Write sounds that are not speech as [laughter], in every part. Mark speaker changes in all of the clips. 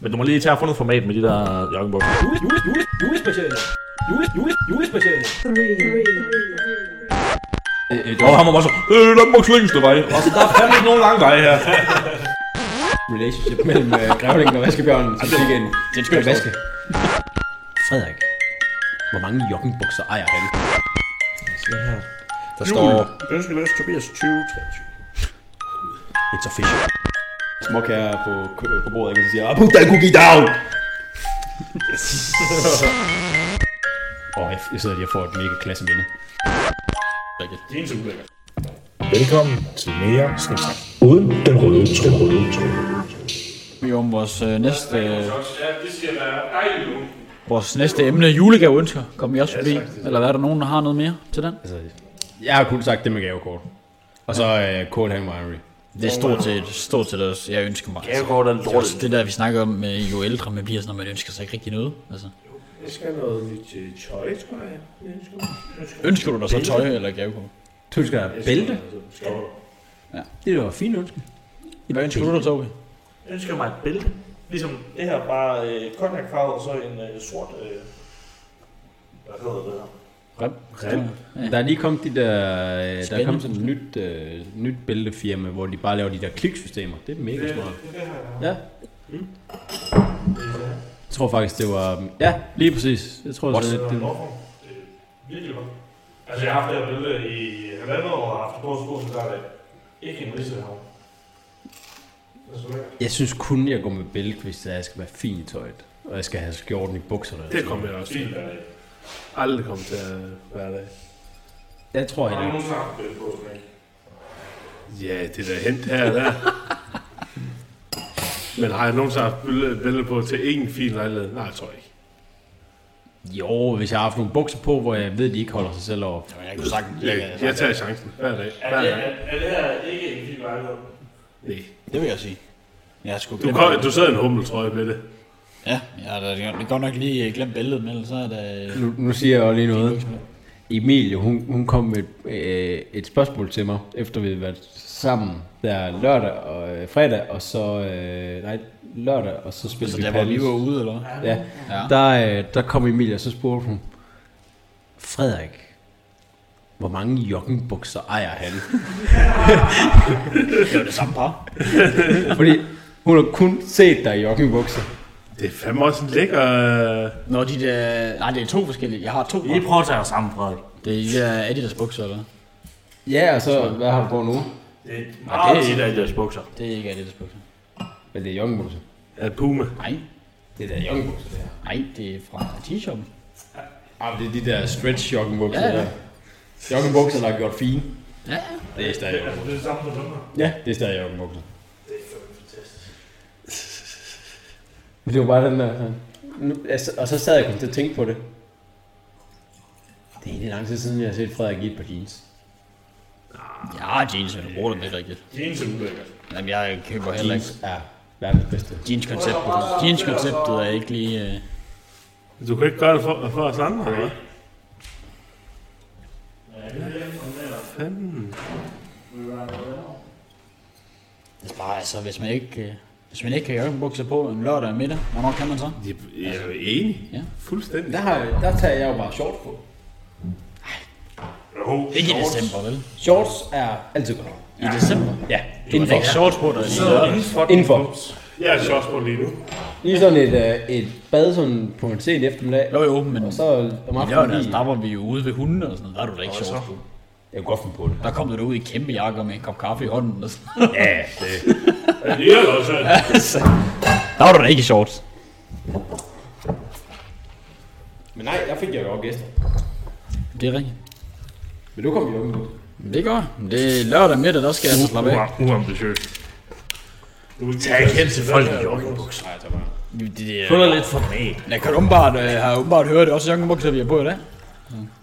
Speaker 1: Men du må lige tage at få noget format med de der joggingbukser.
Speaker 2: Jule, jule, jule, julespeciale. Jule, jule, julespeciale.
Speaker 1: Og han var bare så, øh, der er den længste vej. Og så der er fandme ikke nogen lang vej her.
Speaker 2: Relationship mellem øh, grævlingen og vaskebjørnen. Som fik en, det skal vaske. Frederik, hvor mange joggingbukser ejer han?
Speaker 3: Der står
Speaker 4: Den skal læse Tobias 2023.
Speaker 2: It's official.
Speaker 3: småkager på, på bordet, ikke? og så siger, "Ah, put that cookie down!
Speaker 2: Og jeg, jeg sidder lige og får et mega klasse minde.
Speaker 4: Det er en så ulækkert.
Speaker 5: Velkommen til mere snak uden den røde tråd.
Speaker 4: Vi er om vores øh, næste, øh,
Speaker 1: Ja, det skal være dejligt nu.
Speaker 4: vores næste emne, julegaveønsker. Kommer vi også forbi? Eller er der nogen, der har noget mere til den?
Speaker 2: Jeg har kun sagt det med gavekort. Og så øh, Cold Hand Winery.
Speaker 4: Det er stort set, stort set også, jeg ønsker mig.
Speaker 1: Jeg går den
Speaker 4: Det er også det der, vi snakker om, øh, jo ældre man bliver, sådan, man ønsker sig ikke rigtig noget. Altså,
Speaker 5: Jeg skal have noget nyt øh, tøj, tror jeg. Jeg skal-
Speaker 4: ønsker du dig så tøj eller gavekort?
Speaker 2: Du skal have bælte. Det var fint ønske.
Speaker 4: Hvad ønsker du dig, Tobi?
Speaker 1: Jeg ønsker mig et bælte. Ligesom
Speaker 6: Det her bare øh, konjakfarvet og så en øh, sort... Øh, hvad hedder det her?
Speaker 2: Der er lige kommet de der, øh, der er kommet
Speaker 4: Spændende.
Speaker 2: sådan et nyt, øh, nyt bæltefirma, hvor de bare laver de der kliksystemer. Det er mega smart. Ja. Jeg tror faktisk, det var... um, Ja, lige præcis. Jeg tror sådan lidt... Det,
Speaker 6: Hvorfor? Det er virkelig godt. Altså, jeg har haft det her billede i halvandet år og har haft det på sko, så der er det ikke en ridse her. Det er så lækkert.
Speaker 2: jeg synes kun, jeg går med bælte, hvis jeg skal være fin i tøjet. Og jeg skal have skjorten i bukserne.
Speaker 5: Det kommer jeg også til.
Speaker 6: Fint, øh,
Speaker 5: Aldrig kommer til at være der.
Speaker 2: Jeg
Speaker 6: Har
Speaker 2: tror heller
Speaker 6: du
Speaker 2: ikke.
Speaker 6: nogensinde haft det på sådan en?
Speaker 5: Ja, det der hent her og der. Men har jeg nogensinde haft billede, billede på til en fin lejlighed? Nej, jeg tror ikke.
Speaker 2: Jo, hvis jeg har haft nogle bukser på, hvor jeg ved, de ikke holder sig selv over.
Speaker 4: Jeg kunne sagtens
Speaker 5: Jeg, jeg tager chancen hver dag.
Speaker 6: Er
Speaker 5: Hver
Speaker 6: det,
Speaker 5: dag.
Speaker 6: er, er det her ikke en fin lejlighed?
Speaker 5: Nej.
Speaker 4: Det vil jeg sige. Jeg har sgu
Speaker 5: Du, kom, du sidder i en hummeltrøje med det.
Speaker 4: Ja, jeg har da det er godt nok lige øh, glemt billedet, men ellers så er det...
Speaker 2: Nu, nu siger jeg jo lige noget. Emilie, hun, hun kom med et, øh, et spørgsmål til mig, efter vi havde været sammen der lørdag og øh, fredag, og så, øh, nej, lørdag, og så spillede
Speaker 4: Altså,
Speaker 2: vi
Speaker 4: der var vi
Speaker 2: Padel.
Speaker 4: var ude, eller hvad?
Speaker 2: Ja,
Speaker 4: Ja.
Speaker 2: der, øh, der kom Emilie, og så spurgte hun, Frederik, hvor mange joggingbukser ejer han?
Speaker 4: Det var det samme par.
Speaker 2: [laughs] Fordi hun har kun set dig i joggingbukser.
Speaker 5: Det er fandme også en lækker... øh,
Speaker 4: Når de der... Nej, det er to forskellige. Jeg har to
Speaker 1: I
Speaker 4: par.
Speaker 1: prøver at tage jer sammen, Frederik.
Speaker 4: Det er de der Adidas bukser, eller hvad?
Speaker 2: Ja, og så, hvad har du på nu?
Speaker 6: Det er et
Speaker 1: Nej,
Speaker 6: meget
Speaker 1: det er et af deres bukser.
Speaker 4: Det er ikke Adidas bukser.
Speaker 2: Men det er joggingbukser.
Speaker 5: Ja, Puma.
Speaker 4: Nej,
Speaker 2: Det er da joggingbukser, det her.
Speaker 4: nej, det er fra t-shirten.
Speaker 2: Ah, det er de der stretch joggingbukser
Speaker 4: Ja, ja.
Speaker 2: der. Joggingbukser, der er gjort fine.
Speaker 4: Ja, ja.
Speaker 2: Det er stadig
Speaker 6: det, det er det samme som dem her.
Speaker 2: Ja, det er stadig joggingbukser.
Speaker 6: Det er fandme fantastisk.
Speaker 2: Men det var bare den der... Nu- jeg s- Og så sad jeg kun til at tænke på det. Det er egentlig lang tid siden, jeg har set Frederik i et par jeans.
Speaker 4: Jeg har jeans, men du bruger dem ikke rigtigt.
Speaker 6: Det er en så ulækkert.
Speaker 4: Jamen, jeg køber heller ikke.
Speaker 2: Jeans er verdens bedste.
Speaker 4: Jeans-konceptet. Jeans-konceptet er ikke lige... Øh...
Speaker 5: Du kan ikke gøre det for, for os andre, eller hvad? Fanden.
Speaker 4: Det er bare, altså, hvis man ikke... Øh... Hvis man ikke kan jogge bukser på en lørdag middag, hvornår kan man så?
Speaker 5: Jeg jeg er jo enig.
Speaker 4: Ja.
Speaker 5: Fuldstændig.
Speaker 2: Der, har, der tager jeg jo bare shorts på.
Speaker 6: Jo,
Speaker 4: Ikke i december, vel?
Speaker 2: Shorts er altid godt.
Speaker 4: I december?
Speaker 2: Ja,
Speaker 4: Du
Speaker 2: indenfor.
Speaker 4: fik shorts på dig lige lørdag.
Speaker 2: Indenfor.
Speaker 5: Jeg er sjovt på lige nu.
Speaker 2: Lige sådan et, øh, et bad sådan på en sen eftermiddag.
Speaker 4: Jo, jo, men
Speaker 2: Og så om
Speaker 4: i lørdag,
Speaker 2: aftenen
Speaker 4: der var vi jo ude ved hundene og sådan noget. Der er du da ikke shorts på.
Speaker 2: Jeg kunne godt finde på det.
Speaker 4: Der kom du da ud i kæmpe jakker med en kop kaffe i hånden og sådan.
Speaker 2: Ja, det.
Speaker 5: Det er også.
Speaker 4: Altså, der var du da ikke i shorts.
Speaker 2: Men nej, jeg fik jeg jo også gæster.
Speaker 4: Det er rigtigt.
Speaker 2: Men nu kom vi jo ud.
Speaker 4: Det gør. Det er lørdag middag, der skal jeg altså slappe af.
Speaker 5: Ua- Uambitiøst.
Speaker 1: Tag ikke hen til folk i joggingbukser.
Speaker 4: Det, det,
Speaker 1: Få dig lidt format.
Speaker 4: jeg kan åbenbart, øh, har åbenbart hørt, det er også joggingbukser, vi har på i dag.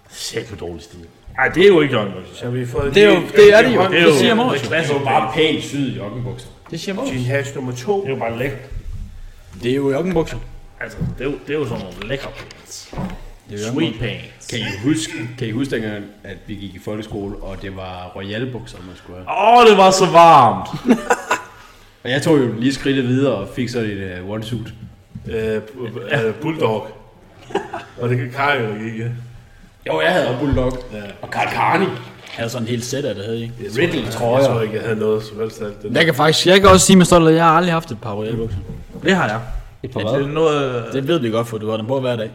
Speaker 1: Sæt på dårlig stil. Nej, det er jo ikke joggingbukser. Så har vi fået
Speaker 4: Det er jo, det er det jo.
Speaker 5: Det er
Speaker 4: Det
Speaker 5: jo-
Speaker 4: siger Mås. jo.
Speaker 1: Hvad så bare?
Speaker 2: Bare pænt syet joggingbukser.
Speaker 4: Det siger Mås.
Speaker 5: Din hash nummer to.
Speaker 6: det er jo bare lækkert.
Speaker 4: Det er jo joggingbukser.
Speaker 1: Altså, det er jo, det er jo sådan nogle lækker pants.
Speaker 4: Det er jo
Speaker 1: Sweet pants.
Speaker 2: Kan I huske, kan I huske dengang, at vi gik i folkeskole, og det var royale bukser, man skulle have?
Speaker 1: Åh, oh, det var så varmt.
Speaker 2: Og jeg tog jo lige skridtet videre og fik sådan et uh, one-suit.
Speaker 5: Øh, bu- bu- øh, bulldog. Og det kan Kaj jo ikke.
Speaker 2: Jo, jeg havde også Bulldog.
Speaker 5: Ja.
Speaker 2: Og Karl Carney.
Speaker 4: Jeg havde sådan en hel sæt af det, havde I.
Speaker 5: Jeg tror-
Speaker 2: Riddle, tror
Speaker 5: Jeg
Speaker 2: jeg.
Speaker 5: tror ikke, jeg havde noget som helst af alt det.
Speaker 4: Jeg kan faktisk jeg kan også sige med stolthed, at jeg har aldrig haft et par royalbukser.
Speaker 5: Det har jeg.
Speaker 2: Et par
Speaker 5: Det
Speaker 2: hvad?
Speaker 5: er noget...
Speaker 4: Det ved vi godt, for du har dem på hver dag.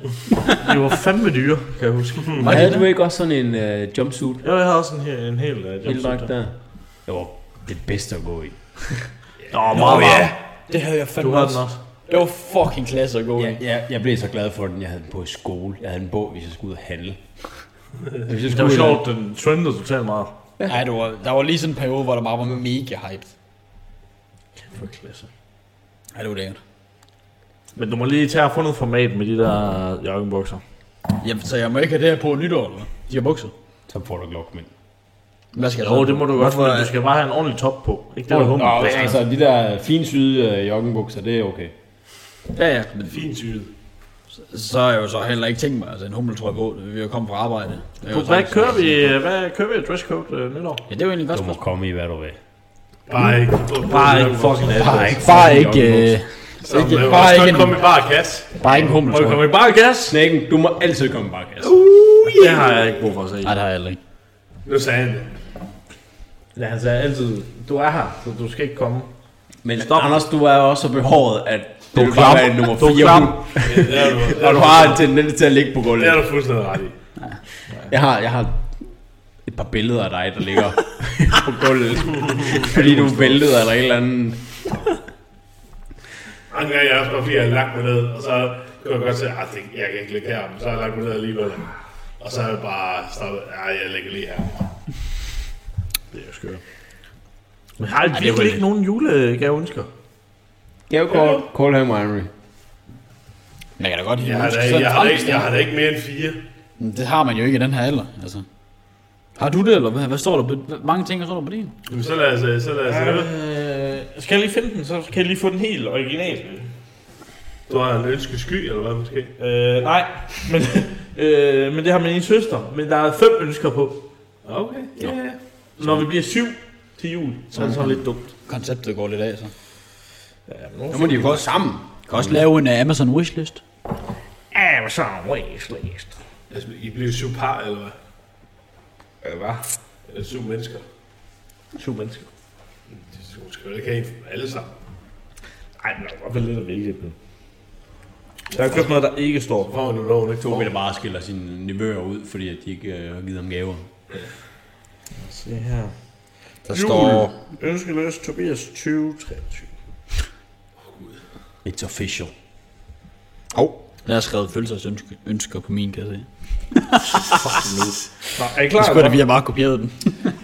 Speaker 5: Det var fandme dyre, kan jeg [laughs] huske.
Speaker 2: Og havde du ikke også sådan en uh, jumpsuit?
Speaker 5: Jo, jeg havde også en, hel- en hel... øh,
Speaker 2: Helt
Speaker 5: jumpsuit
Speaker 2: dragt der. Det var det bedste at gå i.
Speaker 5: Nå, meget ja.
Speaker 4: Det havde jeg
Speaker 5: Du
Speaker 4: fandme
Speaker 5: har den også.
Speaker 4: Det var fucking klasse at gå i.
Speaker 2: Ja, jeg, jeg blev så glad for den. Jeg havde den på i skole. Jeg havde den på, hvis jeg skulle ud og handle. Hvis jeg
Speaker 5: Det var
Speaker 2: ud og-
Speaker 5: sjovt, den trendede totalt meget.
Speaker 4: Ej, det var, der var lige sådan en periode, hvor der bare var mega hyped.
Speaker 5: For klasse.
Speaker 4: Ej, det var lækkert.
Speaker 5: Men du må lige tage og få noget format med de der øh, joggingbukser.
Speaker 4: Jamen, så jeg må ikke have det her på nytår, eller hvad? De her bukser.
Speaker 2: Så får du glokmænd.
Speaker 4: Hvad skal jeg
Speaker 5: Jo, det må du godt,
Speaker 4: Hvorfor-
Speaker 5: men du skal bare have en ordentlig top på. Ikke det, der hummer.
Speaker 2: Nå, altså, de der finsyde øh, joggenbukser, det er okay.
Speaker 4: Ja, ja, men
Speaker 5: Fint syet.
Speaker 4: så har jeg jo så heller ikke tænkt mig, altså en hummeltrøje på, vi er jo kommet fra arbejde. Det er jo
Speaker 5: Hvad
Speaker 4: sådan-
Speaker 5: kører vi, øh, hvad kører vi af dresscode øh, nytår?
Speaker 4: Ja, det er jo egentlig godt
Speaker 2: Du må
Speaker 4: spørgsmål.
Speaker 2: komme i, hvad du vil.
Speaker 5: Bare ikke. Bare ikke fucking alt.
Speaker 2: Bare ikke,
Speaker 4: Bare ikke, øh, ikke,
Speaker 2: øh,
Speaker 4: bare ikke,
Speaker 5: Kom
Speaker 4: en,
Speaker 5: i bare gas.
Speaker 4: bare ikke en
Speaker 5: Må du
Speaker 4: hummeltrøje.
Speaker 5: komme i bare gas?
Speaker 2: Snækken, du må altid komme altså. bare gas.
Speaker 5: Det har jeg ikke brug for at sige.
Speaker 4: Nej, det har jeg aldrig.
Speaker 5: Nu sagde han det. Ja, han
Speaker 4: øh,
Speaker 5: sagde altid, du er her, så du skal ikke komme.
Speaker 2: Men Stop. Anders, du er også så behåret, at du
Speaker 5: er
Speaker 2: vil bare være en nummer
Speaker 5: Du er
Speaker 2: 4
Speaker 5: klam.
Speaker 2: hund. Og du har en tendens til at ligge på gulvet.
Speaker 5: Det er du fuldstændig ret i.
Speaker 2: Jeg har, jeg har et par billeder af dig, der
Speaker 5: [laughs]
Speaker 2: ligger på gulvet. fordi du er væltet eller et eller andet.
Speaker 5: Andre gange er jeg også bare, fordi jeg har lagt mig ned, og så kunne jeg godt se, at jeg kan ikke ligge her, men så har jeg lagt mig ned alligevel. Og så er jeg bare stoppet, nej, jeg ligger lige her. Det er jo skørt. Men har I virkelig ikke nogen julegaveønsker?
Speaker 2: Gavekort, Coldham Winery.
Speaker 4: Men jeg kan da godt
Speaker 5: Jeg
Speaker 4: lide,
Speaker 5: har, da, jeg, har da ikke, jeg har da ikke mere end fire.
Speaker 4: Det har man jo ikke i den her alder, altså. Har du det, eller hvad, hvad står der på? Hvor mange ting står der på din?
Speaker 5: Jamen, så lad os, så lad os
Speaker 1: Altså,
Speaker 5: høre.
Speaker 1: Øh, skal jeg lige finde den, så kan jeg lige få den helt original.
Speaker 5: Du har en ønskesky, eller hvad måske?
Speaker 1: Øh, nej, men, øh, men det har min søster. Men der er fem ønsker på.
Speaker 5: Okay, ja. Yeah.
Speaker 1: Når vi bliver syv til jul, så er det sådan lidt dumt.
Speaker 4: Konceptet går lidt af, så.
Speaker 2: Nu må de jo gå sammen.
Speaker 4: Kan også lave en uh, Amazon wishlist.
Speaker 1: Amazon Wishlist.
Speaker 5: Altså, I bliver syv par, eller hvad? Eller hvad? Eller syv mennesker.
Speaker 1: Syv mennesker.
Speaker 5: De syv skal jo ikke have alle sammen.
Speaker 1: Ej, men der er i hvert fald lidt at vælge på. Jeg har købt noget, der ikke står.
Speaker 5: Hvor er nu loven ikke to
Speaker 2: Nu vil der bare skille sine nevøer ud, fordi at de ikke øh, har givet ham gaver.
Speaker 1: Se her.
Speaker 4: Der
Speaker 1: Jul.
Speaker 4: står...
Speaker 1: Ønskeløs Tobias 2023.
Speaker 2: It's official.
Speaker 4: Hov. Der er skrevet følelsesønsker ønsker på min, kan jeg se.
Speaker 1: Nå, er I
Speaker 4: Det
Speaker 1: klar?
Speaker 4: skulle da, vi har bare kopieret den.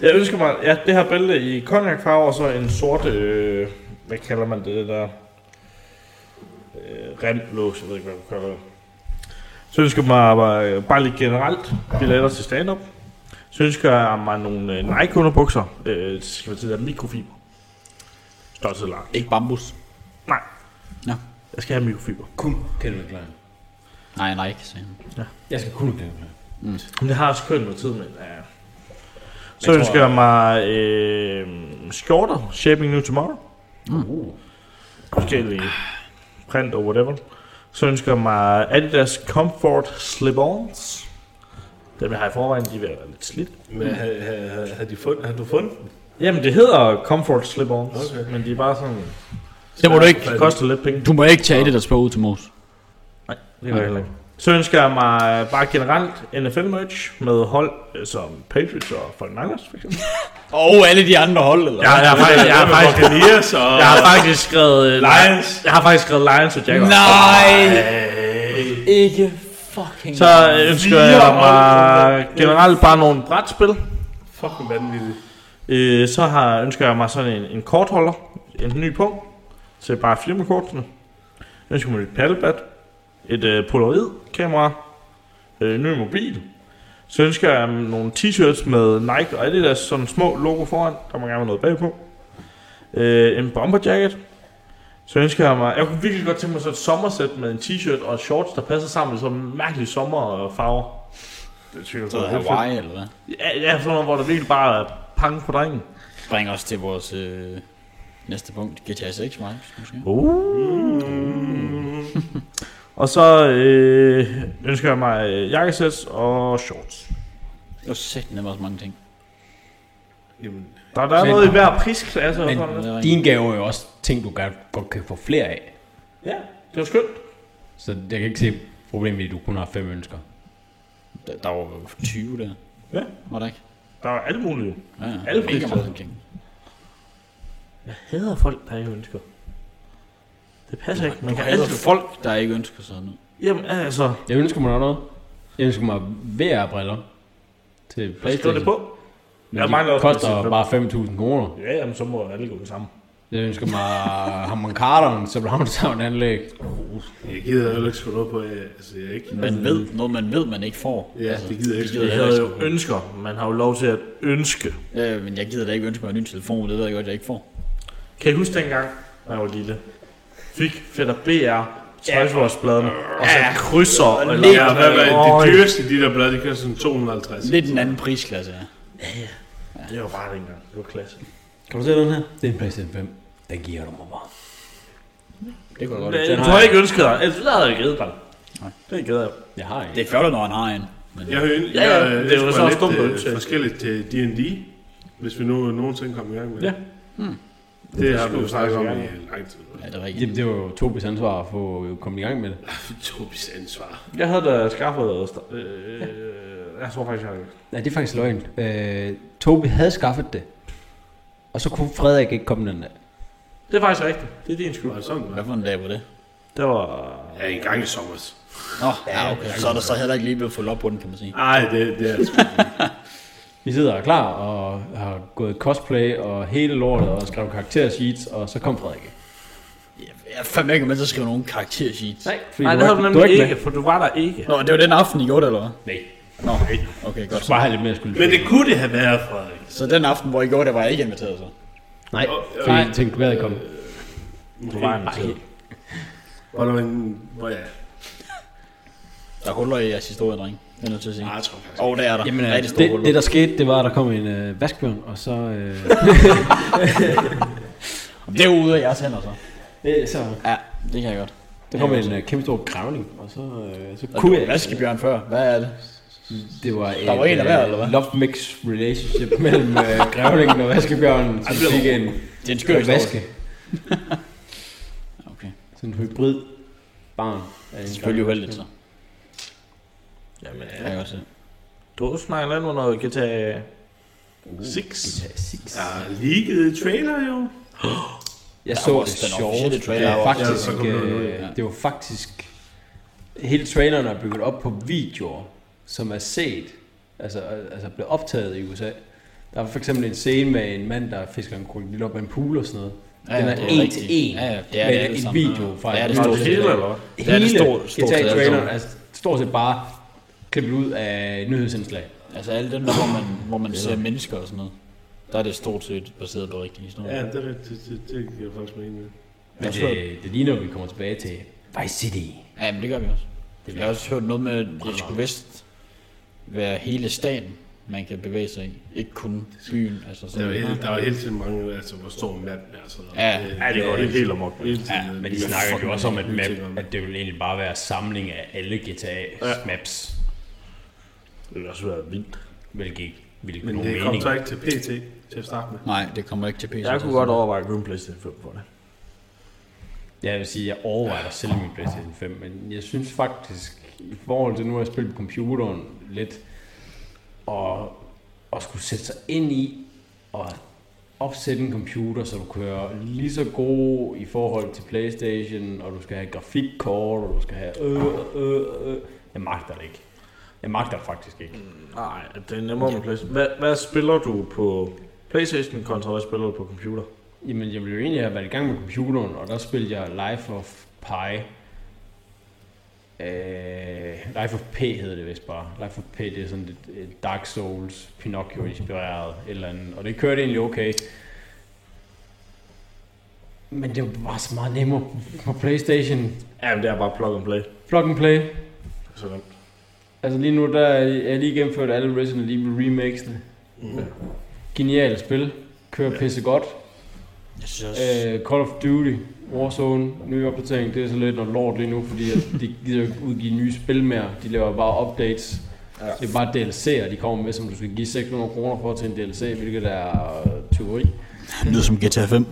Speaker 1: Jeg ønsker mig ja, det her bælte i konjakfarve og så en sort, øh, hvad kalder man det der, øh, remlås, jeg ved ikke, hvad man kalder det. Så ønsker jeg mig bare, bare lidt generelt billetter til stand-up. Så ønsker jeg mig nogle øh, Nike underbukser, øh, det skal være til der mikrofiber. Størrelse lang.
Speaker 4: Ikke bambus.
Speaker 1: Nej.
Speaker 4: Nå.
Speaker 1: Jeg skal have mikrofiber.
Speaker 2: Kun Calvin Klein.
Speaker 4: Nej, nej, ikke, sagde han.
Speaker 2: Jeg skal kun have Calvin Klein.
Speaker 1: Men øh, det har også kørt noget tid med. Ja. Så jeg ønsker jeg mig øh, skjorter, Shaping New Tomorrow. Mm. Forskellige print og whatever. Så ønsker jeg mig Adidas Comfort Slip-Ons. Dem jeg har i forvejen, de vil være lidt slidt.
Speaker 5: Men har- har- har de fundet, har du fundet den?
Speaker 1: Jamen det hedder Comfort Slip-Ons, okay. men de er bare sådan...
Speaker 4: Det må du ikke.
Speaker 1: Det koster lidt penge.
Speaker 4: Du må ikke tage det, der spørger ud til Mos.
Speaker 1: Det gør jeg heller ikke. Så ønsker jeg mig bare generelt NFL-merch med hold øh, som Patriots og 49ers for eksempel.
Speaker 4: Og alle de andre hold, eller?
Speaker 1: Jeg, jeg, har faktisk, [laughs] jeg, har faktisk,
Speaker 5: Elias og
Speaker 1: jeg har
Speaker 5: [laughs]
Speaker 1: faktisk skrevet... øh,
Speaker 5: Lions.
Speaker 1: Jeg har faktisk skrevet Lions og Jaguars.
Speaker 4: Nej!
Speaker 5: Hey.
Speaker 4: Ikke fucking...
Speaker 1: Så øh, ønsker jeg mig generelt bare nogle brætspil.
Speaker 5: Fucking vanvittigt.
Speaker 1: Øh, så har, ønsker jeg mig sådan en, en kortholder, en ny punkt, til bare firmakortene. Jeg ønsker mig et paddlebat, et øh, polaroid-kamera, øh, ny mobil. Så ønsker jeg mig nogle t-shirts med Nike og Adidas, sådan små logo foran, der må gerne være noget bagpå. Øh, en bomberjacket. Så ønsker jeg mig, jeg kunne virkelig godt tænke mig sådan et sommersæt med en t-shirt og shorts, der passer sammen med sådan mærkelige sommerfarver. Det synes jeg,
Speaker 4: Så
Speaker 1: kunne være fedt.
Speaker 4: Hawaii, eller hvad?
Speaker 1: Ja, ja, sådan noget, hvor der virkelig bare er pang på drengen.
Speaker 4: Bring os til vores... Øh... Næste punkt, GTA 6, Markus, måske.
Speaker 1: Uh. Og så øh, ønsker jeg mig øh, jakkesæt og shorts.
Speaker 4: Det var sæt nemmere også mange ting.
Speaker 1: Der, der er
Speaker 2: Men-
Speaker 1: noget i hver prisklasse. og sådan
Speaker 2: Men
Speaker 1: noget.
Speaker 2: dine gaver er jo også ting, du godt, godt kan få flere af.
Speaker 1: Ja, det var skønt.
Speaker 2: Så jeg kan ikke se problemet i, at du kun har fem ønsker.
Speaker 4: Der, der var jo 20 der.
Speaker 1: Ja.
Speaker 4: Var der ikke?
Speaker 1: Der var alt muligt.
Speaker 4: Ja, ja.
Speaker 1: Alle
Speaker 4: Mega
Speaker 1: prisklasser.
Speaker 4: mange ting.
Speaker 1: Jeg hader folk, der ikke ønsker. Det passer ikke. Man
Speaker 4: Du
Speaker 1: kan
Speaker 4: hader
Speaker 1: altid...
Speaker 4: folk, der ikke ønsker sådan noget.
Speaker 1: Jamen altså,
Speaker 2: Jeg ønsker mig nok noget. Jeg ønsker mig VR-briller til
Speaker 1: hvad står
Speaker 2: Playstation.
Speaker 1: det på?
Speaker 2: Men
Speaker 1: Jeg mangler
Speaker 2: de
Speaker 1: også
Speaker 2: koster
Speaker 1: fem.
Speaker 2: bare 5.000 kroner.
Speaker 1: Ja, jamen, så må alle gå det samme.
Speaker 2: Jeg ønsker mig Hammond Carteren som Sound anlæg.
Speaker 5: Jeg gider jo ikke skulle noget på, øh, altså jeg er ikke...
Speaker 4: Man ved noget, man ved, man ikke får. Altså.
Speaker 5: Ja, det gider jeg ikke.
Speaker 1: Mm. Det
Speaker 4: gider
Speaker 1: hedder jo
Speaker 4: ikke.
Speaker 1: ønsker. Man har jo lov til at ønske.
Speaker 4: Øh, men jeg gider da ikke ønske mig en ny telefon, det ved jeg godt, jeg ikke får.
Speaker 1: Kan I huske dengang, når jeg var lille? Fik fætter BR, tøjsvorsbladene, og så krydser. Og
Speaker 5: Ja, hvad, hvad, det dyreste, de der blad, de kører sådan 250.
Speaker 4: Lidt en anden prisklasse, ja.
Speaker 1: Det var bare dengang. Det var klasse.
Speaker 2: Kan du se den her? Det er en PlayStation 5. Den giver du mig bare.
Speaker 4: Det kunne jeg godt
Speaker 1: Men,
Speaker 4: lide.
Speaker 1: Du har ikke ønsket dig. Ellers havde jeg ikke givet dig.
Speaker 4: Nej.
Speaker 1: Det gider jeg.
Speaker 2: Jeg har ikke.
Speaker 4: Det er flot, når han har en. Men
Speaker 5: Jeg har ønsket
Speaker 1: Ja, ja,
Speaker 5: jeg,
Speaker 1: det er
Speaker 5: øh,
Speaker 1: jo
Speaker 5: ønsker mig
Speaker 1: så også
Speaker 5: lidt,
Speaker 1: dumt at
Speaker 5: øh,
Speaker 1: ønske.
Speaker 5: forskelligt til D&D, hvis vi nu nogensinde kommer i gang med
Speaker 1: Ja.
Speaker 5: det. Hmm. Det har
Speaker 1: skal
Speaker 5: vi jo
Speaker 1: vi
Speaker 5: snakket om
Speaker 1: snakke
Speaker 5: i
Speaker 1: om.
Speaker 5: lang tid.
Speaker 4: ja, det er rigtigt.
Speaker 2: Jamen, det var jo Tobis ansvar at få komme i gang med det.
Speaker 5: Tobis ansvar.
Speaker 1: Jeg havde da skaffet... Øh, jeg tror faktisk, jeg havde
Speaker 2: Nej, det er faktisk løgn. Øh, Tobi havde skaffet det. Og så kunne Frederik ikke komme den dag.
Speaker 1: Det er faktisk rigtigt. Det er din skyld.
Speaker 5: Var det sådan,
Speaker 4: Hvad
Speaker 5: hva'?
Speaker 4: for en dag var det?
Speaker 1: Det var...
Speaker 5: Ja, en gang i sommer.
Speaker 4: Nå, ja, okay. Så er der så heller ikke lige blevet fuldt op på den, kan man sige.
Speaker 5: Nej, det, det er det sgu.
Speaker 2: Vi sidder og er klar og har gået cosplay og hele lortet og skrevet karakter sheets, og så kom Frederik. ikke.
Speaker 4: Jeg, jeg er fandme ikke med til at skrive nogen karaktersheets.
Speaker 2: fordi
Speaker 1: Nej,
Speaker 2: du
Speaker 1: det
Speaker 2: var
Speaker 1: havde du
Speaker 2: ikke-
Speaker 1: nemlig
Speaker 2: var
Speaker 1: ikke,
Speaker 2: med.
Speaker 1: for du var der ikke.
Speaker 4: Nå, det var den aften, I gjorde det, eller hvad?
Speaker 2: Nej,
Speaker 4: Nå, okay, godt.
Speaker 2: bare have lidt mere skyld.
Speaker 5: [laughs] Men det kunne det have været, Frederik.
Speaker 4: Så den aften, hvor I gjorde det, var jeg ikke inviteret, så?
Speaker 2: Nej, fordi jeg tænkte, du gad ikke komme.
Speaker 1: Du var en
Speaker 5: Hvor der var en... Hvor ja.
Speaker 4: Der er huller i jeres historie, dreng. Det er nødt til at sige.
Speaker 5: Nej, jeg tror faktisk.
Speaker 4: Åh, oh, der er der.
Speaker 2: Jamen, øh,
Speaker 4: Rigtig store
Speaker 2: det,
Speaker 4: huller.
Speaker 2: det, der skete, det var, at der kom en øh, vaskebjørn, og så...
Speaker 4: [laughs]
Speaker 2: Øh,
Speaker 4: Det er ude af jeres hænder, så.
Speaker 2: øh, så
Speaker 4: Ja, det kan jeg godt.
Speaker 2: der kom en øh, kæmpe stor grævling, og så, øh, så
Speaker 4: Og
Speaker 2: kunne
Speaker 4: du
Speaker 2: jeg...
Speaker 4: vaskebjørn før. Hvad er det?
Speaker 2: Det var, et, øh,
Speaker 4: Der var en af hver, eller hvad?
Speaker 2: Love mix relationship mellem øh, grævlingen og vaskebjørnen, som fik en
Speaker 4: Det er en skør historie.
Speaker 2: vaske. [laughs]
Speaker 4: Okay.
Speaker 2: Sådan en hybrid barn. af en
Speaker 4: Selvfølgelig uheldigt, så.
Speaker 1: Jamen,
Speaker 4: Det kan jeg godt se.
Speaker 1: du snakker lidt om noget GTA
Speaker 2: Uh,
Speaker 1: 6.
Speaker 5: Der er leaget trailer jo.
Speaker 2: [gasps] Jeg
Speaker 4: Der
Speaker 2: så
Speaker 4: var
Speaker 2: det
Speaker 4: også den
Speaker 2: sjovt.
Speaker 4: officielle trailer,
Speaker 2: det
Speaker 4: der
Speaker 2: var
Speaker 4: var også-
Speaker 2: faktisk,
Speaker 5: Ja, så kom den ud,
Speaker 2: øh, det var faktisk... Hele traileren er bygget op på videoer, som er set, altså, altså blev optaget i USA. Der var for eksempel en scene med en mand, der fisker en krokodil op af en pool og sådan noget.
Speaker 4: Ja,
Speaker 2: den
Speaker 4: ja,
Speaker 2: er
Speaker 4: det er
Speaker 2: en
Speaker 4: rigtigt.
Speaker 2: til en
Speaker 4: Ja, ja, det er det
Speaker 2: med
Speaker 4: alle
Speaker 2: en
Speaker 4: sammen.
Speaker 2: video fra
Speaker 4: Det er det
Speaker 2: et-
Speaker 4: stort set.
Speaker 1: Hele, eller hvad?
Speaker 4: Det er det
Speaker 2: hele
Speaker 4: stort- stort set alle
Speaker 2: GTA-traileren
Speaker 4: sammen.
Speaker 2: er stort set bare klippet ud af nyhedsindslag.
Speaker 4: Altså alle dem, der, hvor man, hvor man ser mennesker og sådan noget. Der er det stort set baseret på rigtige historier.
Speaker 5: Ja, det er rigtigt. Det, det, det giver faktisk mening. med.
Speaker 2: Men det, det ligner, at vi kommer tilbage til Vice City.
Speaker 4: Ja, men det gør vi også. Jeg har også hørt noget med, at det skulle vist være hele staten, man kan bevæge sig i. Ikke kun byen. Altså
Speaker 5: Der
Speaker 4: sådan
Speaker 5: var, hele,
Speaker 4: noget.
Speaker 5: der var hele tiden mange, altså hvor stor manden er. Så
Speaker 4: Ja.
Speaker 1: Ja, det går helt helt amok.
Speaker 5: Hele tiden,
Speaker 4: Ja,
Speaker 5: øh,
Speaker 2: Men de
Speaker 5: nye-
Speaker 2: snakker jo også om, at,
Speaker 5: nye
Speaker 2: map,
Speaker 5: ting om.
Speaker 2: at det vil egentlig bare være samling af alle GTA-maps,
Speaker 1: Det ville også være vildt.
Speaker 2: hvilket ikke ville give
Speaker 5: Men
Speaker 2: nogen
Speaker 5: det kom
Speaker 2: mening.
Speaker 5: så ikke til PT til at starte med.
Speaker 4: Nej, det kommer ikke til PC.
Speaker 1: Jeg kunne godt overveje at købe en PlayStation 5 for det.
Speaker 2: Ja, Jeg vil sige, at jeg overvejer at sælge min PlayStation 5, men jeg synes faktisk, i forhold til nu at jeg spillet på computeren lidt, og, og skulle sætte sig ind i og opsætte en computer, så du kører lige så god i forhold til Playstation, og du skal have grafikkort, og du skal have øh, øh, øh. Jeg magter det ikke. Jeg magter det faktisk ikke.
Speaker 1: Nej, det er nemmere med PlayStation. Hvad, hvad spiller du på PlayStation kontra hvad spiller du på computer?
Speaker 2: Jamen, jeg ville jo egentlig have været i gang med computeren, og der spillede jeg Life of Pi. Øh, Life of P hedder det vist bare. Life of P, det er sådan lidt øh, Dark Souls, Pinocchio-inspireret et eller andet, og det kørte egentlig okay. Men det var bare så meget nemmere på Playstation.
Speaker 1: Jamen, det er bare plug and play.
Speaker 2: Plug and play.
Speaker 1: Så nemt.
Speaker 2: Altså lige nu, der er jeg lige gennemført alle
Speaker 1: Mm.
Speaker 2: Resident Evil remakesene. Genialt spil. Kører pisse godt.
Speaker 4: Jeg synes også, øh,
Speaker 2: Øh, Call of Duty, Warzone, ny opdatering, det er så lidt noget lort lige nu, fordi at de gider jo ikke udgive nye spil mere. De laver bare updates. Ja. Det er bare DLC'er, de kommer med, som du skal give 600 kroner for til en DLC, hvilket er øh, tyveri.
Speaker 4: det lyder som GTA 5.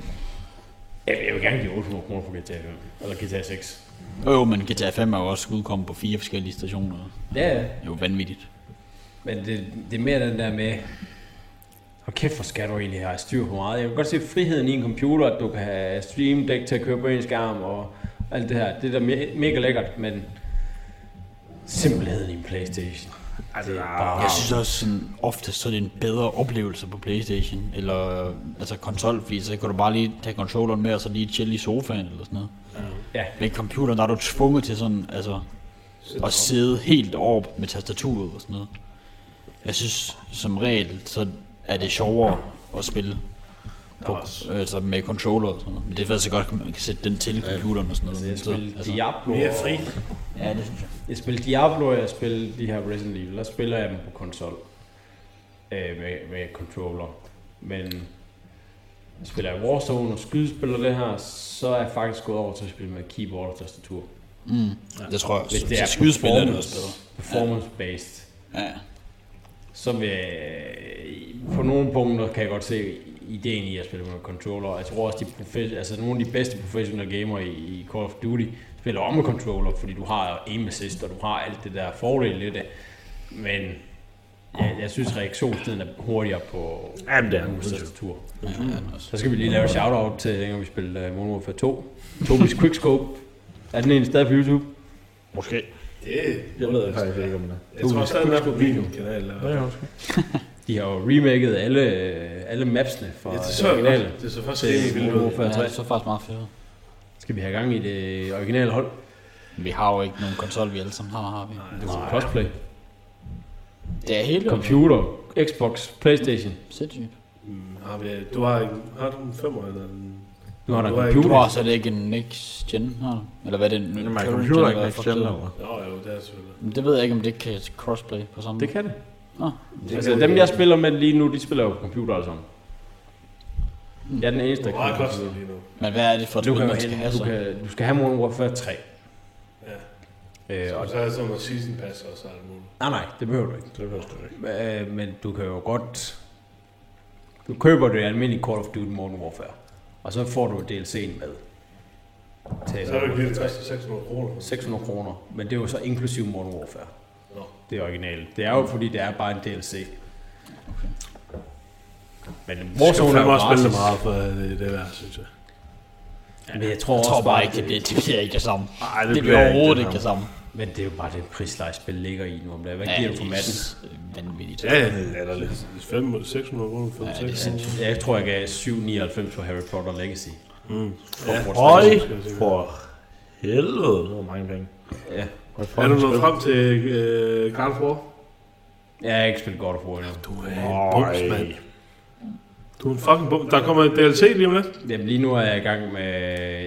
Speaker 2: Jeg vil gerne give 800 kroner for GTA 5, eller GTA 6.
Speaker 4: Jo, jo, men GTA 5 er jo også udkommet på fire forskellige stationer.
Speaker 2: Ja, ja.
Speaker 4: Det er jo vanvittigt.
Speaker 2: Men det, det er mere den der med, og kæft hvor skal du egentlig have styr på meget. Jeg kan godt se friheden i en computer, at du kan have Stream Deck til at køre på en skærm og alt det her. Det er da me- mega lækkert, men simpelheden i en Playstation. Altså, det er bare...
Speaker 4: Jeg synes også, sådan, ofte så er det en bedre oplevelse på Playstation, eller øh, altså konsol, fordi så kan du bare lige tage controlleren med, og så lige chille i sofaen, eller sådan noget.
Speaker 2: Ja.
Speaker 4: Med computeren, der er du tvunget til sådan, altså, at sidde helt over med tastaturet og sådan noget. Jeg synes, som regel, så er det sjovere at spille på, altså med controller og sådan noget. Men det er faktisk godt, at man kan sætte den til computeren og sådan noget.
Speaker 2: Jeg
Speaker 4: Så,
Speaker 2: spillede
Speaker 4: altså,
Speaker 2: Diablo,
Speaker 5: Mere fri.
Speaker 4: ja, det synes jeg.
Speaker 2: jeg spillede Diablo, og jeg spillede de her Resident Evil. Der spiller jeg dem på konsol øh, med, med controller. Men spiller jeg Warzone og skydespiller det her, så er jeg faktisk gået over til at spille med keyboard og tastatur.
Speaker 4: Ja. Det tror jeg
Speaker 2: Hvis
Speaker 4: også.
Speaker 2: det er
Speaker 4: skydespil er det også bedre.
Speaker 2: performance- performance-based,
Speaker 4: Ja.
Speaker 2: så vil øh, på nogle punkter kan jeg godt se ideen i at spille med controller. Jeg tror også, de profe- altså, nogle af de bedste professionelle gamere i, i Call of Duty spiller om med controller, fordi du har aim assist, og du har alt det der fordel i det. Men jeg, jeg synes, reaktionstiden er hurtigere på
Speaker 1: Jamen, det er den.
Speaker 2: tastatur. Så skal vi lige lave et shout-out til, dengang vi spillede uh, Modern Warfare 2. Tobis Quickscope. Er den egentlig stadig på YouTube?
Speaker 4: Måske.
Speaker 5: Det,
Speaker 3: Jeg ved faktisk ikke, om det er.
Speaker 5: jeg tror stadig, den er på min kanal. eller-
Speaker 1: Ja, ja, undskyld.
Speaker 2: De har jo remaket alle, øh, alle mapsene fra
Speaker 5: Ja,
Speaker 2: ja,
Speaker 5: det
Speaker 2: det,
Speaker 5: så jeg
Speaker 2: originale.
Speaker 5: godt. Det så først det, vi ville ud.
Speaker 2: Warfare
Speaker 4: Ja, det er
Speaker 2: 3.
Speaker 4: så faktisk meget fedt.
Speaker 2: Skal vi have gang i det originale hold?
Speaker 4: Vi har jo ikke nogen konsol, vi alle sammen har, har vi?
Speaker 2: Det er crossplay.
Speaker 4: Det er helt
Speaker 2: Computer, Xbox, Playstation.
Speaker 4: Sindssygt.
Speaker 5: Mm. Har vi- Du har, en- har du en femmer eller en...
Speaker 2: Nu har der en
Speaker 5: Du har ikke-
Speaker 4: Du
Speaker 2: computer.
Speaker 4: har så er det ikke en next gen, har du? Eller hvad er det? En
Speaker 1: Jamen, er
Speaker 4: current
Speaker 1: computer ikke
Speaker 4: gen, eller
Speaker 1: next
Speaker 4: hvad
Speaker 1: gen
Speaker 4: fuck
Speaker 1: eller
Speaker 5: Jo, jo, det er selvfølgelig.
Speaker 4: det er? Det ved jeg ikke, om det kan crossplay på samme
Speaker 2: Det kan det.
Speaker 4: Nå.
Speaker 2: Altså dem, jeg spiller med lige nu, de spiller jo på computer alle sammen. Jeg er den eneste, der
Speaker 5: Hvor meget
Speaker 2: kan.
Speaker 5: koster det lige nu?
Speaker 4: Men hvad er det for et altså?
Speaker 2: Du, kan,
Speaker 4: spil,
Speaker 2: jo
Speaker 4: man skal have
Speaker 2: hen-
Speaker 4: så?
Speaker 2: du, kan, du skal have Modern Warfare 3.
Speaker 5: Ja.
Speaker 2: Øh, og,
Speaker 5: Og så er det sådan noget season pass også alt muligt.
Speaker 2: nej, nej, det behøver du ikke.
Speaker 5: Det koster det ikke.
Speaker 2: Øh, men du kan jo godt... Du køber det almindelige Call of Duty Modern Warfare, og så får du DLC'en med. Til
Speaker 5: Så er det jo lige, det koster 600 kroner.
Speaker 2: 600 kroner, men det er jo så inklusiv Modern Warfare.
Speaker 5: Nå.
Speaker 2: Det er originalt. Det er jo fordi, det er bare en DLC. Men Warzone er jo
Speaker 5: også spille
Speaker 2: gratis.
Speaker 5: meget for øh, det der, synes jeg.
Speaker 2: Men jeg tror,
Speaker 4: Jeg tror
Speaker 2: også
Speaker 4: bare
Speaker 2: bare,
Speaker 4: ikke, det bliver, det bliver ikke det samme.
Speaker 1: Ej,
Speaker 4: Det bliver overhovedet ikke altså. det samme.
Speaker 2: Men det er jo bare det prisleje-spil ligger i nu om dagen. Hvad
Speaker 4: Ja,
Speaker 2: giver du
Speaker 4: det
Speaker 2: for
Speaker 4: er
Speaker 2: matten?
Speaker 4: Vanvittigt.
Speaker 5: Ja, ja, det er da lidt. 500, 600 kroner, 5 ja, det er
Speaker 2: Jeg tror, jeg gav 7,99 for Harry Potter Legacy.
Speaker 1: Høj for helvede. Det var mange penge.
Speaker 2: Ja.
Speaker 5: Er du nået frem til øh, Carl Ford?
Speaker 2: Jeg har ikke spillet God of War endnu.
Speaker 5: Du er en bums, mand. Du er en fucking bums. Der kommer en DLC lige om lidt.
Speaker 2: Jamen lige nu er jeg i gang med...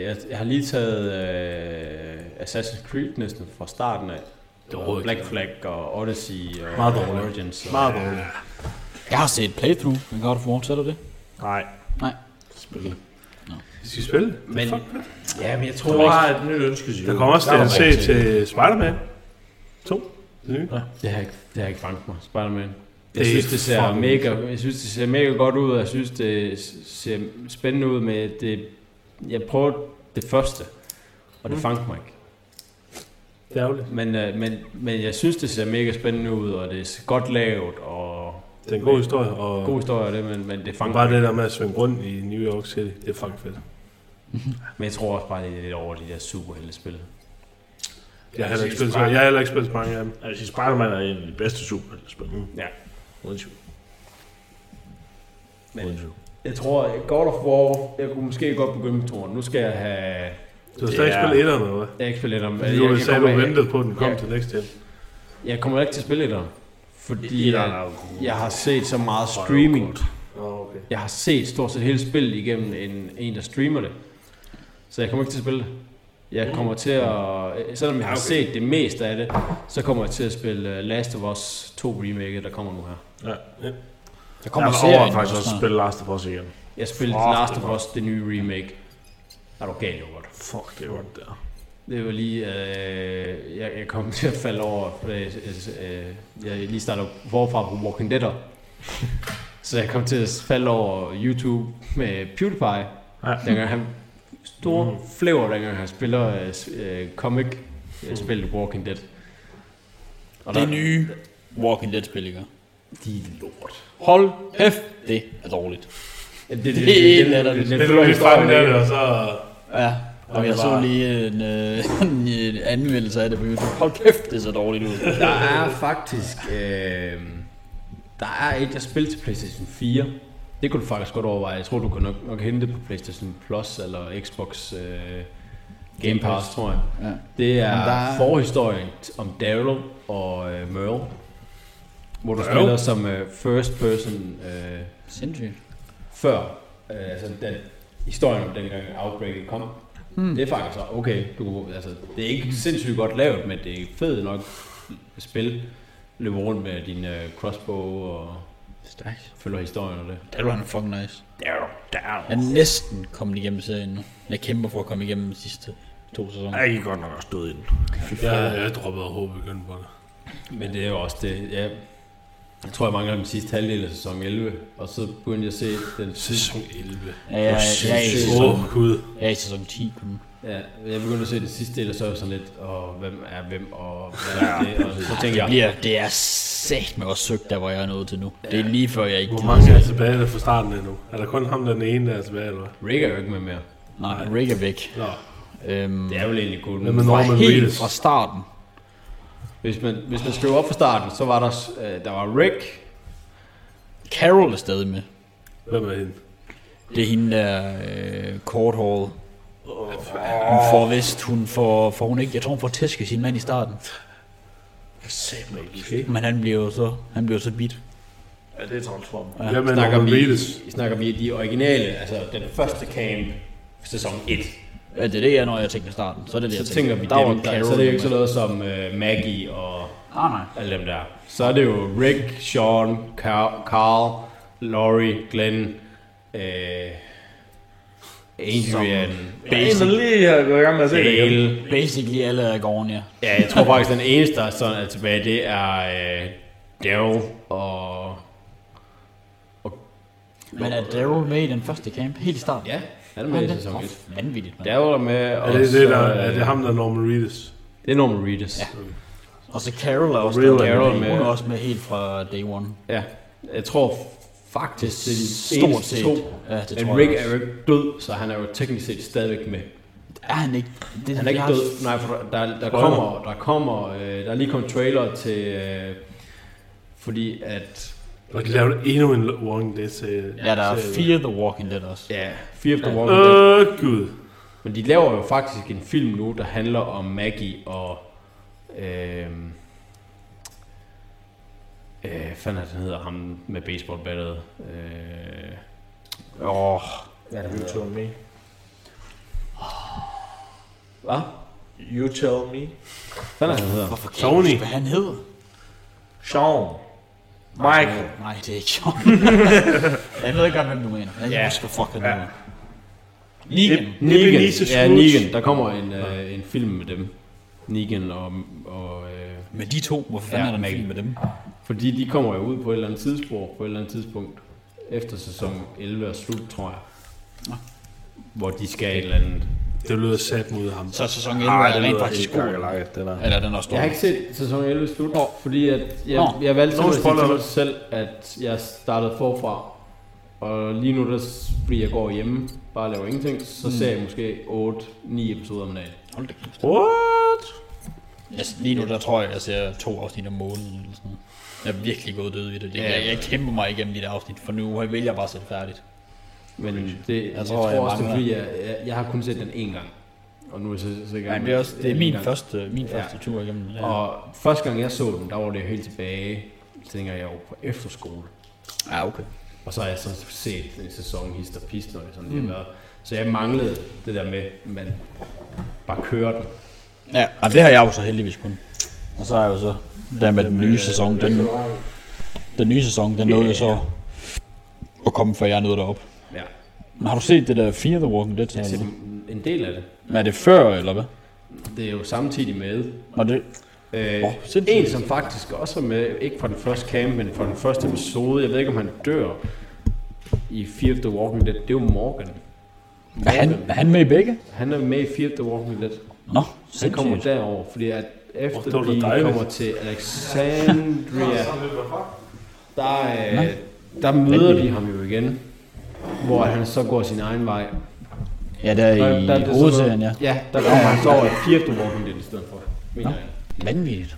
Speaker 2: Jeg, jeg har lige taget øh, Assassin's Creed næsten fra starten af. Det Black Flag og Odyssey og Meget Origins. Og,
Speaker 5: Meget dårligt.
Speaker 4: Jeg har set playthrough, men godt for så er det det.
Speaker 1: Nej.
Speaker 4: Nej.
Speaker 5: Vi skal spille.
Speaker 2: men, ja, men jeg
Speaker 1: Du
Speaker 2: tror
Speaker 1: har
Speaker 2: ikke...
Speaker 1: et nyt ønske,
Speaker 5: Der kommer også
Speaker 4: Der er
Speaker 5: DLC
Speaker 4: rigtig-
Speaker 5: til Spider-Man 2. Det nye.
Speaker 2: Det har, ikke, det har ikke fanget mig, Spider-Man. Jeg
Speaker 5: Det er
Speaker 2: synes, det ser
Speaker 5: fucking-
Speaker 2: mega, jeg synes, det ser mega godt ud, og jeg synes, det ser spændende ud med det... Jeg prøvede det første, og det fangede mig ikke.
Speaker 5: Det er ærgerligt.
Speaker 2: Men, øh, men, men jeg synes, det ser mega spændende ud, og det er godt lavet, og
Speaker 5: Det er en god historie, og
Speaker 2: god historie og det, men, men det fangede mig
Speaker 5: bare det der med at svinge rundt i New York City, det er fucking fedt.
Speaker 2: Men jeg tror også bare, det er lidt over de der superheltespil.
Speaker 5: Jeg har heller ikke spillet så, jeg har heller ikke spillet så mange af dem.
Speaker 1: Jeg vil sige, Altså, Spider-Man er en af de bedste superheltespil.
Speaker 2: Ja.
Speaker 1: Uden tvivl.
Speaker 2: Men-
Speaker 1: Uden tvivl.
Speaker 2: Jeg tror, at God of War, jeg kunne måske godt begynde med toren. Nu skal jeg have...
Speaker 5: Du har stadig
Speaker 1: Ja.
Speaker 5: ikke spillet etteren, eller hvad?
Speaker 2: Jeg er ikke spille etteren. Jeg,
Speaker 5: Du sagde, du
Speaker 2: jeg,
Speaker 5: ventede på, at den kom
Speaker 2: Ja.
Speaker 5: til next gen.
Speaker 2: jeg kommer ikke til at spille etteren. Fordi
Speaker 1: Etteren er
Speaker 2: jeg,
Speaker 1: jo god.
Speaker 2: jeg har set så meget streaming.
Speaker 5: Nå, okay.
Speaker 2: Jeg har set stort set hele spillet igennem en, en der streamer det. Så jeg kommer ikke til at spille det. Jeg kommer til at... øh, Selvom jeg har set det meste af det, så kommer jeg til at spille øh, Last of Us 2 remake, der kommer nu her.
Speaker 4: Der
Speaker 1: Jeg
Speaker 4: kommer
Speaker 1: overvejer
Speaker 4: serien
Speaker 1: faktisk også
Speaker 4: også
Speaker 1: at
Speaker 4: snart.
Speaker 1: spille Last of Us igen.
Speaker 2: Jeg spillede
Speaker 1: Fuck,
Speaker 2: Last
Speaker 1: det
Speaker 2: of Us, det nye remake. Er du gal, Robert?
Speaker 1: Fuck, det var det der.
Speaker 2: Det var lige, øh, jeg, jeg kom til at falde over, øh, øh, øh, jeg lige startede forfra på Walking Dead. Så jeg kom til at falde over YouTube med PewDiePie.
Speaker 1: Ja.
Speaker 2: Dengang han store flæver, dengang han spiller øh, s- øh, comic øh, spillet Walking Dead. Og
Speaker 4: Det
Speaker 2: der-
Speaker 4: nye Walking Dead-spil, ikke?
Speaker 2: De er lort.
Speaker 4: Hold kæft, det er dårligt.
Speaker 2: Det, det,
Speaker 4: Det er
Speaker 2: det, det,
Speaker 4: latterligt.
Speaker 2: det,
Speaker 5: Det er lige fremme der, og så...
Speaker 4: Ja, og jeg så
Speaker 5: bare-
Speaker 4: lige en, øh, [laughs] en, en anmeldelse af det på YouTube. Hold kæft, det ser dårligt ud.
Speaker 2: Der er faktisk... Øh, der er et, jeg spillede til PlayStation 4. Det kunne du faktisk godt overveje. Jeg tror, du kan nok, nok hente det på PlayStation Plus eller Xbox øh, Game Pass, tror jeg.
Speaker 4: Ja.
Speaker 2: Det er
Speaker 4: Men der er-
Speaker 2: forhistorien t- om Daryl og øh, Merle. Hvor du spiller som øh, first person øh,
Speaker 4: Sindssygt.
Speaker 2: før øh, altså den historien om dengang Outbreaket kom. Hmm. Det er faktisk så okay. Du, altså, det er ikke sindssygt godt lavet, men det er fedt nok spil. Løb rundt med din øh, crossbow og
Speaker 4: Stærkt.
Speaker 2: følger historien og det.
Speaker 4: Det var han er fucking nice.
Speaker 1: Down, down.
Speaker 4: Jeg er næsten kommet igennem serien nu. Jeg kæmper for at komme igennem de sidste to sæsoner.
Speaker 1: Jeg er godt nok også død i den.
Speaker 5: Jeg, jeg droppede håb igen på det.
Speaker 2: Men det er jo også det, ja, jeg tror, jeg mangler den sidste halvdel af sæson 11, og så begyndte jeg at se den sidste,
Speaker 5: Sæson 11.
Speaker 4: Ja, jeg, jeg, er i
Speaker 5: Åh,
Speaker 4: sæson,
Speaker 5: gud.
Speaker 4: jeg er i sæson 10 kun.
Speaker 2: ja, jeg begyndte at se den sidste del, og så var jeg sådan lidt, og hvem er hvem, og hvad er det, og så tænkte
Speaker 4: Det,
Speaker 2: jeg,
Speaker 4: bliver, det er sæt med også søgt, der hvor jeg er nået til nu. Det er lige før, jeg ikke
Speaker 5: Hvor
Speaker 4: gider
Speaker 5: mange er
Speaker 4: se.
Speaker 5: tilbage der fra starten endnu? Er der kun ham, der er den ene, der er tilbage, eller hvad?
Speaker 2: Rick er jo ikke med mere.
Speaker 4: Nej, Rick er væk.
Speaker 5: Nå,
Speaker 4: Øhm,
Speaker 2: Det er vel egentlig kun.
Speaker 5: hvad med
Speaker 4: fra
Speaker 5: Norman
Speaker 4: helt
Speaker 5: Reedus?
Speaker 4: fra starten.
Speaker 2: Hvis man, hvis man skriver op fra starten, så var der, øh, der var Rick,
Speaker 4: Carol er stadig med.
Speaker 5: Hvem er hende?
Speaker 4: Det er hende der øh, Court Hall. Hun får vist, hun får, får hun ikke, jeg tror hun får tæsk af sin mand i starten.
Speaker 5: Okay.
Speaker 4: Men han bliver jo så, han bliver jo så bit.
Speaker 1: Ja, det er transform.
Speaker 5: Hvem er
Speaker 2: snakker
Speaker 5: Norman
Speaker 2: vi,
Speaker 5: Reedus?
Speaker 2: snakker vi de originale, altså den første camp, sæson 1.
Speaker 4: Ja, det er det, jeg når jeg tænker i starten. Så er det det, jeg
Speaker 2: Så tænker vi, der var Carol, så er det jo ikke sådan noget som øh, Maggie og
Speaker 4: Nej, nej.
Speaker 2: alle dem der. Så er det jo Rick, Sean, Carl, Carl Laurie, Glenn, øh, Adrian,
Speaker 1: Basic. Jeg er lige at gå i gang med at se det igen.
Speaker 2: Dale.
Speaker 4: Basically alle er gården, ja.
Speaker 2: Ja, jeg tror faktisk, den eneste, der sådan er tilbage, det er øh, Daryl og...
Speaker 4: Men er Daryl med i den første camp helt i starten?
Speaker 2: Ja, han er
Speaker 4: Han
Speaker 2: med i
Speaker 4: er
Speaker 2: sæson 1.
Speaker 4: oh, vanvittigt, mand.
Speaker 2: Der var der med, og
Speaker 5: Er det, det
Speaker 2: så,
Speaker 5: der,
Speaker 2: øh,
Speaker 5: er det ham, der er Norman Reedus?
Speaker 2: Det er Norman Reedus. Ja.
Speaker 4: Og så Carol er også,
Speaker 1: Real
Speaker 4: med.
Speaker 2: Carol med.
Speaker 4: Hun er også med helt fra day one.
Speaker 2: ja. Jeg tror faktisk, det er de
Speaker 4: Stort
Speaker 2: eneste
Speaker 4: set.
Speaker 2: to.
Speaker 4: Ja, det
Speaker 2: Men
Speaker 4: tror
Speaker 2: Rick
Speaker 4: jeg
Speaker 2: er
Speaker 4: også.
Speaker 2: jo ikke død, så han er jo teknisk set stadigvæk med.
Speaker 4: Er han ikke? Det,
Speaker 2: Han er ikke
Speaker 4: jeg
Speaker 2: død. Nej, for der, der, der kommer, der kommer, øh, der er lige kommet trailer til, øh, fordi at,
Speaker 5: Og de lavede endnu en øh. Walking Dead serie.
Speaker 4: Ja, der er Fear the Walking Dead også.
Speaker 2: ja, Fear of the Walking Dead.
Speaker 5: Åh, gud.
Speaker 2: Men de laver jo faktisk en film nu, der handler om Maggie og... Øh, øh, hvad fanden er det, han hedder ham med baseballbattet? Øh,
Speaker 4: Åh, oh,
Speaker 2: hvad er det, han
Speaker 1: You
Speaker 2: hedder?
Speaker 1: tell me.
Speaker 2: Hvad?
Speaker 1: You tell me.
Speaker 2: Hvad er det, han hedder?
Speaker 4: hvorfor kan
Speaker 5: Tony.
Speaker 4: jeg ikke huske, hvad han hedder?
Speaker 1: Sean. Michael.
Speaker 4: Nej, det er ikke sjovt.
Speaker 2: [laughs]
Speaker 4: jeg ved ikke godt, hvem du mener. Jeg
Speaker 2: Ja.
Speaker 4: yeah. husker fucking
Speaker 1: Ja.
Speaker 4: yeah. Negan.
Speaker 2: Negan.
Speaker 5: Ebenezer
Speaker 2: Ja,
Speaker 5: Scrooge.
Speaker 2: Negan. Der kommer en, øh, en film med dem. Negan og... og øh,
Speaker 4: Med de to, hvorfor fanden
Speaker 2: Ja,
Speaker 4: er der en
Speaker 2: Maggie.
Speaker 4: film med dem?
Speaker 2: fordi de kommer jo ud på et eller andet tidsspor, på et eller andet tidspunkt. Efter sæson 11 er slut, tror jeg. Hvor de skal et eller andet.
Speaker 5: Det lyder sat mod ham.
Speaker 4: Så er sæson 11 ah, er rent faktisk god.
Speaker 1: den er.
Speaker 4: Eller den er også
Speaker 2: Jeg har ikke set sæson 11 slut, fordi at jeg,
Speaker 4: Nå.
Speaker 2: jeg valgte
Speaker 5: Nå,
Speaker 2: simpelthen at sige
Speaker 5: spoiler.
Speaker 2: til mig selv, at jeg startede forfra. Og lige nu, der, s- fordi jeg går hjemme, bare laver ingenting,
Speaker 4: Mm.
Speaker 2: så ser jeg måske 8-9 episoder om dagen.
Speaker 4: Hold da kæft.
Speaker 1: What?
Speaker 4: Jeg, Altså, lige nu, der tror jeg, jeg ser to afsnit om måneden eller sådan noget. Jeg er virkelig gået død i det. det
Speaker 2: Ja.
Speaker 4: jeg, jeg kæmper mig igennem de der afsnit, for nu vil jeg bare sætte færdigt.
Speaker 2: Men det, jeg, jeg
Speaker 4: tror,
Speaker 2: tror,
Speaker 4: jeg
Speaker 2: også, det er
Speaker 4: mangler-
Speaker 2: fordi, jeg, jeg, jeg har kun set den én gang. Og nu er jeg så, så i gang
Speaker 4: Men det
Speaker 2: med
Speaker 4: er, også, det er
Speaker 2: en
Speaker 4: min
Speaker 2: gang.
Speaker 4: første, min
Speaker 2: Ja.
Speaker 4: første tur igennem. den. Ja.
Speaker 2: Og første gang jeg så den, der var det helt tilbage, så tænker jeg jo på efterskole.
Speaker 4: ja, okay.
Speaker 2: Og så har jeg så set en sæson hist og pist, når det sådan
Speaker 4: Mm.
Speaker 2: lige har været. Så jeg manglede det der med, at man bare kører den.
Speaker 4: Ja, og det har jeg jo så heldigvis kun. Og så er jeg jo så der med den nye sæson. Den, den nye sæson, den nåede jo så at komme, før jeg nåede derop.
Speaker 2: Ja.
Speaker 4: Men har du set det der Fear the Walking Dead?
Speaker 2: Jeg har set en del af det.
Speaker 4: Men er det før, eller hvad?
Speaker 2: Det er jo samtidig med.
Speaker 4: Og det,
Speaker 2: Øh, oh, en, som faktisk også er med, ikke fra den første camp, men fra den første episode, jeg ved ikke, om han dør i Fear of the Walking Dead, det er jo Morgan.
Speaker 4: er, han, er han med i begge?
Speaker 2: Han er med i Fear of the Walking Dead.
Speaker 4: Nå,
Speaker 2: Han kommer
Speaker 4: sindssygt.
Speaker 2: derover, fordi at
Speaker 7: det
Speaker 2: efter
Speaker 7: var
Speaker 2: oh,
Speaker 7: da
Speaker 2: de
Speaker 7: dejligt.
Speaker 2: kommer til
Speaker 5: [laughs]
Speaker 2: Alexandria, der, øh, der møder de ham jo igen, hvor han så går sin egen vej.
Speaker 4: Ja, der er i
Speaker 2: er det sådan
Speaker 4: hovedserien, ja.
Speaker 2: noget- Ja, der kommer han så over i Fear of the Walking Dead i stedet for, mener jeg.
Speaker 4: Vanvittigt.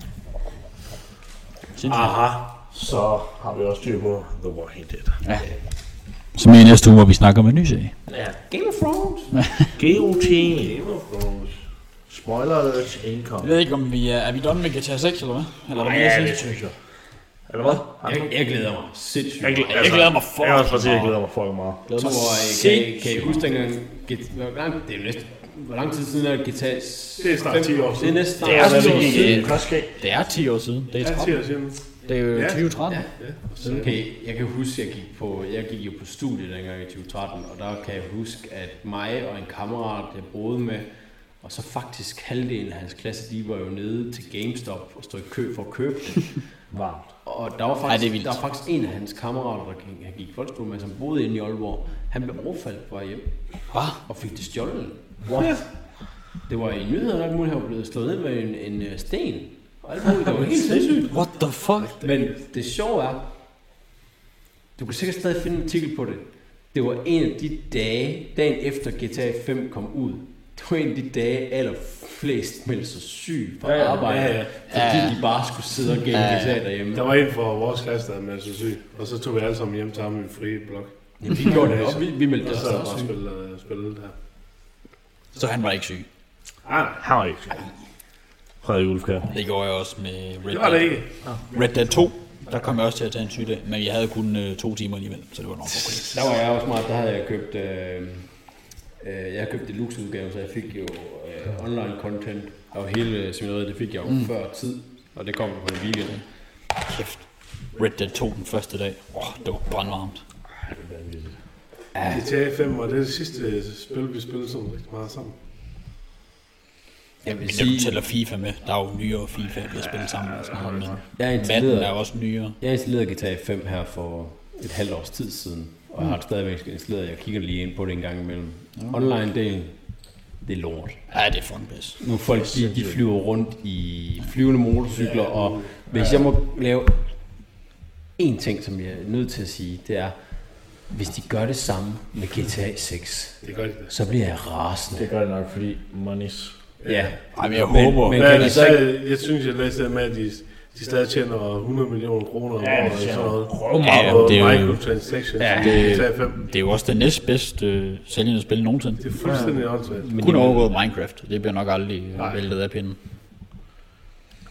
Speaker 4: Sindssygt.
Speaker 5: Aha, så har vi også styr på The Walking Dead.
Speaker 4: Så med i næste uge, hvor vi snakker om en ny serie.
Speaker 5: GOT. Game of Thrones. Spoiler alert income.
Speaker 4: Jeg ved ikke, om vi er... Er vi done med GTA 6, eller hvad? Eller hvad
Speaker 5: Ja, det synes jeg. Eller hvad?
Speaker 2: Jeg, jeg glæder mig sindssygt.
Speaker 5: Jeg,
Speaker 1: Altså,
Speaker 5: glæder,
Speaker 4: Jeg glæder mig for
Speaker 5: Jeg kan også bare sige, at jeg glæder mig fucking meget.
Speaker 2: Glæder mig over, kan, I- kan I huske dengang, Get- hvor lang- det er jo næsten, hvor lang tid siden er det GTA?
Speaker 5: Det er snart 10 år
Speaker 2: Det er
Speaker 5: siden.
Speaker 2: næsten
Speaker 4: Det er
Speaker 2: snart
Speaker 4: sådan,
Speaker 2: ti år
Speaker 4: det
Speaker 2: siden.
Speaker 4: gik,
Speaker 5: Hvad skal
Speaker 4: Det er 10 år siden. Det er, 13.
Speaker 5: jeg sige?
Speaker 4: Det er jo
Speaker 5: Ja.
Speaker 4: 2013.
Speaker 2: Sådan kan I- jeg kan huske, jeg gik, på, jeg gik jo på studie dengang i 2013, og der kan jeg huske, at mig og en kammerat, jeg boede med, og så faktisk halvdelen af hans klasse, de var jo nede til GameStop og stod i kø for at købe det.
Speaker 4: [laughs]
Speaker 5: Varmt.
Speaker 2: Og der var
Speaker 4: Ej, det er
Speaker 2: faktisk,
Speaker 4: vildt.
Speaker 2: der var faktisk en af hans kammerater, der gik, han gik i folkeskole med, som boede inde i Aalborg. Han blev overfaldet på vej hjem.
Speaker 4: Hvad?
Speaker 2: og fik det stjålet. What? Det var i nyhederne, at muligt han var blevet slået ned med en, en øh, sten. Og alt muligt, det var
Speaker 5: [laughs]
Speaker 2: helt sindssygt.
Speaker 4: What the fuck?
Speaker 2: Men det sjove er, du kan sikkert stadig finde en artikel på det. Det var en af de dage, dagen efter GTA 5 kom ud. Det var en af de dage, allerflest meldte sig syg fra
Speaker 5: ja,
Speaker 2: arbejde,
Speaker 5: ja, ja.
Speaker 2: fordi de bare skulle sidde og game GTA derhjemme.
Speaker 5: Der var en fra vores klasse, der meldte sig syg, og så tog vi alle sammen hjem til ham i en fri blok.
Speaker 2: Jamen, vi gjorde det også. Vi, vi meldte
Speaker 5: Og
Speaker 2: os
Speaker 5: så
Speaker 2: også.
Speaker 5: bare
Speaker 2: syge.
Speaker 5: spille, spille der.
Speaker 4: Så han var ikke syg.
Speaker 5: Ah, nej,
Speaker 1: Han var ikke syg. Frederik Ulfkær.
Speaker 4: Det gjorde jeg også med Red
Speaker 5: det var det
Speaker 4: Dead.
Speaker 5: ikke.
Speaker 4: Red Dead 2. Der kom jeg også til at tage en sygdag, men jeg havde kun øh, to timer alligevel, så det var nok okay.
Speaker 2: Der var jeg også smart, der havde jeg købt, øh, øh, jeg købte deluxe-udgaven, så jeg fik jo øh, online content, og hele seminariet, det fik jeg jo mm. før tid, og det kom på en weekend.
Speaker 4: Kæft. Red Dead 2 den første dag. Åh, oh, det var brandvarmt.
Speaker 5: GTA 5 var det sidste øh, spil, vi spillede sådan rigtig meget sammen.
Speaker 2: Jeg vil
Speaker 4: Men når du
Speaker 2: sige,
Speaker 4: tæller FIFA med, der er jo nyere FIFA, vi har spillet sammen og sådan noget, men
Speaker 2: jeg
Speaker 4: Madden er jo
Speaker 2: installerede,
Speaker 4: også nyere.
Speaker 2: jeg installerede GTA 5 her for et halvt års tid siden, og jeg har det stadigvæk installeret, jeg kigger lige ind på det en gang imellem. Online-delen, det er lort.
Speaker 4: Ja, det er fucking pis.
Speaker 2: Nu folk, de, de flyver rundt i flyvende motorcykler, og hvis jeg må lave en ting, som jeg er nødt til at sige, det er, hvis de gør det samme med GTA 6,
Speaker 5: Det gør de da.
Speaker 2: så bliver jeg rasende.
Speaker 1: Det gør det nok, fordi monies.
Speaker 2: Ja,
Speaker 4: Ej, men jeg
Speaker 2: Men-
Speaker 4: håber.
Speaker 2: men-
Speaker 4: Men,
Speaker 5: Ja,
Speaker 2: kan
Speaker 5: de
Speaker 2: I så ikke-
Speaker 5: stadig, jeg synes, jeg læste det med, at de, de stadig tjener 100 millioner kroner om året. Ja, sådan noget.
Speaker 4: meget. Ja,
Speaker 5: Og
Speaker 4: det er jo-
Speaker 5: microtransactions
Speaker 4: Ja,
Speaker 5: ja,
Speaker 4: det-
Speaker 5: GTA 5.
Speaker 4: det er jo også det næstbedste øh, sælgende spil nogensinde.
Speaker 5: Det er fuldstændig åndssvagt.
Speaker 2: men,
Speaker 4: Kun
Speaker 2: de-
Speaker 4: overgået Minecraft. Det bliver nok aldrig øh, væltet af pinden.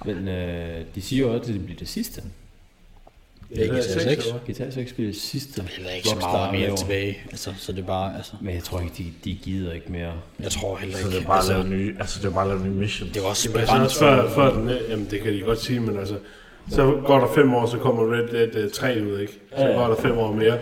Speaker 2: men øh, de siger jo også, at det bliver det sidste.
Speaker 4: Det er ikke GTA 6.
Speaker 5: eller hvad?
Speaker 2: GTA 6 bliver det sidste.
Speaker 4: Heller ikke så
Speaker 2: Rockstar
Speaker 4: meget mere
Speaker 2: laver.
Speaker 4: tilbage. Altså, så det er bare, altså,
Speaker 2: Men jeg tror ikke, de, de gider ikke mere.
Speaker 4: jeg tror heller
Speaker 1: Så det er
Speaker 4: ikke.
Speaker 1: bare at lave
Speaker 4: Altså,
Speaker 1: nye, altså det er bare at lave nye missions.
Speaker 4: det var også
Speaker 5: Men så
Speaker 4: begrænset.
Speaker 5: også før, før den, jamen det kan de godt sige, men altså, så går der fem år, så kommer Red Dead uh, 3 ud, ikke? Så går der fem år mere.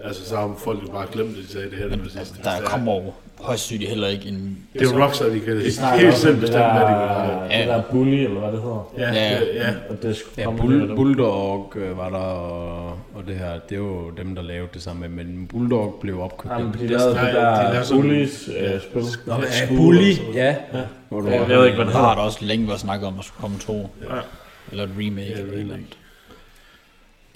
Speaker 5: Altså, så har folk jo bare glemt, at de sagde det her, det var sidste.
Speaker 4: Der kommer over højst sygt heller ikke en...
Speaker 5: Det er jo Rockstar, de kan
Speaker 1: snakker
Speaker 5: helt
Speaker 1: også
Speaker 5: selv
Speaker 1: om
Speaker 5: bestemme, hvad de vil have.
Speaker 1: det der, det der bully, eller hvad det hedder.
Speaker 5: Ja,
Speaker 4: Ja.
Speaker 5: ja, ja.
Speaker 1: Og det er sgu
Speaker 2: Ja, Bull, Bulldog øh, var der, og, og det her, det er jo dem, der lavede det samme, men Bulldog blev opkøbt.
Speaker 1: Jamen, de
Speaker 5: lavede
Speaker 1: lavede
Speaker 5: det
Speaker 1: det
Speaker 5: der
Speaker 1: der
Speaker 5: Bullies,
Speaker 1: bullies øh, spil.
Speaker 2: Nå, ja, Bully, ja. Hvor du
Speaker 1: Jeg ved ikke, hvad det
Speaker 4: Der har
Speaker 1: hedder.
Speaker 4: der også længe været snakket om, at der skulle komme to. Eller et remake. eller et eller andet.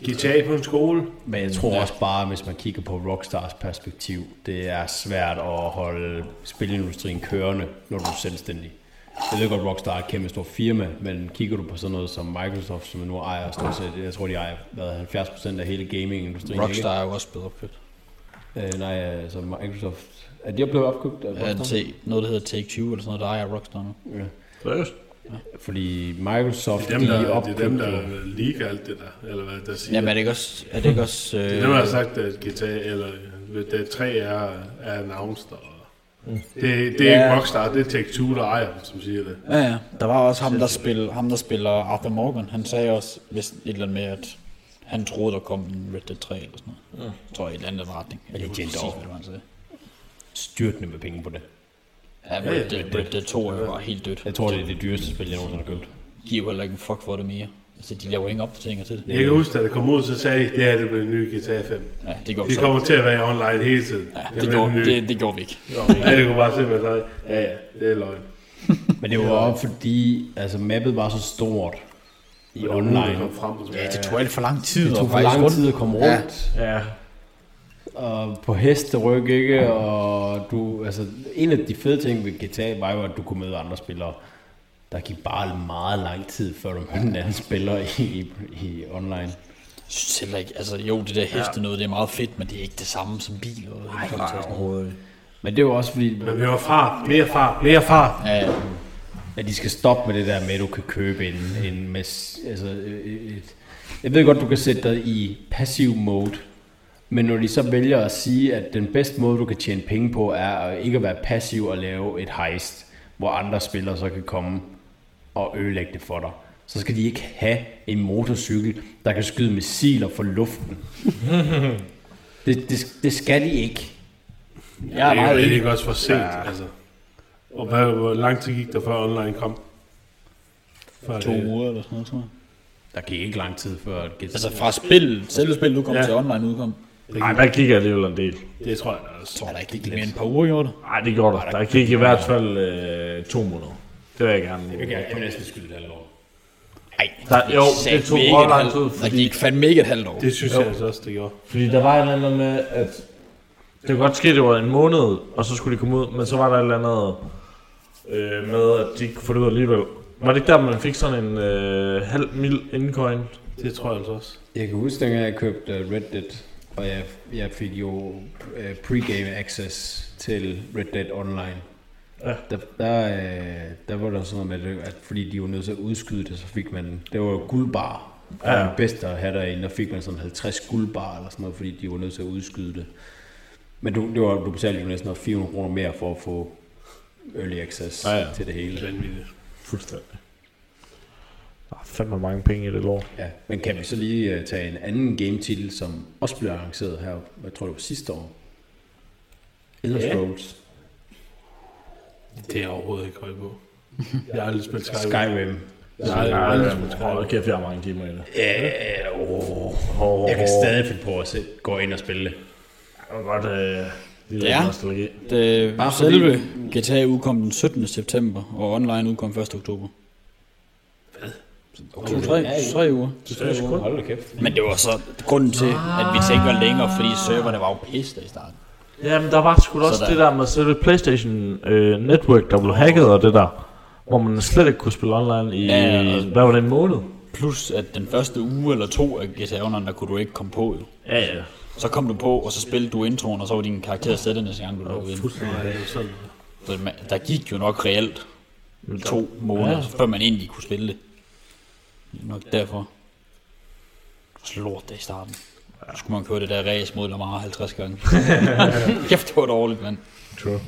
Speaker 5: GTA på en skole.
Speaker 2: Men jeg tror også bare, hvis man kigger på Rockstars perspektiv, det er svært at holde spilindustrien kørende, når du er selvstændig. Jeg ved godt, Rockstar er et kæmpe stort firma, men kigger du på sådan noget som Microsoft, som nu ejer stort set, jeg tror, de ejer hvad, 70% af hele gamingindustrien.
Speaker 4: Rockstar er jo også blevet opkøbt.
Speaker 2: Ikke? Øh, nej, altså Microsoft. Er de blevet opkøbt af
Speaker 4: Ja,
Speaker 2: Rockstar?
Speaker 4: til noget, der hedder Take 20 eller sådan noget, der ejer Rockstar nu.
Speaker 2: Ja,
Speaker 1: Seriøst?
Speaker 2: Fordi Microsoft,
Speaker 5: Dem, der,
Speaker 2: de
Speaker 5: det er
Speaker 2: opkøbte
Speaker 5: dem, der liker alt det der, eller hvad der siger.
Speaker 4: Jamen er det ikke også... Er det ikke også øh,
Speaker 5: det er dem, der har sagt, at GTA, eller øh, Red Dead 3 er, er announced, og det, det er
Speaker 4: Ja.
Speaker 5: ikke Rockstar, det er Tech2, der ejer dem, som siger det.
Speaker 4: Ja, ja. Der var også ham der, spil, ham, der spiller Arthur Morgan. Han sagde også vist et eller andet med, at Han troede, der kom en Red Dead 3 eller sådan noget. Ja. Jeg tror, i en eller anden retning. Jeg kan ikke huske præcis, hvad det var, han sagde.
Speaker 2: Styrtende med penge på det.
Speaker 4: Ja, men Red Dead, Red Dead 2 er jo bare helt dødt.
Speaker 2: Jeg tror, det er det dyreste spil, jeg nogensinde har købt.
Speaker 4: De giver jo heller ikke en fuck for det mere. Altså, de laver ingen opdateringer til det.
Speaker 5: Jeg kan huske, da det kom ud, så sagde de, det her det blev en ny GTA 5.
Speaker 4: Ja, det går vi
Speaker 5: De
Speaker 4: så.
Speaker 5: kommer til at være online hele tiden.
Speaker 4: Ja,
Speaker 5: bliver
Speaker 4: det, går,
Speaker 5: en ny.
Speaker 4: det, det går vi ikke.
Speaker 5: Ja, det kunne bare simpelthen sige, ja, ja, det er løgn.
Speaker 2: Men det var også fordi, altså mappet var så stort i
Speaker 5: Det
Speaker 2: online.
Speaker 5: kom frem på
Speaker 8: Ja,
Speaker 5: tilbage.
Speaker 8: det tog alt for lang tid.
Speaker 2: Det tog
Speaker 8: at
Speaker 2: for
Speaker 8: rejse
Speaker 2: lang
Speaker 8: rundt.
Speaker 2: tid at komme
Speaker 8: Ja.
Speaker 2: rundt.
Speaker 1: Ja.
Speaker 2: Og på hesteryg, ikke? Og du, altså, en af de fede ting ved GTA var jo, at du kunne møde andre spillere. Der gik bare meget lang tid, før du mødte en anden spiller i, i, i online.
Speaker 4: Jeg synes heller ikke, altså jo, det der heste noget, det er meget fedt, men det er ikke det samme som bil. Og nej, nej,
Speaker 2: Men det var også fordi,
Speaker 5: Men vi var fart, mere fart, mere fart.
Speaker 4: Ja, ja.
Speaker 2: at de skal stoppe med det der med, at du kan købe en, en masse, altså, øh, et, jeg ved godt, du kan sætte dig i passiv mode, men når de så vælger at sige, at den bedste måde, du kan tjene penge på, er at ikke at være passiv og lave et heist, hvor andre spillere så kan komme og ødelægge det for dig, så skal de ikke have en motorcykel, der kan skyde missiler fra
Speaker 5: [laughs]
Speaker 2: luften. det, det, det skal de ikke. Jeg er
Speaker 5: Det er jo
Speaker 2: meget enig.
Speaker 5: egentlig også for sent, altså. Og hvad, hvor lang tid gik der før online kom? Før
Speaker 4: to
Speaker 5: det-
Speaker 4: uger eller sådan noget, tror jeg.
Speaker 2: Der gik ikke lang tid før at
Speaker 4: Altså fra spil, selve spil udkom ja.
Speaker 5: Ja.
Speaker 4: til online udkom.
Speaker 1: Ej, der gik alligevel en del.
Speaker 5: Det tror jeg også.
Speaker 4: Tror der ikke gik mere end et par uger, gjorde det?
Speaker 1: Nej, det gjorde der. Der gik i hvert fald øh, to måneder. Det vil jeg gerne.
Speaker 2: Jeg kan næsten skyde et halvt år.
Speaker 4: Nej,
Speaker 1: Der, jo, det tog godt lang tid,
Speaker 4: Der
Speaker 1: fordi,
Speaker 4: gik fandme ikke et halvt år.
Speaker 5: Det synes jeg altså også, det gjorde.
Speaker 1: fordi der var et eller andet med, at det kunne godt ske, det var en måned, og så skulle de komme ud, men så var der et eller andet øh, med, at de ikke kunne få det ud alligevel. Var det ikke der, man fik sådan en øh, halv mil indcoin?
Speaker 5: Det tror jeg altså også.
Speaker 2: Jeg kan huske, dengang jeg købte øh, Red Dead, og jeg, jeg fik jo øh, pre-game access til Red Dead Online.
Speaker 1: Ja.
Speaker 2: Der, der, øh, der var der sådan noget med, det, at fordi de var nødt til at udskyde det, så fik man, det var jo guldbar. Ja. Det
Speaker 1: Ja.
Speaker 2: var det bedste at have derinde, og fik man sådan 50 guldbar eller sådan noget, fordi de var nødt til at udskyde det. Men du, det var, du betalte jo næsten noget 400 kroner mere for at få early access ja,
Speaker 1: Ja,
Speaker 2: ja.
Speaker 1: ja.
Speaker 2: til det hele.
Speaker 5: Vanvittigt.
Speaker 1: Fuldstændig. Der er Ah, fandme mange penge i det lort.
Speaker 2: Ja, men kan vi så lige øh, tage en anden game-titel, som også blev arrangeret her, jeg tror det var sidste år? Elder Scrolls
Speaker 5: Det er jeg overhovedet ikke
Speaker 4: [laughs]
Speaker 5: høj på. Jeg har aldrig spillet Skyrim.
Speaker 2: Skyrim.
Speaker 5: Jeg har aldrig, aldrig spillet Skyrim.
Speaker 1: Hold kæft, jeg har mange timer i det.
Speaker 2: Ja, oh,
Speaker 1: Oh,
Speaker 2: jeg kan stadig finde på at se, gå ind og spille det.
Speaker 1: Jeg kan godt... Øh, det
Speaker 4: Ja.
Speaker 1: er nostalgi.
Speaker 4: Det,
Speaker 2: Bare fordi-
Speaker 4: Øh, selve GTA udkom den 17. september, og online udkom 1. oktober. Hvad? To, tre, tre uger.
Speaker 2: Hold da kæft.
Speaker 4: Men det var så grunden til, at vi tænker længere, fordi serverne var jo pisse i starten.
Speaker 1: Jamen, der var sgu da også
Speaker 4: Så der-
Speaker 1: det der med selve Playstation øh, Network, der blev hacket og det der. Hvor man slet ikke kunne spille online i...
Speaker 4: Ja, ja, og-
Speaker 1: hvad var det, en måned?
Speaker 4: Plus, at den første uge eller to af GTA Online, der kunne du ikke komme på. Jo.
Speaker 1: Ja, ja.
Speaker 4: Så kom du på, og så spillede du introen, og så var din karakter sættet næste gang, du lukkede ind. Så man- Der gik jo nok reelt to måneder, ja. før man egentlig kunne spille det. Det er nok derfor. Så lort det i starten. Så skulle man køre det der race mod Lamar 50 gange. Kæft, det var dårligt, mand.
Speaker 1: Ja, det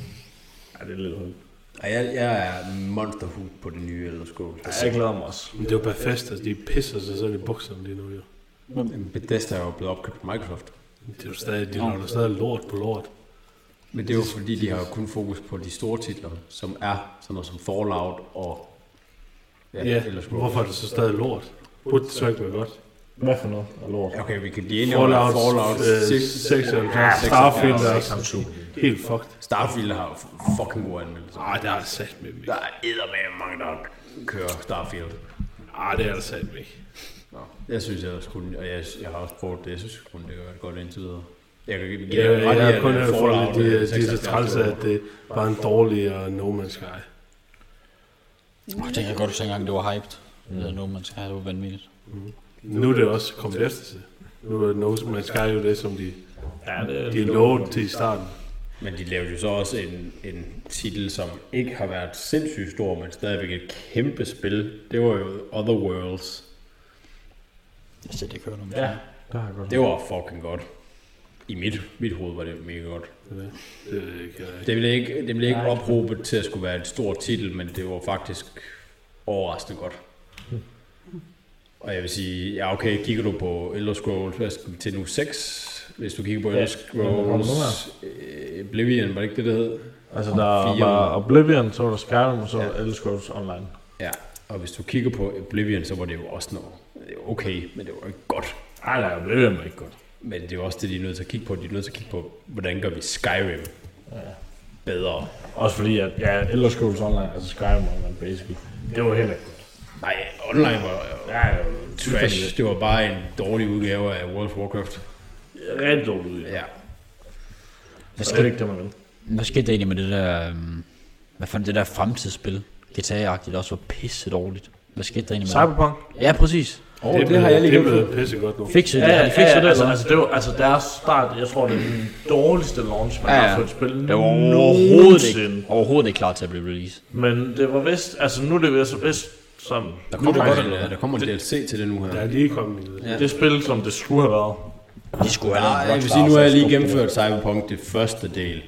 Speaker 1: er lidt holdt.
Speaker 2: Og jeg, jeg er monsterhook på det nye Elder Scrolls.
Speaker 1: Ja, jeg glæder mig også.
Speaker 5: Men det er jo Bethesda, de pisser sig selv i bukserne lige nu, jo.
Speaker 2: Bethesda er jo blevet opkøbt af Microsoft.
Speaker 5: Det er jo stadig, de laver stadig lort på lort.
Speaker 2: Men det er jo fordi, de har jo kun fokus på de store titler, som er sådan noget som Fallout og ja,
Speaker 5: Ja,
Speaker 2: Elder Scrolls.
Speaker 5: hvorfor er det så stadig lort? Burde det så ikke være godt?
Speaker 1: Hvad for noget? Og lort.
Speaker 2: Okay, vi kan blive enige om, at
Speaker 5: Fallout,
Speaker 2: Fallout
Speaker 5: øh,
Speaker 2: 6
Speaker 5: 76, Starfield er også helt fucked.
Speaker 2: Starfield har jo fucking gode anmeldelser.
Speaker 5: Ej, det er der sat med mig.
Speaker 2: Der er eddermame mange, der kører Starfield.
Speaker 5: Ej, det er der sat med
Speaker 2: Jeg synes, jeg også kun, og jeg, jeg har også prøvet det, jeg synes kun, det er godt indtil videre. Jeg kan ikke
Speaker 5: Ja, øh,
Speaker 2: ret i,
Speaker 5: jeg har
Speaker 2: at
Speaker 5: kun hørt
Speaker 2: Fallout
Speaker 5: folk, de, de er så
Speaker 2: 76
Speaker 5: trælse, at det var en dårlig og No Man's Sky.
Speaker 4: Oh, det kan jeg godt huske, engang det var hyped. Mm. Det er noget, man skal have, det var vanvittigt.
Speaker 5: Nu er det også kommet efter sig. Nu er No Man's Sky jo det, som de,
Speaker 1: Ja, det
Speaker 5: de lovede til i starten.
Speaker 2: Men de lavede jo så også en, en titel, som ikke har været sindssygt stor, men stadigvæk et kæmpe spil. Det var jo Otherworlds.
Speaker 4: Jeg ser det ikke hørt om.
Speaker 1: Ja, det har jeg godt.
Speaker 2: Det var fucking godt. I mit, mit hoved var det mega godt.
Speaker 5: Det øh, kan jeg
Speaker 2: Det
Speaker 5: ikke.
Speaker 2: blev ikke, det blev ikke ophobet til at skulle være en stor titel, men det var faktisk overraskende godt. Og jeg vil sige, ja okay, kigger du på Elder Scrolls, hvad skal vi til nu 6? Hvis du kigger på Elder Scrolls øh, Oblivion, var det ikke det, det hed?
Speaker 1: Altså, der
Speaker 2: Fire.
Speaker 1: var Oblivion, så var der Skyrim, og så var der Elder Scrolls Online.
Speaker 2: Ja, og hvis du kigger på Oblivion, så var det jo også noget okay, men det var ikke godt.
Speaker 1: Nej, nej, Oblivion var ikke godt.
Speaker 2: Men det er jo også det, de er nødt til at kigge på. De er nødt til at kigge på, hvordan gør vi Skyrim bedre.
Speaker 1: Også fordi, at ja, Elder Scrolls Online, altså Skyrim Online, basically, det var heller ikke godt.
Speaker 2: Nej, online var
Speaker 1: Ja, det var
Speaker 2: trash. Det var bare en dårlig udgave af World of Warcraft.
Speaker 1: Rigtig dårligt. Ja.
Speaker 2: Ja.
Speaker 4: Hvad
Speaker 1: Det er
Speaker 4: skete,
Speaker 1: ikke det, man vil.
Speaker 4: hvad skete der egentlig med det der... øhm, Hvad fanden det der fremtidsspil? GTA-agtigt også var pisse dårligt. Hvad skete der egentlig med det?
Speaker 1: Cyberpunk.
Speaker 4: Ja, præcis.
Speaker 2: Oh, det, det har jeg lige
Speaker 5: Det
Speaker 2: glemt.
Speaker 5: blev pissegodt nu.
Speaker 4: Fikset det, har de fikset det,
Speaker 1: altså,
Speaker 4: eller?
Speaker 1: altså, det var, altså deres start, jeg tror, det er den dårligste launch, man
Speaker 4: Ja,
Speaker 1: ja, ja.
Speaker 4: ja.
Speaker 1: har fået et spil
Speaker 4: Det var overhovedet
Speaker 1: nogensinde.
Speaker 4: ikke, overhovedet ikke klar til at blive release.
Speaker 1: Men det var vist, altså nu er det vist, vist som
Speaker 2: Der kommer, godt, en, der kommer en DLC til det nu her.
Speaker 5: Der er lige kommet en
Speaker 1: det spil, som det skulle have været.
Speaker 4: De skulle have
Speaker 2: Nej,
Speaker 4: lavet en
Speaker 2: jeg vil
Speaker 4: Rockstar
Speaker 2: sige, nu har jeg
Speaker 4: for
Speaker 2: lige
Speaker 4: at stoppe
Speaker 2: gennemført Cyberpunk det første del.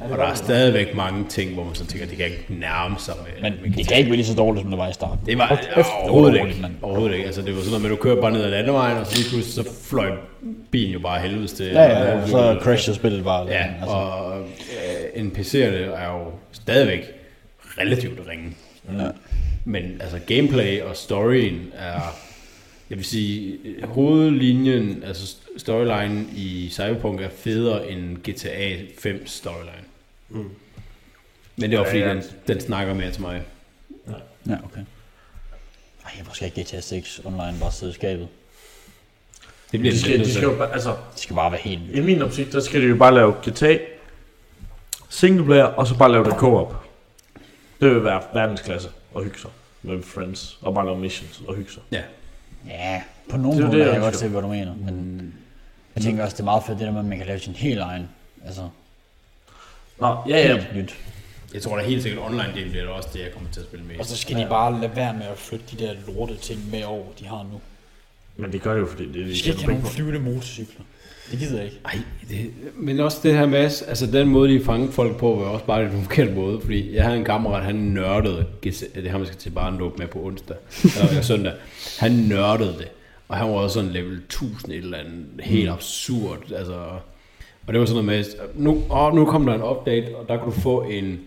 Speaker 2: Og der er stadigvæk mange ting, hvor man så tænker, det kan ikke nærme sig. Med,
Speaker 4: det.
Speaker 2: med
Speaker 4: Men det kan ikke blive lige så dårligt, som det var i starten.
Speaker 2: Det var
Speaker 4: kæft,
Speaker 2: oh, overhovedet
Speaker 4: roligt,
Speaker 2: ikke.
Speaker 4: mand.
Speaker 2: Overhovedet ikke. Altså, det var sådan noget med, at du kører bare ned ad landevejen, og så lige pludselig så fløj bilen jo bare helvedes til.
Speaker 4: Ja, ja, ja. så crasher spillet bare.
Speaker 2: Ja,
Speaker 4: altså.
Speaker 2: og øh, NPC'erne er jo stadigvæk relativt ringe. Mm.
Speaker 4: Ja.
Speaker 2: Men altså gameplay og storyen er, jeg vil sige, øh, hovedlinjen, altså storylinen i Cyberpunk er federe end GTA 5 storyline.
Speaker 1: Mm.
Speaker 2: Men det var fordi, den, den snakker mere til mig.
Speaker 4: Ja, okay. Ej, hvorfor skal GTA 6 online bare sidde i skabet?
Speaker 2: Det bliver
Speaker 1: De skal,
Speaker 2: lidt
Speaker 1: de skal jo bare, altså,
Speaker 4: Det skal bare være helt nyt.
Speaker 1: i min optik, der skal de jo bare lave GTA, singleplayer, og så bare lave det co-op. Det vil være verdensklasse og hygge sig med friends, og bare lave missions og hygge sig.
Speaker 2: Ja,
Speaker 4: Ja, på nogle
Speaker 1: Det er jo
Speaker 4: punkter
Speaker 1: det,
Speaker 4: kan jeg
Speaker 1: jeg
Speaker 4: godt
Speaker 1: ønsker.
Speaker 4: se, hvad du mener. Men jeg tænker også, det er meget fedt, det der med, at man kan lave sin helt egen. Altså,
Speaker 1: Nå, ja, ja.
Speaker 4: helt nyt.
Speaker 2: jeg tror da helt sikkert online delen bliver det også det, jeg kommer til at spille med.
Speaker 4: Og så skal de bare lade være med at flytte de der lorte ting med over, de har nu.
Speaker 1: Men det gør det jo, fordi det er
Speaker 4: De
Speaker 1: de
Speaker 4: skal ikke
Speaker 1: tjener penge
Speaker 4: have
Speaker 1: på.
Speaker 4: nogle flyvende motorcykler. Det gider jeg ikke.
Speaker 2: Ej, det, men også det her med, altså den måde, de fanger folk på, var også bare den forkerte måde, fordi jeg havde en kammerat, han nørdede, GTA det er ham, jeg skal til barnlåb med på onsdag, eller søndag, han nørdede det, og han var også sådan level 1000 et eller andet, helt
Speaker 4: Mm.
Speaker 2: absurd, altså, og det var sådan noget med, nu, åh, nu kom der en update, og der kunne du få en,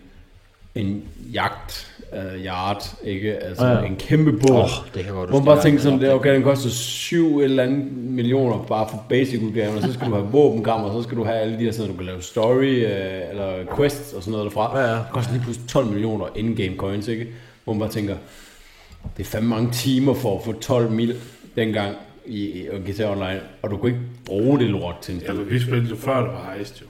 Speaker 2: en jagt, uh, yard, ikke? Altså ja. en kæmpe båd. Oh,
Speaker 4: det kan godt
Speaker 2: Hvor man
Speaker 4: huske,
Speaker 2: bare
Speaker 4: der er
Speaker 2: tænker sådan,
Speaker 4: en
Speaker 2: det, okay, den koster 7 eller andet millioner bare for basic udgaven, og så skal du have våbenkammer, og så skal du have alle de her sådan, du kan lave story øh, eller quests og sådan noget derfra.
Speaker 1: Ja, ja.
Speaker 2: Det koster lige pludselig 12 millioner in-game coins, ikke? Hvor man bare tænker, det er fandme mange timer for at få 12 mil dengang i, i GTA Online, og du kunne ikke bruge det lort til en
Speaker 5: Ja,
Speaker 2: spil.
Speaker 5: men Altså, vi spillede jo før, der var heist jo.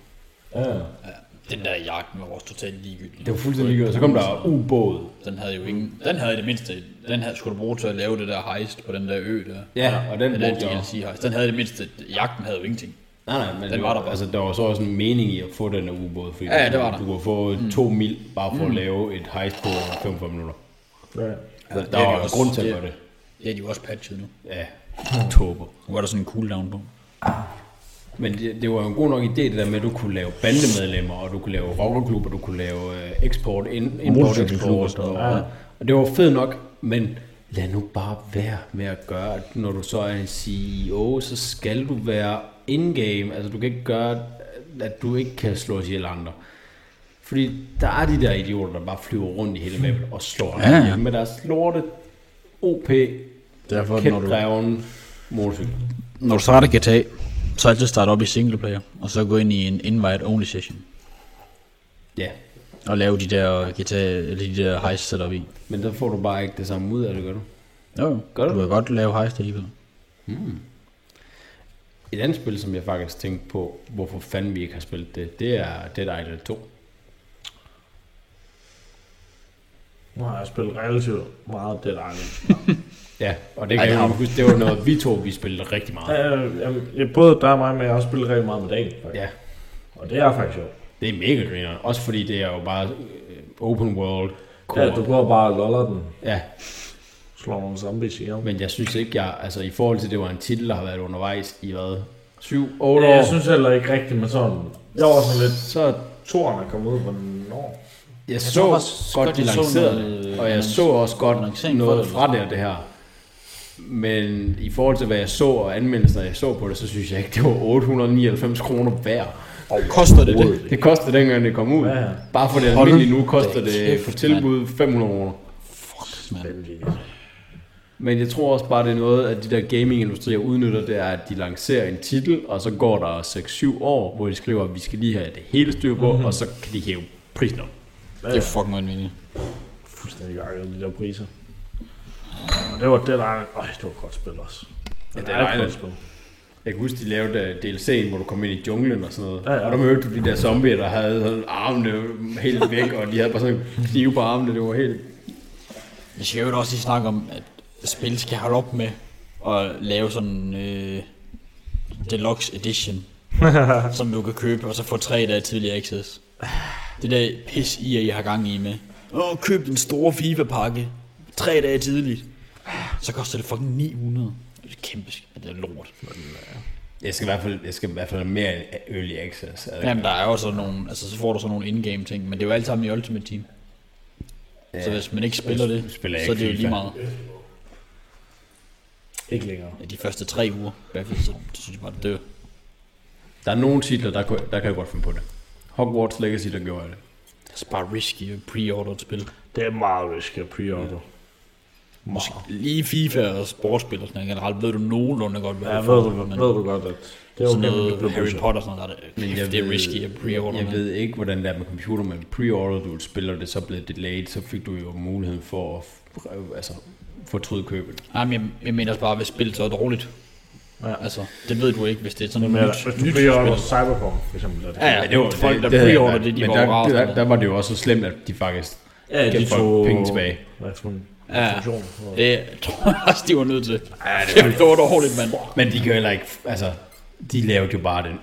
Speaker 4: Den der jagt med vores totalt ligegyldige.
Speaker 2: Det var fuldstændig ligegyldigt. Så kom der ubåd.
Speaker 4: Den havde jo ingen... Den havde i det mindste... Den havde skulle du bruge til at lave det der hejst på den der ø der.
Speaker 2: Ja, og den
Speaker 4: Den
Speaker 2: brugte
Speaker 4: der
Speaker 2: jeg også.
Speaker 4: DLC hejst. Den havde i det mindste... Jagten havde jo ingenting.
Speaker 2: Nej, nej, men
Speaker 4: Den
Speaker 2: det
Speaker 4: var der bare.
Speaker 2: Altså, der var så også en mening i at få den her ubåd, fordi
Speaker 4: Ja, ja, det var der. Mm.
Speaker 2: du kunne få to mil bare for at lave et heist på 45 minutter. Ja. Så der
Speaker 4: det er
Speaker 2: var
Speaker 4: det
Speaker 2: en
Speaker 4: også.
Speaker 2: grund til at
Speaker 4: Det- Mm.
Speaker 2: gøre det.
Speaker 4: Det er de jo også patchet nu.
Speaker 2: Ja, tober.
Speaker 4: Nu var der sådan en cooldown på.
Speaker 2: Men det, det var jo en god nok idé, det der med, at du kunne lave bandemedlemmer, og du kunne lave rockerklubber, du kunne lave øh, eksport, ind, import, eksport. Og, ja. og det var fedt nok, men lad nu bare være med at gøre, at når du så er en CEO, så skal du være in-game. Altså du kan ikke gøre, at du ikke kan slå ihjel andre. Fordi der er de der idioter, der bare flyver rundt i hele mappet og slår
Speaker 4: Ja, ja.
Speaker 2: ja. med deres lorte OP,
Speaker 4: Derfor, når du,
Speaker 2: kæmpe motorcykel.
Speaker 4: når du starter GTA, så altid starte op i singleplayer, og så gå ind i en invite-only session,
Speaker 2: Ja,
Speaker 4: og lave de der GTA, eller de der heist setup i.
Speaker 2: men der får du bare ikke det samme ud af det, gør du?
Speaker 4: Jo, jo.
Speaker 2: Gør du?
Speaker 4: du kan godt lave heist alligevel.
Speaker 2: Et andet spil, som jeg faktisk tænkte på, hvorfor fanden vi ikke har spillet det, det er Dead Island 2.
Speaker 1: Nu har jeg spillet relativt meget Dead Island.
Speaker 2: Ja, og det kan jeg jo huske, det var noget, vi to vi spillede rigtig meget.
Speaker 1: Øh, jamen, ja, både dig og mig, men jeg har også spillet rigtig meget med Daniel. faktisk.
Speaker 2: Ja,
Speaker 1: Og det er faktisk sjovt.
Speaker 2: det er mega griner. Også fordi det er jo bare øh, open world.
Speaker 1: Ja, du
Speaker 2: Cool.
Speaker 1: prøver bare at lolle den.
Speaker 2: Ja,
Speaker 1: Slår nogle zombies ihjel.
Speaker 2: men jeg synes ikke, jeg, altså i forhold til, det var en titel, der har været undervejs i hvad? 7, 8 år?
Speaker 1: Ja, jeg synes heller ikke rigtigt med sådan... Jeg var sådan lidt...
Speaker 2: så
Speaker 1: Toren er kommet ud, hvornår?
Speaker 2: jeg, jeg så
Speaker 4: tror faktisk
Speaker 2: godt,
Speaker 4: godt,
Speaker 2: de
Speaker 4: jeg så
Speaker 2: lancerede
Speaker 4: noget,
Speaker 2: det,
Speaker 4: øh,
Speaker 2: og jeg
Speaker 4: annonce-
Speaker 2: så også godt
Speaker 4: annoncering for
Speaker 2: noget
Speaker 4: det.
Speaker 2: fra det, og det her. Men i forhold til, hvad jeg så og anmeldelser, jeg så på det, så synes jeg ikke, det var 899 kroner værd.
Speaker 4: Koster det det?
Speaker 2: Det kostede dengang, det kom ud.
Speaker 1: Ja.
Speaker 2: Bare for det
Speaker 4: Hold
Speaker 2: almindelige nu, koster
Speaker 4: da
Speaker 2: det
Speaker 4: kæft,
Speaker 2: for tilbud 500 kroner.
Speaker 4: Man.
Speaker 2: Men jeg tror også bare, det er noget, at de der gamingindustrier udnytter, det er, at de lancerer en titel, og så går der 6-7 år, hvor de skriver, at vi skal lige have det hele styr på,
Speaker 4: Mhm.
Speaker 2: mm-hmm. og så kan de hæve prisen op.
Speaker 4: Det er fucking vanvittigt.
Speaker 1: Fuldstændig gakket, de der priser. Og det var det, der... Øj, det var et godt spil også. Ja,
Speaker 2: det er dejligt. Jeg kan huske, de lavede øh, DLC'en, hvor du kom ind i junglen og sådan noget.
Speaker 1: Ja,
Speaker 2: Ja,
Speaker 1: ja.
Speaker 2: ja. Og der mødte du de der zombier, der havde sådan armene helt væk, og de havde bare sådan knive på armene. Det var helt...
Speaker 4: Jeg skal jo også lige snakke om, at spil skal holde op med at lave sådan øh, deluxe edition, som du kan købe, og så få tre dage tidligere access. Det der pis i, at I har gang i med. Åh, køb den store FIFA-pakke tre dage tidligt. Så koster det fucking 900. Det er kæmpe sk- det er lort.
Speaker 2: Jeg skal i hvert fald, jeg skal i hvert fald have mere end early access. Altså,
Speaker 4: Jamen, der er jo sådan nogle, altså så får du sådan nogle in-game ting, men det er jo alt sammen i Ultimate Team. Ja, så hvis man ikke spiller det,
Speaker 2: spiller
Speaker 4: spiller
Speaker 2: jeg
Speaker 4: så er
Speaker 2: ikke
Speaker 4: det jo lige
Speaker 2: FIFA.
Speaker 4: meget.
Speaker 1: Ikke længere.
Speaker 4: Ja, de første tre uger, i hvert fald, så, så synes jeg bare, det dør.
Speaker 2: der er nogle titler, der, kunne- der kan jeg godt finde på det. Hogwarts Legacy, der gjorde jeg det.
Speaker 4: Det er så Altså, bare risky at pre-order et spil.
Speaker 1: Det er meget risky at pre-order.
Speaker 4: Måske lige FIFA og sportsspil og sådan noget generelt, ved du nogenlunde godt, hvad
Speaker 1: Ja,
Speaker 4: du
Speaker 1: ved
Speaker 4: får,
Speaker 1: du,
Speaker 4: men
Speaker 1: ved du godt, at det er
Speaker 4: sådan
Speaker 1: okay, at vi
Speaker 4: noget
Speaker 1: bliver
Speaker 4: Harry
Speaker 1: busset.
Speaker 4: Potter og sådan noget, der er det,
Speaker 2: Men
Speaker 4: men
Speaker 2: jeg
Speaker 4: det er
Speaker 2: ved-
Speaker 4: risky at pre-order.
Speaker 2: Jeg
Speaker 4: mand.
Speaker 2: ved ikke, hvordan det er med computer, men pre-order du et spil, og det så blev delayed, så fik du jo muligheden for at f- altså, fortryde købet.
Speaker 4: Nej, men jeg, jeg mener også bare, hvis spillet så er dårligt.
Speaker 1: Ja.
Speaker 4: Ja. Altså, det ved du ikke, hvis det er sådan
Speaker 1: Men
Speaker 4: noget
Speaker 1: ellers,
Speaker 4: nyt,
Speaker 1: hvis
Speaker 4: nyt,
Speaker 1: du
Speaker 4: nyt
Speaker 1: pre-order
Speaker 4: spil.
Speaker 1: Cyberpunk, for eksempel. er det-
Speaker 4: Ja, ja, det var folk, der pre-order det, de
Speaker 2: men
Speaker 4: var
Speaker 2: der,
Speaker 4: rasende.
Speaker 2: der, der, var det jo også så slemt, at de faktisk
Speaker 1: Ja, de
Speaker 2: gav folk
Speaker 1: tog-
Speaker 2: penge tilbage.
Speaker 1: Hvad for en
Speaker 4: Ja.
Speaker 1: funktion?
Speaker 4: Det tror jeg også, de var nødt til. Ja, det var, det var dårligt, mand.
Speaker 2: Men de kan jo heller ikke, altså, de lavede jo bare den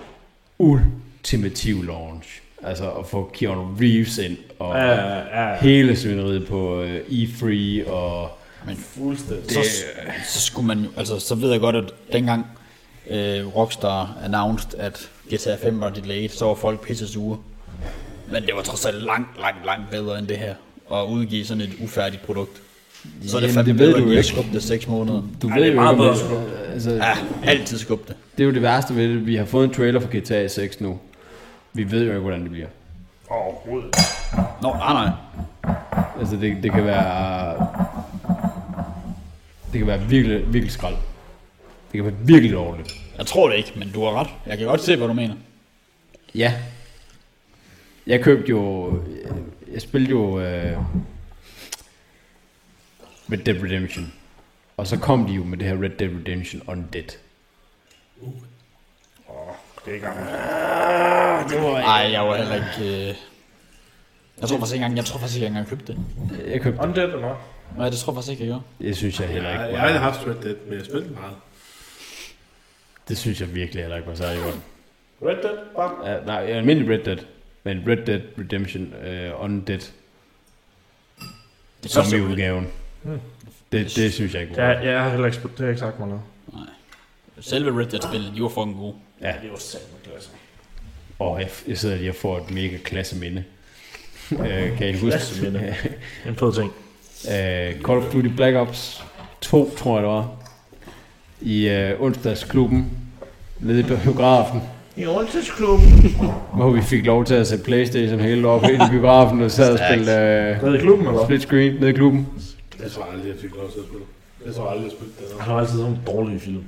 Speaker 2: ultimative launch. Altså at få Keanu Reeves ind, og
Speaker 1: Ja, ja, ja.
Speaker 2: hele svineriet på øh, E3, og
Speaker 1: Fuldstændig.
Speaker 4: så, så skulle man jo, altså så ved jeg godt, at dengang øh, Rockstar announced, at GTA 5 var delayed, så var folk pisse sure. Men det var trods alt langt, langt, langt bedre end det her, at udgive sådan et ufærdigt produkt. Så er det
Speaker 2: Jamen,
Speaker 4: fandme
Speaker 2: det ved
Speaker 4: bedre,
Speaker 2: du jo
Speaker 4: end at
Speaker 2: ikke.
Speaker 4: skubbe det 6 måneder.
Speaker 2: du
Speaker 1: det er
Speaker 2: jo
Speaker 1: meget
Speaker 2: ikke, om
Speaker 1: bedre
Speaker 2: det- altså,
Speaker 4: Ja, altid skubbe det.
Speaker 2: Det er jo det værste ved det. Vi har fået en trailer for GTA 6 nu. Vi ved jo ikke, hvordan det bliver.
Speaker 1: Overhovedet.
Speaker 4: Nå, nej, nej.
Speaker 2: Altså, det, det kan være... Det kan være virkelig, virkelig skrald. Det kan være virkelig dårligt.
Speaker 4: Jeg tror det ikke, men du har ret. Jeg kan godt se, hvad du mener.
Speaker 2: Ja. Jeg købte jo... jeg- Jeg spillede jo... Øh, Red Dead Redemption. Og så kom de jo med det her Red Dead Redemption Undead.
Speaker 1: Det er ikke gammelt.
Speaker 4: Nej, jeg var heller ikke... Øh... Jeg tror faktisk ikke engang, jeg tror faktisk ikke engang, jeg købte det.
Speaker 2: Jeg købte det.
Speaker 1: Undead eller hvad?
Speaker 4: Nej, det tror jeg faktisk ikke, jeg gjorde.
Speaker 2: Det synes jeg heller
Speaker 5: Jeg,
Speaker 2: ikke
Speaker 5: jeg har aldrig
Speaker 2: var,
Speaker 5: haft Red Dead, men jeg spillede meget.
Speaker 2: Det synes jeg virkelig heller ikke var særlig godt.
Speaker 1: Red Dead, bare.
Speaker 2: Uh, nej, almindelig Red Dead. Men Red Dead Redemption uh, Undead.
Speaker 4: Det første-
Speaker 2: Zombie-udgaven. Det, det synes jeg ikke
Speaker 1: Ja,
Speaker 2: var.
Speaker 1: jeg har heller ikke spillet, det har jeg ikke sagt mig noget.
Speaker 4: Selve Red Dead-spillet, de var fucking gode.
Speaker 2: Ja.
Speaker 1: Det var sandt, altså.
Speaker 2: Og jeg, jeg sidder lige og får et mega klasse minde. Øh, kan I huske?
Speaker 1: Klasseminde. En fed ting.
Speaker 2: Øh, Call of Duty Black Ops 2, tror jeg det var. I øh, onsdagsklubben. Nede i biografen.
Speaker 1: I oldtidsklubben.
Speaker 2: Hvor vi fik lov til at sætte Playstation hele op ind i biografen og sad og spille øh,
Speaker 1: Nede i klubben, eller?
Speaker 2: split screen nede i klubben.
Speaker 5: Jeg tror aldrig, jeg fik lov til at spille. Jeg tror aldrig, jeg spillede det.
Speaker 1: Han har altid sådan en dårlig film.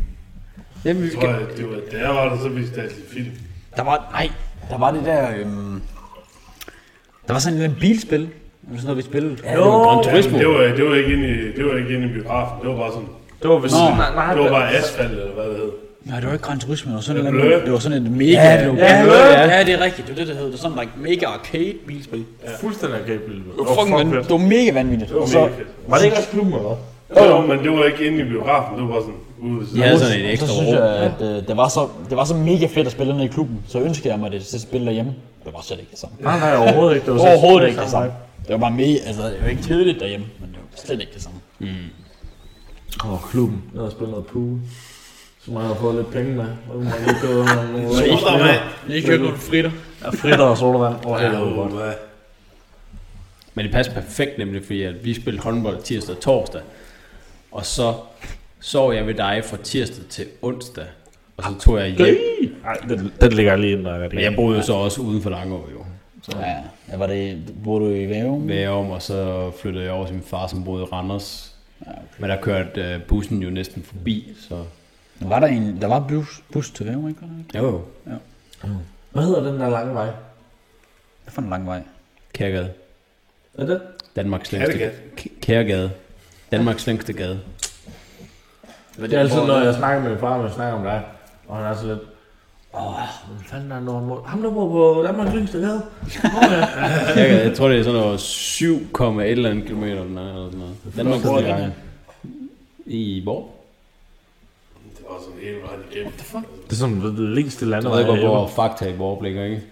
Speaker 2: Jamen, vi
Speaker 5: Jeg tror, at det var, da jeg var der, så viste jeg altid film.
Speaker 4: Der var, nej, der var det der, øhm, der var sådan en lille bilspil, eller sådan noget, vi spillede. Ja,
Speaker 2: det var Gran Turismo.
Speaker 5: Det var, det var ikke inde i, det var ikke inde i biografen. Det var bare sådan,
Speaker 1: Det var vist...
Speaker 4: Nå.
Speaker 1: nej, nej,
Speaker 5: det var bare asfalt, eller hvad det hed.
Speaker 4: Nej, det var ikke Gran Turismo, det var sådan, en
Speaker 5: Blø.
Speaker 4: eller anden, det var sådan et mega... Ja, det var, ja,
Speaker 1: Blø,
Speaker 4: ja, det er rigtigt, det var det, der hed. Det var sådan like, mega arcade bilspil. Det
Speaker 1: ja. fuldstændig akabeligt. Det
Speaker 4: var, fucking van, det var mega vanvittigt.
Speaker 5: Det var
Speaker 4: Og så,
Speaker 5: mega fedt.
Speaker 1: Var det ikke også klubben, eller hvad?
Speaker 5: Jo, men det var ikke inde i biografen. Det var bare sådan ude ved siden.
Speaker 2: havde sådan et
Speaker 4: så
Speaker 2: ekstra
Speaker 4: synes
Speaker 2: rum.
Speaker 4: jeg, at øh, det, var så, det var så mega fedt at spille ned i klubben, så ønskede jeg mig det til at spille derhjemme. Det var slet ikke det samme.
Speaker 1: Nej, nej, overhovedet ikke. Det var
Speaker 4: Det var overhovedet ikke det samme. Det var bare mega, altså det var ikke kedeligt derhjemme, men det var slet ikke det samme.
Speaker 1: Åh, oh, klubben. Jeg havde spillet noget pool. Så må jeg have fået lidt penge med. Og nu må jeg lige købe nogle- nogle
Speaker 5: Sodavand.
Speaker 4: Lige købte nogle fritter.
Speaker 1: Ja, fritter og sodavand. Åh, det var godt.
Speaker 5: hvad?
Speaker 2: Men det passer perfekt nemlig, fordi at vi spillede håndbold tirsdag og torsdag, og så sov jeg ved dig fra tirsdag til onsdag, og så tog jeg hjem.
Speaker 1: Nej, den, den ligger jeg lige ind. Der,
Speaker 2: Men jeg boede jo så også uden for Langå, jo.
Speaker 4: Ja, ja, var det, bor du i Værum?
Speaker 2: Med om, og så flyttede jeg over til min far, som boede i Randers.
Speaker 4: Ah,
Speaker 2: Men der kørte øh, bussen jo næsten forbi, så...
Speaker 4: Var der en, der var bus, bus til Værum, ikke? Var der ikke?
Speaker 2: Jo, jo.
Speaker 8: Hvad hedder den der lange vej?
Speaker 4: Hvad for en lang vej?
Speaker 2: Kærgade.
Speaker 8: Er det?
Speaker 2: Danmarks længste... K- Kærgade. Danmarks længste gade.
Speaker 8: Det er altid, når jeg snakker med min far, og jeg snakker om dig, og han er så lidt... Åh, hvad fanden er nogen mod? Ham der bor på Danmarks Lyngste Gade.
Speaker 2: Kærgade, jeg tror, det er sådan noget 7, et eller andet kilometer, den er, eller sådan noget. Danmarks
Speaker 4: Hvor er
Speaker 2: længste
Speaker 4: den
Speaker 2: gade. I hvor?
Speaker 5: Det var sådan hele vejen igennem. What the fuck?
Speaker 1: Det er sådan det længste land,
Speaker 2: Jeg ved ikke, hvor, hvor fakta i hvor ligger, ikke?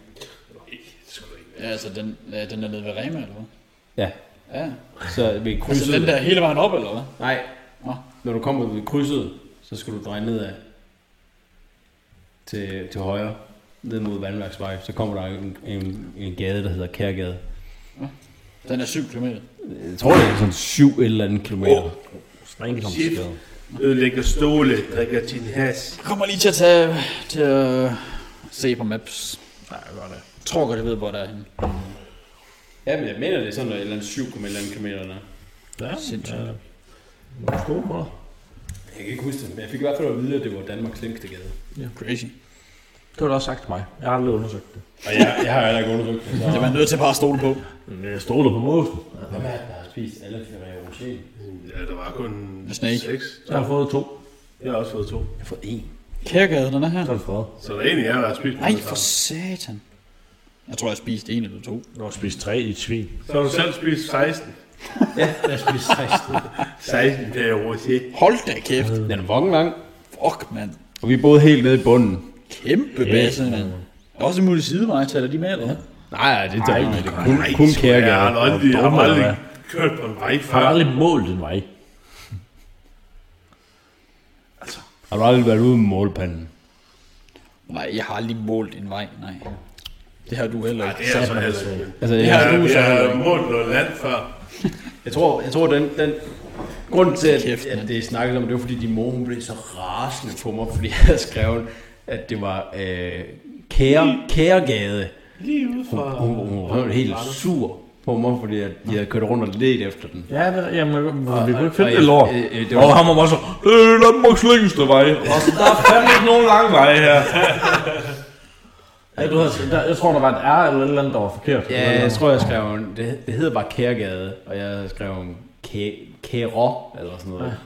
Speaker 4: Ja, altså den, ja, den der nede ved Rema, eller hvad?
Speaker 2: Ja.
Speaker 4: Ja,
Speaker 2: Så vi
Speaker 4: altså den
Speaker 2: krydset...
Speaker 4: der hele vejen op, eller hvad?
Speaker 2: Nej.
Speaker 4: Nå.
Speaker 2: Når du kommer ved krydset, så skal du dreje nedad. Til, til højre. Ned mod Vandværksvej. Så kommer der en, en, en gade, der hedder Kærgade.
Speaker 4: Den er 7 km.
Speaker 2: Jeg tror, det er sådan syv eller andet kilometer. Oh.
Speaker 5: Shit. Ødelægger stole, drikker din has.
Speaker 4: Kommer lige til at tage, til at se på maps. Nej, jeg gør det. Jeg tror godt, jeg ved, hvor der er henne.
Speaker 2: Ja, men jeg mener, det er sådan noget, et eller andet 7, eller andet kilometer. Der.
Speaker 4: Sindssygt. Ja.
Speaker 2: Jeg kan ikke huske det, men jeg fik i hvert fald at vide, at det var Danmarks længste gade.
Speaker 4: Crazy.
Speaker 8: Det var du også sagt til mig. Jeg har aldrig undersøgt det.
Speaker 2: Og jeg, jeg har heller ikke undersøgt det. Så
Speaker 4: Det er man nødt til bare at stole på.
Speaker 7: Mm,
Speaker 8: Jeg stoler på mosen.
Speaker 2: Hvem er det, der har spist alle Ferrero Rocher?
Speaker 5: Ja, der var kun
Speaker 4: Snake.
Speaker 5: seks.
Speaker 8: Jeg har fået to.
Speaker 5: Jeg har også fået to.
Speaker 2: Jeg får én.
Speaker 4: Kærgade, den er her.
Speaker 8: Så er det fred.
Speaker 5: Så der er en af jer, der har spist.
Speaker 4: Nej, for satan. Jeg tror, jeg spiste en eller to.
Speaker 1: Du har spist tre i et svin.
Speaker 5: Så har du selv spist 16.
Speaker 2: Jeg spiste 16.
Speaker 5: 16, det er jo Roger.
Speaker 4: Hold da kæft.
Speaker 2: Den er fucking lang.
Speaker 4: Fuck, mand.
Speaker 2: Og vi boede helt nede i bunden.
Speaker 4: Kæmpe basse, mand. Der er også en mulig sidevej, tager de med, eller hvad?
Speaker 2: Nej, nej, det tager ikke. Det er kun, kun
Speaker 5: Jeg har
Speaker 2: Kærgade.
Speaker 5: aldrig, jeg har aldrig kørt på en vej før.
Speaker 8: Jeg har aldrig målt en vej.
Speaker 2: Har du aldrig været ude med målpanden?
Speaker 4: Nej, jeg har aldrig målt en vej, nej. Det har du heller ikke.
Speaker 5: Det er så heller ikke.
Speaker 2: Altså,
Speaker 4: Det har
Speaker 5: Jeg,
Speaker 4: du så
Speaker 5: jeg
Speaker 4: heller
Speaker 5: har målt noget land før.
Speaker 2: Jeg tror, jeg tror den, den grund til, at,
Speaker 4: Kæft,
Speaker 2: at
Speaker 4: mand.
Speaker 2: det snakkede om, det var fordi, din mor hun blev så rasende på mig, fordi jeg havde skrevet, at det var øh, kære, kæregade.
Speaker 5: Lige ude fra...
Speaker 2: Hun, hun, hun var helt sur på mig, fordi jeg, jeg havde kørt rundt og let efter den.
Speaker 8: Ja, det, jamen, vi kunne ikke
Speaker 2: Og
Speaker 8: finde det
Speaker 2: jeg-
Speaker 8: lort.
Speaker 2: øh, øh, det
Speaker 7: Og
Speaker 2: var,
Speaker 7: ham og var så, øh, Danmarks længste vej. Og så der er fandme ikke nogen lang vej her.
Speaker 8: [laughs] Ja, du havde, der, jeg tror, der var et R eller et eller andet, der var forkert.
Speaker 2: ja, jeg tror, jeg skrev, en- det, det hedder bare Kæregade, og jeg havde skrevet en kæ, Kære, eller sådan noget.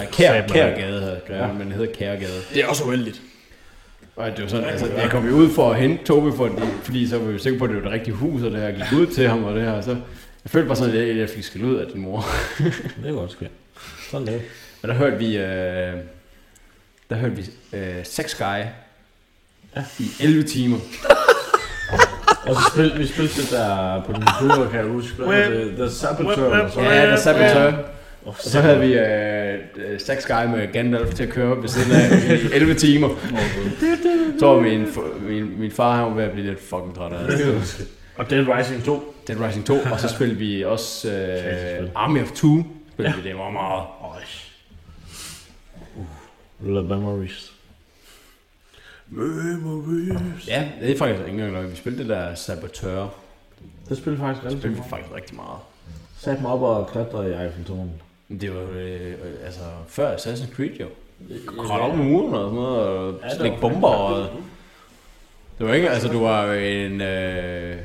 Speaker 2: Ja, kær, Kærgade havde jeg skrevet, men det hedder Kæregade.
Speaker 4: Det er også uheldigt.
Speaker 2: Og det var sådan, altså, jeg kom jo ud for at hente Tobi, fordi, fordi så var vi jo sikre på, at det var det rigtige hus, og det her gik ud til ham, og det her, og så... Jeg følte bare sådan, at jeg, jeg fik skæld ud af din mor.
Speaker 8: [laughs] Det er godt
Speaker 2: [laughs]
Speaker 8: skidt. Sådan det.
Speaker 2: Men der hørte vi, øh, der hørte vi øh, Sex Guy ja. i 11 timer.
Speaker 8: Og så spil, vi spilte det der på den tur, kan jeg huske. Hvad hedder det? The Saboteur eller sådan
Speaker 2: Ja, der sad på tøj.
Speaker 8: Og
Speaker 2: Og så havde vi øh, øh, Sex Guy med Gandalf til at køre op ved siden af i 11 timer. Jeg tror, min, f- min, min far han var ved at blive lidt fucking træt af det.
Speaker 8: Og Dead Rising 2.
Speaker 2: Dead Rising 2,
Speaker 8: [laughs]
Speaker 2: og så spillede vi også øh, Army of Two. Spillede ja. vi det var meget.
Speaker 1: Love memories.
Speaker 2: Ja, det er faktisk ikke engang løgn. Vi spillede det der Saboteur.
Speaker 8: Det spillede faktisk
Speaker 2: Det
Speaker 8: rigtig
Speaker 2: spillede
Speaker 8: meget.
Speaker 2: vi faktisk rigtig meget.
Speaker 8: Satte mig op og klatrede i Eiffeltårnet.
Speaker 2: Men det var jo øh, øh, altså, før Assassin's Creed jo. Kravle op i muren og sådan noget, og
Speaker 8: det
Speaker 2: slække
Speaker 8: var
Speaker 2: bomber og... Det var ikke, altså du var jo en øh,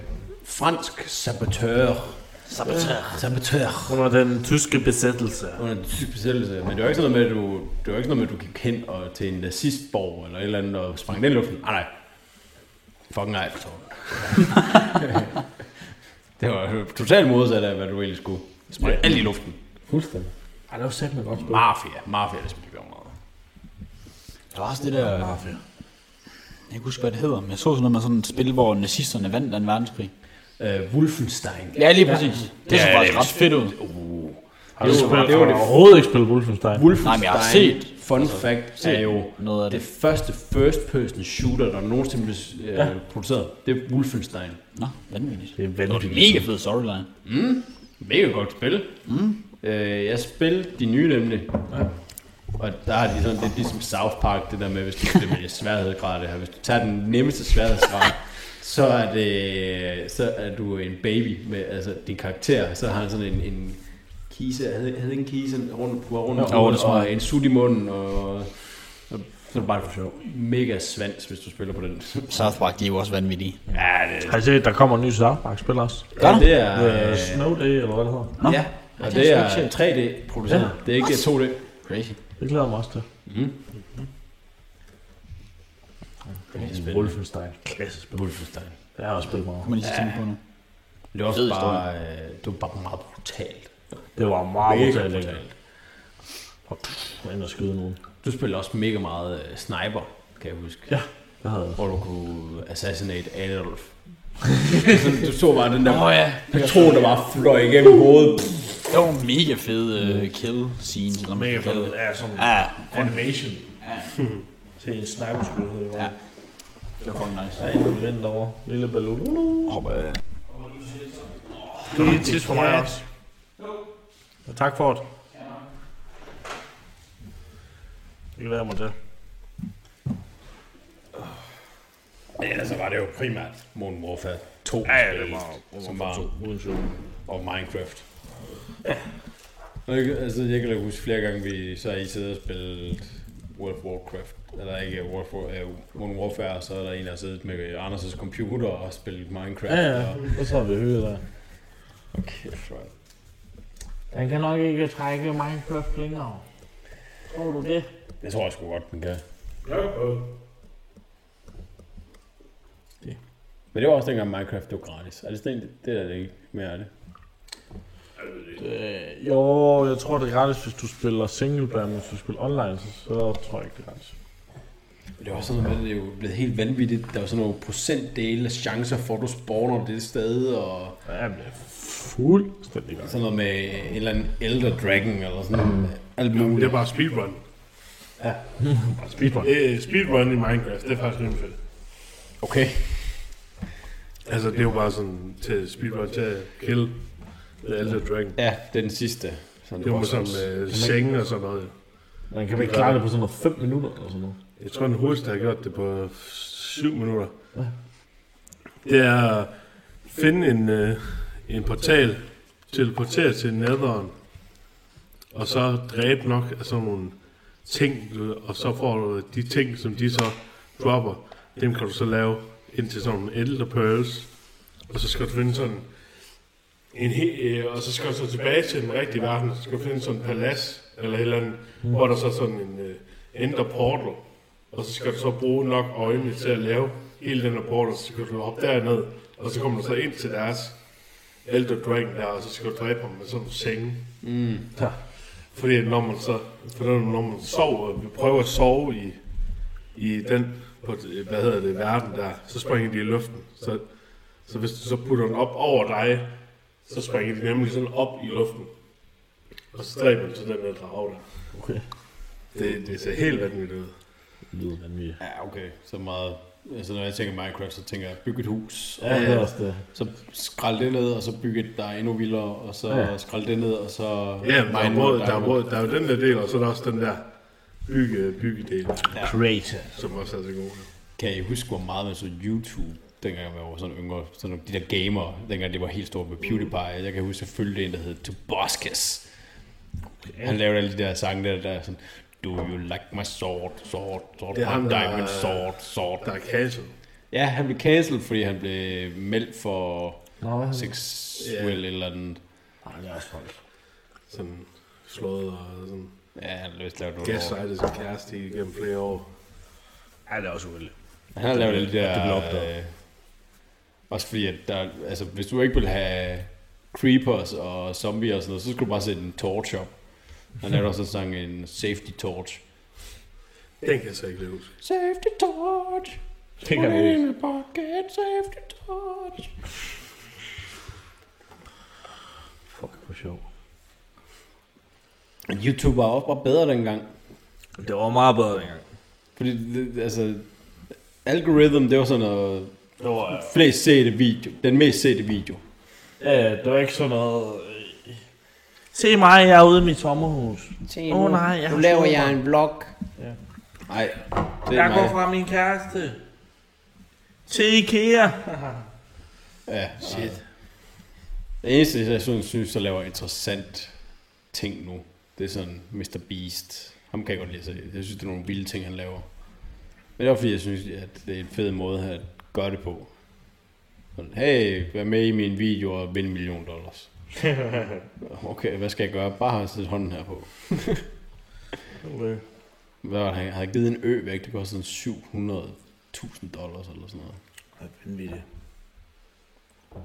Speaker 2: fransk sabotør. Sabotør. Sabotør.
Speaker 1: Under den tyske besættelse.
Speaker 2: Under en tysk besættelse. Men det var ikke sådan noget med, at du, det var ikke sådan noget med, at du gik hen og, til en nazistborg eller et eller andet og sprang den i luften. Ah, Nej, nej. Fucking Eiffeltårn. [laughs] det var totalt modsat af, hvad du egentlig skulle. Sprang alt i luften.
Speaker 8: Fuldstændig. Ej, det var satme godt spil.
Speaker 2: Mafia. Mafia, det spiller vi om meget.
Speaker 4: Der var også det der... Jeg kan ikke huske, hvad det hedder, men jeg så sådan noget med sådan et spil, hvor nazisterne vandt den verdenskrig.
Speaker 2: Øh, Wolfenstein.
Speaker 4: Ja, lige præcis. Det så faktisk ret fedt ud.
Speaker 1: Har du spillet?
Speaker 2: det var det-
Speaker 1: overhovedet ikke spillet Wolfenstein.
Speaker 2: Wolfenstein,
Speaker 4: Nej, men jeg har set-
Speaker 2: fun fact, er jo
Speaker 4: noget af
Speaker 2: det
Speaker 4: det.
Speaker 2: første first-person shooter, der nogensinde blev øh, produceret. Det er Wolfenstein.
Speaker 4: Nå, vanvittigt.
Speaker 1: Det er
Speaker 4: Det var en
Speaker 1: vanvittigt.
Speaker 4: mega fed storyline.
Speaker 2: Mega godt spil. Mm. Øh, jeg spillede de nye nemlig. Ja. Og der er de sådan lidt ligesom South Park, det der med, hvis du bliver med sværhedsgrad det her. Hvis du tager den nemmeste [laughs] sværhedsgrad, så er, det, så er du en baby med altså, din karakter. Så har han sådan en, en kise, havde, havde en kise rundt på rundt,
Speaker 4: Nå, det
Speaker 2: rundt
Speaker 4: er smart.
Speaker 2: og en sut i munden, og, og så er det bare for sjov. Mega svans, hvis du spiller på den.
Speaker 4: South Park, de er jo også vanvittige.
Speaker 2: ja, det,
Speaker 1: Har I set, der kommer en ny South Park-spil også?
Speaker 2: ja, det er...
Speaker 1: Øh, Snow Day, eller hvad det hedder.
Speaker 4: Nå,
Speaker 2: ja, og
Speaker 4: det
Speaker 2: det
Speaker 4: er
Speaker 2: er 3D produceret. Ja. Det er ikke 2D.
Speaker 4: crazy.
Speaker 1: Det glæder jeg mig også til.
Speaker 2: Mm.
Speaker 8: Wolfenstein.
Speaker 1: Klassespil.
Speaker 2: Wolfenstein.
Speaker 8: Det har jeg også spillet meget.
Speaker 4: Kan man lige så tænke på nu.
Speaker 2: Det var også
Speaker 4: Fed
Speaker 2: bare, øh, det var bare meget brutalt.
Speaker 8: Det var meget
Speaker 2: Mega
Speaker 8: brutalt
Speaker 2: brutalt.
Speaker 8: lækkert. Og pff, ind og skyde nogen.
Speaker 2: Du spillede også mega meget øh, sniper, kan jeg huske.
Speaker 8: Ja, det havde jeg.
Speaker 2: Hvor du kunne assassinate Adolf. Sådan, du så bare den der
Speaker 4: Åh ja,
Speaker 2: patron, der bare fløj igennem hovedet.
Speaker 4: det var en mega fed uh, kill scene. Eller
Speaker 1: Mega fed. Ja, sådan
Speaker 4: Ja,
Speaker 1: animation. Til en sniper-skud, hedder det.
Speaker 4: Ja. det var fucking nice.
Speaker 1: Der er en, der vender over. Lille ballon.
Speaker 4: Hopper jeg.
Speaker 1: Det er et tids for mig også. Og tak for det. Det glæder jeg mig til.
Speaker 7: Men ellers så var det jo primært Modern Warfare 2.
Speaker 1: Ja, ja, det
Speaker 7: spillet,
Speaker 1: var-
Speaker 7: som var
Speaker 1: Uden tvivl.
Speaker 7: og Minecraft.
Speaker 2: Og jeg, altså, jeg kan da huske flere gange, vi så i sidder og spillede World of Warcraft. Eller ikke World of War, uh, Modern Warfare, og så er der en, der har siddet med Anders' computer og spillet Minecraft.
Speaker 8: Ja, ja. Og så har vi hygget der.
Speaker 2: Okay, right.
Speaker 8: Den kan nok ikke trække Minecraft længere. Tror du det?
Speaker 7: Jeg tror jeg sgu godt, den kan.
Speaker 2: Men det var også dengang Minecraft var gratis. Er det sådan en, det er det ikke mere af det?
Speaker 1: Øh, jo, jeg tror, det er gratis, hvis du spiller singleplayer, men hvis du spiller online, så, så tror jeg ikke, det er gratis.
Speaker 2: Men det var sådan noget, med, at det er jo blevet helt vanvittigt. Der var sådan nogle procentdele af chancer for, at du spawner det sted, og
Speaker 1: Ja, men det er fuldstændig godt.
Speaker 2: sådan noget med en eller anden Elder Dragon, eller sådan
Speaker 5: Mm.
Speaker 2: noget. Alt
Speaker 5: Uh, Det
Speaker 2: muligt.
Speaker 5: er bare speedrun.
Speaker 1: Bare speedrun.
Speaker 5: Øh, [laughs] speedrun i Minecraft, det er faktisk rimelig fedt.
Speaker 2: Okay.
Speaker 5: Altså, det er jo bare sådan til speedrun til at kill The Elder Dragon.
Speaker 2: Ja, det er den sidste. Sådan
Speaker 5: Det var
Speaker 2: boss.
Speaker 5: som øh, senge og sådan noget.
Speaker 8: Man kan vel klare det på sådan noget 5 minutter eller sådan noget.
Speaker 5: Jeg tror, den hurtigste har gjort det på 7 minutter. Det er at finde en, øh, en portal, teleportere til nederen, og så dræbe nok af sådan nogle ting, du- og så får du de ting, som de så dropper, dem kan du så lave ind til sådan nogle elder pearls, og så skal du finde sådan en he- øh, og så skal du så tilbage til den rigtige verden, så skal du finde sådan en palads, eller et eller andet, mm. hvor der så er sådan en øh, ender portal, og så skal du så bruge nok øjne til at lave hele den her portal, så kan du hoppe derned, og så kommer du så ind til deres Elder Dragon der, og så skal du dræbe ham med sådan en senge. Mm. Fordi at når man så, for når man- når man sover, vi prøver at sove i, i den, på, hvad hedder det, verden der, så springer de i luften. Så, så hvis du så putter den op over dig, så springer de nemlig sådan op i luften. Og så dræber du så den der drage der.
Speaker 8: Okay.
Speaker 5: Det, det ser helt vanvittigt ud.
Speaker 8: Det lyder vanvittigt.
Speaker 2: Ja, okay. Så meget... Altså, når jeg tænker Minecraft, så tænker jeg, byg et hus, og
Speaker 8: Ja, det er også det.
Speaker 2: så skrald det ned, og så byg et, der er endnu vildere, og så
Speaker 8: Ja.
Speaker 2: ja. skrald det ned, og så...
Speaker 5: Ja, men der er,
Speaker 2: mine noget
Speaker 5: både, der, er
Speaker 2: diamond.
Speaker 5: både, der er jo den der del, og så er der også den der bygge, byggedel,
Speaker 8: Crazy.
Speaker 5: som også er så god.
Speaker 2: Kan I huske, hvor meget man så YouTube, dengang jeg var sådan yngre, sådan nogle- de der gamer, dengang det var helt stort med PewDiePie. Jeg kan huske, jeg følte en, der hed Toboskus. Han lavede alle de der sange der, der er sådan, Do you like my sword, sword, sword,
Speaker 5: Det er
Speaker 2: my
Speaker 5: ham, der-
Speaker 2: diamond sword, sword.
Speaker 5: Der er kasse.
Speaker 2: Ja, han blev cancelled, fordi han blev meldt for
Speaker 8: Nå, hvad er det?
Speaker 2: sexuel yeah. eller andet.
Speaker 8: Nej, det er også folk.
Speaker 5: Sådan slået og sådan
Speaker 2: Ja, han har vist lavet noget lort.
Speaker 5: gaslightet sin kæreste igennem flere år.
Speaker 1: Ja, det er også uheldigt.
Speaker 2: Han har lavet alle
Speaker 8: det
Speaker 2: de
Speaker 8: blev
Speaker 2: der...
Speaker 8: opdaget.
Speaker 2: Øh, også fordi, at der, altså, hvis du ikke vil have creepers og zombier og sådan noget, så skulle du bare sætte en torch op. Han lavede også en sang, en safety torch.
Speaker 5: Den kan jeg så ikke lige huske.
Speaker 2: Safety torch!
Speaker 1: Det kan
Speaker 2: put
Speaker 1: vi
Speaker 2: it
Speaker 1: ikke.
Speaker 2: in a pocket, safety torch!
Speaker 8: Fuck, hvor sjov.
Speaker 2: YouTube var også bare bedre dengang.
Speaker 1: Det var meget bedre dengang.
Speaker 2: Fordi, det- altså, algorithm, det var sådan noget
Speaker 1: Det var, øh,
Speaker 2: flest sete video. Den mest sete video.
Speaker 1: ja, det var ikke sådan noget... øh, Se mig, jeg er ude i mit sommerhus. Åh oh, nej, jeg
Speaker 2: Nu
Speaker 1: har
Speaker 2: laver
Speaker 1: slået
Speaker 2: jeg
Speaker 1: mig.
Speaker 2: en vlog. Nej, det er
Speaker 1: Jeg går
Speaker 2: mig.
Speaker 1: fra min kæreste. Til [laughs] Ikea.
Speaker 2: Ja, shit. Det eneste, jeg sådan synes, der laver interessant ting nu, det er sådan Mr. Beast. Ham kan jeg godt lide at se. Jeg synes, det er nogle vilde ting, han laver. Men det er også fordi, jeg synes, at det er en fed måde at gøre det på. Sådan, hey, vær med i min video og vind en million
Speaker 1: [laughs]
Speaker 2: dollars. okay, hvad skal jeg gøre? Bare sætte hånden her på. Hvad var det, han havde givet en ø væk, det kostede sådan 700.000 dollars eller sådan noget.
Speaker 5: Vanvittigt.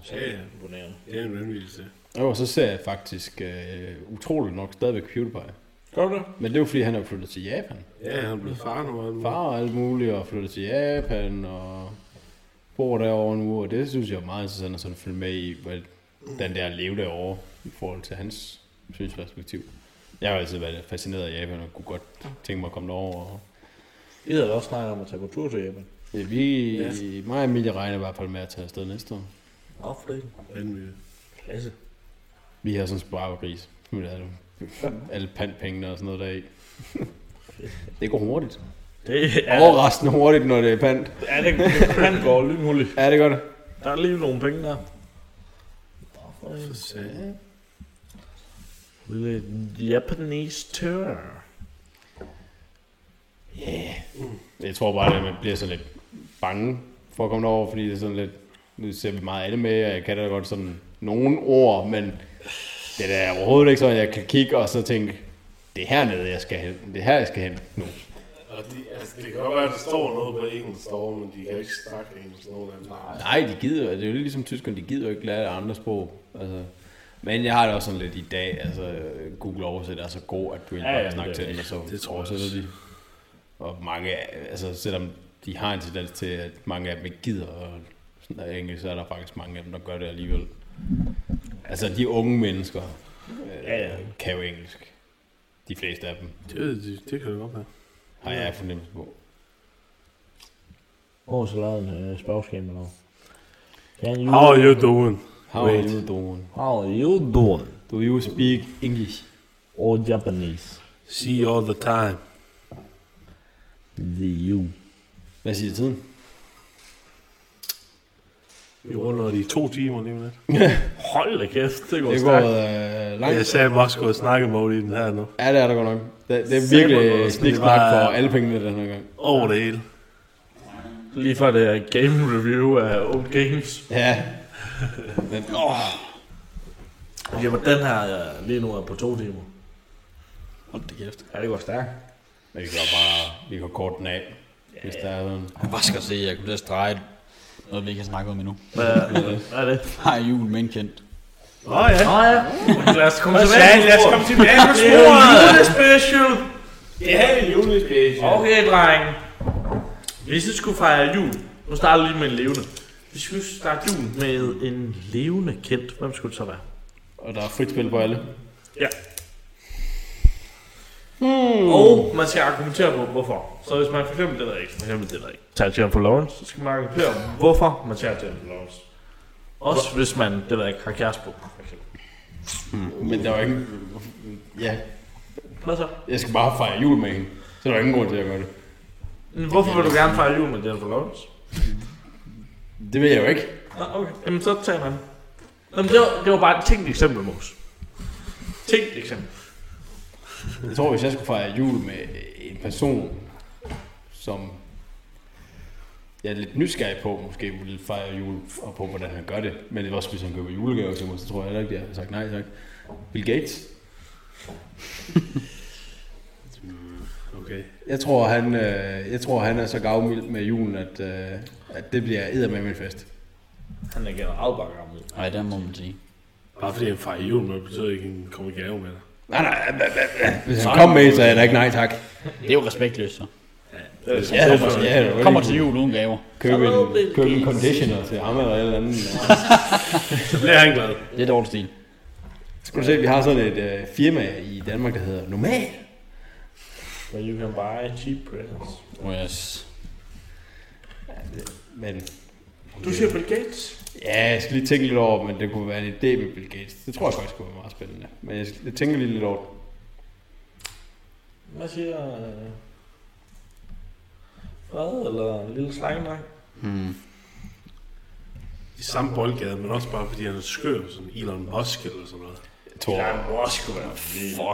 Speaker 5: Så er det imponerende.
Speaker 7: Det er en vanvittigelse.
Speaker 2: Og så ser jeg faktisk øh, utroligt nok stadigvæk PewDiePie.
Speaker 1: Gør du det?
Speaker 2: Men det er jo fordi, han er flyttet til Japan.
Speaker 7: Ja, han blev far nu. Han
Speaker 2: Far og alt muligt, og flyttet til Japan, og bor derovre nu, og det synes jeg er meget interessant at sådan følge med i, hvordan det er at leve derovre, i forhold til hans synsperspektiv. Jeg har altid været fascineret af Japan, og kunne godt tænke mig at komme derover. Og,
Speaker 1: I havde da også snakket om at tage på tur til Japan.
Speaker 2: ja, vi, mig og Emilie regner i hvert fald med at tage afsted næste år.
Speaker 1: Nå, for det.
Speaker 7: vanvittig.
Speaker 1: Klasse.
Speaker 2: Vi har sådan en sparegris, med alle, alle pandpengene og sådan noget
Speaker 1: [laughs]
Speaker 2: deri. Det går hurtigt.
Speaker 1: Det er, oh.
Speaker 2: Overraskende hurtigt, når det er pant.
Speaker 1: er det, det går lynhurtigt.
Speaker 2: Ja, det gør det.
Speaker 1: Der er lige nogle penge der.
Speaker 7: Satan.
Speaker 1: Lille Japanese tour.
Speaker 2: Jeg tror bare, at man bliver sådan lidt bange for at komme derover, fordi det er sådan lidt, nu ser vi meget af det med, og jeg kan da godt sådan nogle ord, men det er da overhovedet ikke sådan, at jeg kan kigge og så tænke, det er hernede, jeg skal hen. Det er her, jeg skal hen nu.
Speaker 7: Og de, altså, det kan godt være, at der står noget på engelsk derovre, men de kan ikke snakke engelsk nogen af dem. Nej.
Speaker 2: Nej, de gider, det er jo lidt ligesom tyskerne, de gider jo ikke lære andre sprog. Altså, men jeg har det også sådan lidt i dag, altså Google Oversætter er så god, at du ikke
Speaker 1: Ja,
Speaker 2: bare
Speaker 1: ja,
Speaker 2: kan snakke
Speaker 1: det
Speaker 2: til
Speaker 1: er
Speaker 2: dem, og så
Speaker 7: Det tror jeg også.
Speaker 2: oversætter de. Og mange, af- altså selvom de har en tendens til, at mange af dem ikke gider at snakke engelsk, så er der faktisk mange af dem, der gør det alligevel. Altså de unge mennesker øh, ja, ja. kan jo engelsk. De fleste af dem
Speaker 7: Det, det, det kan det godt være.
Speaker 2: har jeg fornemmelse på.
Speaker 8: Hvor er så lavet en øh, spørgeskema nu? Can you,
Speaker 7: How are you doing?
Speaker 2: How are you doing?
Speaker 8: how are you doing?
Speaker 2: Do you speak English?
Speaker 8: All Japanese.
Speaker 7: See you all the time.
Speaker 8: The you.
Speaker 2: Hvad siger tiden?
Speaker 7: Vi runder de to timer lige om lidt.
Speaker 1: Hold da kæft, det går
Speaker 2: Det
Speaker 1: det
Speaker 2: går
Speaker 1: stærkt.
Speaker 2: øh, langt.
Speaker 7: Jeg sagde, at jeg skulle snakke mode i den her nu.
Speaker 2: Ja, det er der godt nok. Det, det er
Speaker 7: Sæt mig
Speaker 2: virkelig
Speaker 7: noget,
Speaker 2: sniksnak
Speaker 7: det var-
Speaker 2: for alle pengene den her gang.
Speaker 7: Over det hele.
Speaker 1: Lige før det er game review af Old Games.
Speaker 2: Ja. Men,
Speaker 1: Jamen den her jeg lige nu er på to timer.
Speaker 4: Hold da kæft.
Speaker 1: Ja, det går stærkt.
Speaker 2: men vi kan jo bare vi kan korte den af, hvis der er sådan.
Speaker 4: Jeg bare skal se, jeg kunne da strege noget, vi ikke har snakket om endnu. [laughs]
Speaker 1: Hvad, hvad er det?
Speaker 4: Har jul med en kendt.
Speaker 7: Åh ja.
Speaker 1: Nå ja. Lad os komme
Speaker 7: Satan, lad os komme tilbage på sporet.
Speaker 1: Julespecial.
Speaker 7: Ja, julespecial.
Speaker 1: Okay, dreng. Hvis vi skulle fejre jul, nu starter vi lige med en levende. Hvis vi skulle starte jul med en levende kendt, hvem skulle det så være?
Speaker 2: Og der er frit spil på alle.
Speaker 1: Ja. Hmm. Og man skal argumentere på, hvorfor. Så hvis man for eksempel, det ved jeg ikke, for eksempel, det ved jeg ikke, tager Jennifer Lawrence, så skal man argumentere om, hvorfor man tager Jennifer Lawrence. Også hvis man, det ved jeg ikke, har kæreste på, for eksempel.
Speaker 2: Men der er jo ikke... Ja,
Speaker 1: Hvad så?
Speaker 2: jeg skal bare fejre jul med hende. Så der er ingen grund til at gøre det.
Speaker 1: Hvorfor vil du gerne fejre jul med Jennifer Lawrence?
Speaker 2: Det vil jeg jo ikke.
Speaker 1: Nå, okay. Jamen, så tager man. Jamen, det var, det var bare et tænkt eksempel, Mås. Tænkt eksempel.
Speaker 2: Jeg tror, hvis jeg skulle fejre jul med en person, som jeg er lidt nysgerrig på, måske ville fejre jul og på, hvordan han gør det. Men det var også, hvis han køber julegaver til mig, så tror jeg heller ikke, at jeg har sagt nej tak. Bill Gates.
Speaker 7: Okay.
Speaker 2: Jeg tror, han, øh, jeg tror, han er så gavmild med julen, at, øh, at det bliver æder med min fest.
Speaker 1: Han er generelt bare gammel.
Speaker 4: Nej, der må man sige.
Speaker 7: Bare fordi han fejrer jul med, betyder ikke, at han kommer i gave med dig.
Speaker 2: Nej, nej, nej, nej, nej. Hvis han kom med, så er jeg da ikke nej tak.
Speaker 4: Det er jo respektløst, så.
Speaker 2: Ja, det var, ja, det var
Speaker 4: Kommer til jul uden gaver.
Speaker 2: Købe en, købe en conditioner til ham eller et eller andet.
Speaker 7: Så bliver han glad.
Speaker 4: Det er dårlig stil.
Speaker 2: Skal du se, vi har sådan et øh, firma i Danmark, der hedder Normal.
Speaker 1: But you can buy cheap presents.
Speaker 4: Oh yes.
Speaker 2: Men
Speaker 1: Du siger Bill Gates.
Speaker 2: Ja, jeg skal lige tænke lidt over, men det kunne være en idé med Bill Gates. Det tror jeg faktisk kunne være meget spændende. Men jeg, skal- jeg tænker lige lidt over det.
Speaker 1: Hvad siger... Øh, hvad? Eller en lille slangedreng?
Speaker 5: I samme boldgade, men også bare fordi han er skør, sådan Elon Musk eller sådan noget.
Speaker 2: Jeg tror,
Speaker 1: Musk kunne være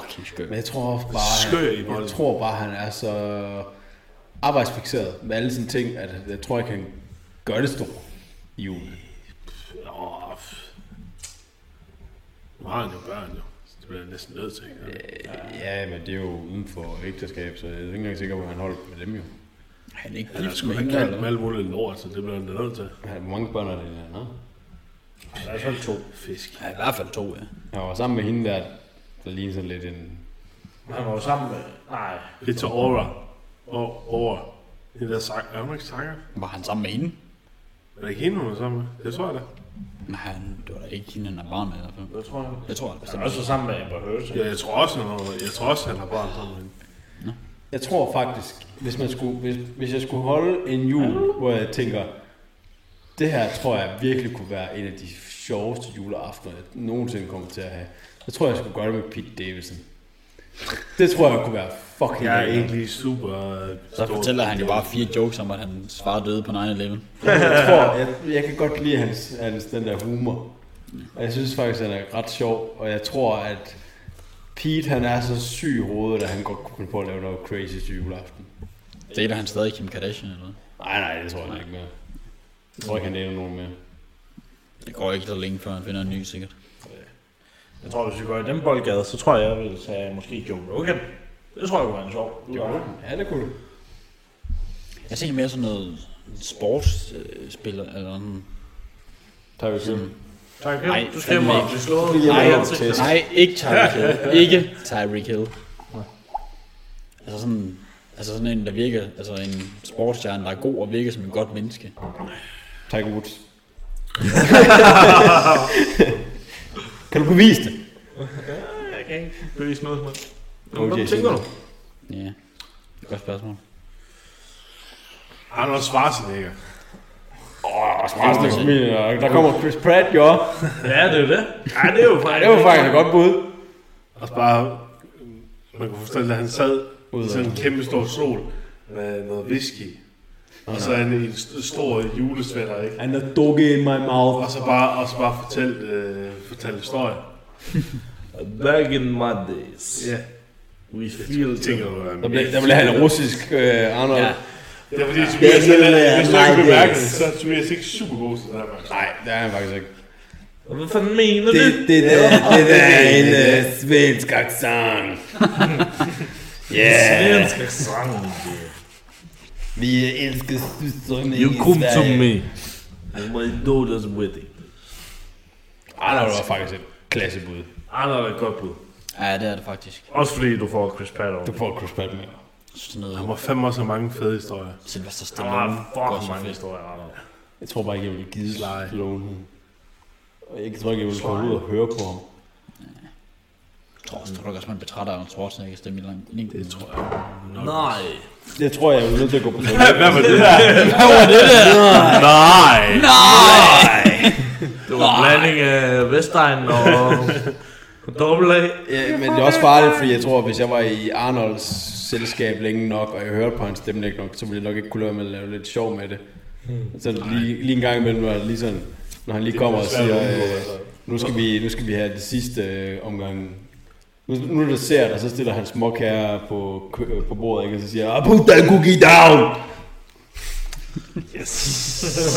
Speaker 1: fucking skønt.
Speaker 2: men jeg tror også bare,
Speaker 5: Skør i
Speaker 2: han,
Speaker 5: bolden.
Speaker 2: jeg tror bare, han er så arbejdsfixeret med alle sine ting, at jeg tror ikke, han gør det stort i julen.
Speaker 5: Åh, f- nu har han jo børn jo, så det bliver jeg næsten nødt til. ikke?
Speaker 2: Øh, Ja, men det er jo uden for ægteskab, så jeg er ikke engang sikker på, at han holder med dem jo.
Speaker 4: Han er ikke
Speaker 5: Han er
Speaker 4: gift
Speaker 5: sgu
Speaker 4: med
Speaker 5: da
Speaker 4: hende,
Speaker 5: kendt med
Speaker 4: eller?
Speaker 5: alt muligt lort, så det bliver han da nødt til.
Speaker 2: Han- Hvor mange børn er det, han har?
Speaker 1: Der er sådan to.
Speaker 5: Fisk.
Speaker 4: Ja, i hvert fald to, ja.
Speaker 2: Han var sammen med hende der, der ligner sådan lidt en...
Speaker 1: Han var jo sammen med... Nej.
Speaker 5: Peter Ora. Og Ora. Den der sang, er hun ikke sanger?
Speaker 4: Var han sammen med hende?
Speaker 5: Er det ikke hende, hun er sammen med? Det tror jeg da.
Speaker 4: Nej, han, det var da ikke hende, han er barn med i hvert fald.
Speaker 1: Jeg tror, han
Speaker 4: Jeg tror, han
Speaker 1: han
Speaker 4: bestemt.
Speaker 1: er også sammen med Amber Heard. ikke?
Speaker 5: Ja, jeg tror også, han har, jeg tror også, han har barn sammen med hende.
Speaker 2: Jeg tror faktisk, hvis, man skulle, hvis, hvis jeg skulle holde en jul, hvor jeg tænker, det her tror jeg virkelig kunne være en af de sjoveste juleaftener, jeg nogensinde kommer til at have. Jeg tror, jeg skulle gøre det med Pete Davidson. Det tror jeg kunne være fucking
Speaker 5: Jeg er
Speaker 2: grineren.
Speaker 5: ikke lige super... øh,
Speaker 4: Så
Speaker 5: stor-
Speaker 4: fortæller han jo bare fire jokes om, at hans far døde på
Speaker 2: [laughs]
Speaker 4: 9-11.
Speaker 2: jeg tror, jeg, jeg kan godt lide hans, hans den der humor. Og jeg synes faktisk, han er ret sjov, og jeg tror, at Pete, han er så syg i hovedet, at han godt kunne finde på at lave noget crazy til juleaften.
Speaker 4: Dater han stadig Kim Kardashian eller noget?
Speaker 2: Nej, nej, det tror jeg ikke mere. Jeg tror ikke, han dater nogen mere.
Speaker 4: Det går ikke så længe, før han finder en ny, sikkert.
Speaker 1: Jeg tror, hvis vi går i den boldgade, så tror jeg, jeg vil tage måske Joe Rogan. Det tror jeg kunne være en sjov.
Speaker 2: Ja, det kunne du.
Speaker 4: Jeg tænker mere sådan noget sportsspiller eller sådan.
Speaker 2: Tyreek Hill.
Speaker 1: Tak,
Speaker 4: Nej,
Speaker 1: du skal mig.
Speaker 4: fandme
Speaker 1: Du slår
Speaker 4: Nej,
Speaker 1: Nej,
Speaker 4: jeg tænker- nej, ikke Tyreek Hill. ikke Tyreek Hill. Altså sådan, altså sådan en, der virker, altså en sportsstjerne, der er god og virker som en godt menneske.
Speaker 2: Tiger Woods. [laughs] kan du bevise det?
Speaker 1: jeg kan ikke bevise noget som helst.
Speaker 2: Okay,
Speaker 1: Hvad tænker du?
Speaker 4: Ja, det er et godt spørgsmål.
Speaker 5: Arnold Schwarzenegger.
Speaker 2: Resten af familien, og Der kommer Chris Pratt, jo.
Speaker 1: [laughs] Ja, det er jo det. Ej, det er jo faktisk...
Speaker 2: Det var faktisk et godt bud.
Speaker 5: Og bare... øh, Man kunne forestille, at han sad i sådan en kæmpe stor sol med noget whisky. Og så er han i en st- stor julesvætter, ikke?
Speaker 2: And a dog in my mouth.
Speaker 5: Og så bare, og så bare fortælle, øh, fortælle historier.
Speaker 1: Back in my days.
Speaker 5: Ja.
Speaker 1: We feel
Speaker 5: Det tænker du,
Speaker 2: Der blev, der blev han russisk, øh, Arnold.
Speaker 4: Ja.
Speaker 5: Det er fordi, Tobias,
Speaker 2: Det er
Speaker 5: han
Speaker 2: helt,
Speaker 5: er,
Speaker 2: øh,
Speaker 5: hvis du ikke
Speaker 2: nej,
Speaker 5: bemærker
Speaker 2: det
Speaker 5: det,
Speaker 2: er-
Speaker 5: så er Tobias ikke super god til det her. faktisk.
Speaker 2: Nej, det er han faktisk ikke.
Speaker 1: Hvad fanden mener du?
Speaker 2: det, der, det der er en uh, svensk accent. Yeah.
Speaker 1: skal sange.
Speaker 2: Vi elsker søstrene
Speaker 1: You come to me. And my daughter's wedding.
Speaker 2: Arnold var faktisk et klassebud.
Speaker 1: Arnold er et godt bud.
Speaker 4: Ja, det er det faktisk.
Speaker 1: Også fordi du får Chris Pratt over.
Speaker 2: Du får Chris Pratt med.
Speaker 4: Sådan noget
Speaker 5: Der var fandme også mange fede historier.
Speaker 4: Sylvester
Speaker 1: Der
Speaker 4: Stallone.
Speaker 1: var fucking
Speaker 4: så
Speaker 1: mange
Speaker 4: fedt.
Speaker 1: historier, Arnold.
Speaker 2: Jeg tror bare ikke, jeg ville give Stallone. Og Jeg tror ikke, jeg ville komme ud og høre på ham.
Speaker 4: Jeg tror også, tror du ikke også, man betragter Arnold Schwarzenegger stemme i lang længden? Det tror jeg.
Speaker 1: Nej.
Speaker 2: Jeg tror, jeg ville nødt til at gå på toilettet.
Speaker 5: Hvad var det der? Hvad var det der? Nej.
Speaker 1: Det var en blanding af Vestegn og [laughs] Double A.
Speaker 2: Ja, men det er også farligt, fordi jeg tror, at hvis jeg var i Arnolds selskab længe nok, og jeg hørte på hans stemme længe nok, så ville jeg nok ikke kunne lade være med at lave lidt sjov med det. Så lige, lige en gang imellem var det lige sådan, når han lige kommer og siger, øh, nu, skal vi, nu skal vi have det sidste øh, omgang. Nu, nu er det ser og så stiller han smuk her på, kø- øh, på bordet, ikke? og så siger han, "Ah, put that cookie down!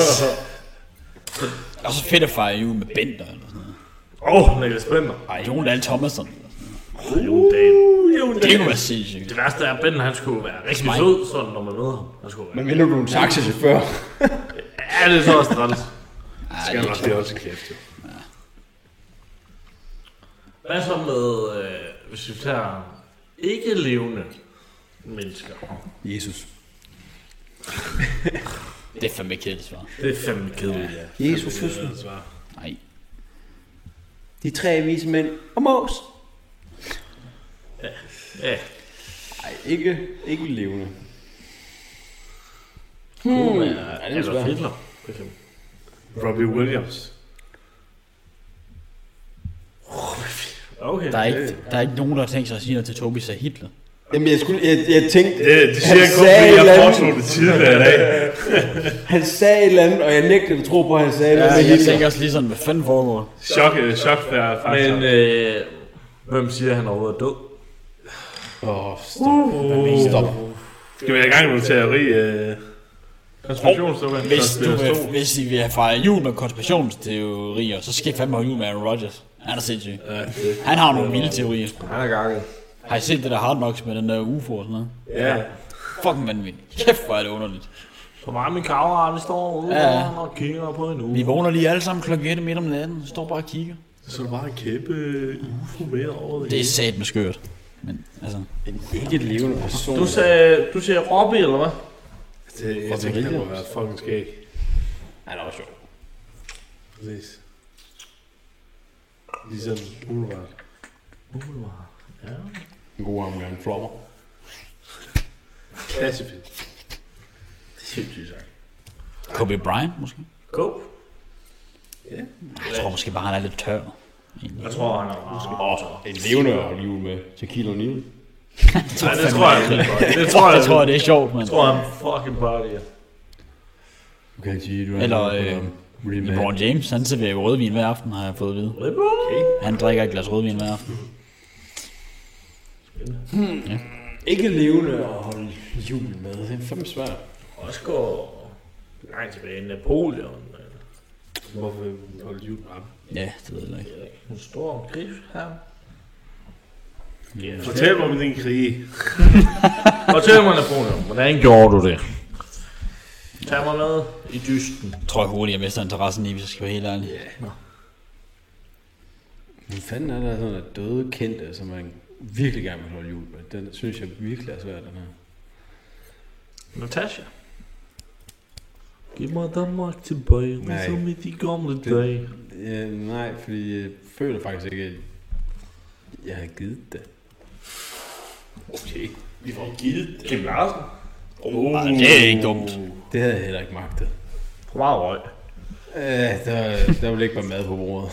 Speaker 4: Det er også fedt at fejre jul med Bender eller sådan noget.
Speaker 1: Åh, oh, Niklas Bender.
Speaker 4: Ej, Jon Dahl Thomasson. eller sådan noget.
Speaker 1: Jon Dahl. Jon
Speaker 4: Det kunne
Speaker 1: Dahl.
Speaker 4: være sindssygt.
Speaker 1: Det værste er, at Bender han skulle være rigtig sød, sådan når man møder ham. Han skulle være.
Speaker 2: Men mindre du er en taxichauffør.
Speaker 1: Ja, det er så også træls.
Speaker 4: Ej, det er
Speaker 5: Det er også kæft, jo.
Speaker 1: Hvad så med, øh, hvis vi tager ikke levende mennesker?
Speaker 2: Jesus.
Speaker 4: Det er fandme kedeligt svar.
Speaker 1: Det er fandme kedeligt, ja.
Speaker 2: Jesus fødsel.
Speaker 4: Nej.
Speaker 2: De tre vise mænd og mås.
Speaker 1: Ja,
Speaker 2: Nej, ikke, ikke levende.
Speaker 4: Kunne
Speaker 2: Ja,
Speaker 4: være-
Speaker 2: det er
Speaker 1: eller
Speaker 2: svært.
Speaker 1: Hitler, for eksempel.
Speaker 5: Robbie Williams.
Speaker 1: Okay.
Speaker 4: Der er, ikke, der er ikke nogen, der har tænkt sig at sige noget til Tobi sagde Hitler.
Speaker 3: Jamen, jeg, skulle, jeg, jeg tænkte,
Speaker 5: Det, det siger
Speaker 3: Han
Speaker 5: jeg kun,
Speaker 3: sagde
Speaker 5: fordi
Speaker 3: et eller
Speaker 5: jeg
Speaker 3: andet.
Speaker 5: foreslog det tidligere i dag.
Speaker 3: han sagde et eller andet, og jeg nægtede at tro på, at han sagde ja,
Speaker 4: Ja,
Speaker 3: noget med
Speaker 4: jeg
Speaker 3: Hitler.
Speaker 4: tænker også lige sådan, hvad fanden foregår?
Speaker 5: Chok, øh, chok faktisk.
Speaker 1: Men øh, hvem siger, at han overhovedet er død? øh, Uh.
Speaker 5: Skal vi i gang med en teori? Øh,
Speaker 1: Konspirationsteorien.
Speaker 4: Hvis, du vil, hvis I vil have fejret jul med konspirationsteorier, så skal I fandme have jul med Aaron Rodgers. Han er sindssyg. Han har nogle vilde teorier.
Speaker 1: Han er gakket.
Speaker 4: Har I set det der Hard Knocks med den der UFO og sådan noget?
Speaker 1: Ja.
Speaker 4: Fucking vanvittigt. Kæft, hvor er det underligt.
Speaker 1: Så meget min kammerat, vi står ude
Speaker 4: Ja.
Speaker 1: ja. og kigger på en uge.
Speaker 4: Vi vågner lige alle sammen klokken 1 midt om natten, står bare og kigger.
Speaker 5: så er der bare en øh, kæmpe UFO med over det.
Speaker 4: Det er sat med skørt. Men altså,
Speaker 3: Ikke et levende person.
Speaker 1: Du sagde, du sagde Robby, eller hvad?
Speaker 5: det jeg tænker, det må være fucking skæg. Han er også sjov. Præcis. Ligesom Boulevard.
Speaker 2: En god omgang flopper.
Speaker 5: Klassefilm.
Speaker 4: Kobe Bryant måske?
Speaker 1: Go.
Speaker 4: Jeg tror måske bare, han er lidt tør.
Speaker 1: Jeg tror, han er måske.
Speaker 2: En levende at holde jul med. Shaquille O'Neal.
Speaker 1: Nej, det tror jeg ikke. Det tror jeg
Speaker 4: Jeg tror, det er sjovt, men
Speaker 1: Jeg tror, han fucking partier.
Speaker 2: Du kan sige, du er
Speaker 4: Eller,
Speaker 2: en-
Speaker 4: øh,
Speaker 2: Really man.
Speaker 4: LeBron James, han serverer jo rødvin hver aften, har jeg fået at vide. Han drikker et glas rødvin hver aften.
Speaker 3: Ikke et levende at holde jul med. Det er fandme svært.
Speaker 1: Også går langt tilbage. Napoleon.
Speaker 5: Hvorfor holde jul med ham?
Speaker 4: Ja, det ved jeg ikke.
Speaker 1: En stor gris her.
Speaker 5: Fortæl mig om din krige.
Speaker 1: Fortæl mig, Napoleon, hvordan gjorde du det? Tag mig med i dysten.
Speaker 4: Jeg tror jeg hurtigt, jeg mister interessen i, hvis jeg skal være helt ærlig.
Speaker 2: Hvem fanden er der sådan nogle døde kendte, som man virkelig gerne vil holde jul med? Den synes jeg virkelig er svær, den her.
Speaker 1: Natasha. Giv mig Danmark tilbage,
Speaker 2: Nej.
Speaker 1: ligesom i de gamle
Speaker 2: Det-
Speaker 1: dage.
Speaker 2: Øh, nej, fordi jeg føler faktisk ikke, at jeg har givet det.
Speaker 1: Kim Larsen.
Speaker 4: Ej, det er ikke dumt.
Speaker 2: Det havde jeg heller ikke magtet.
Speaker 1: Hvor meget røg?
Speaker 2: Øh, der, der ville ikke være mad på bordet.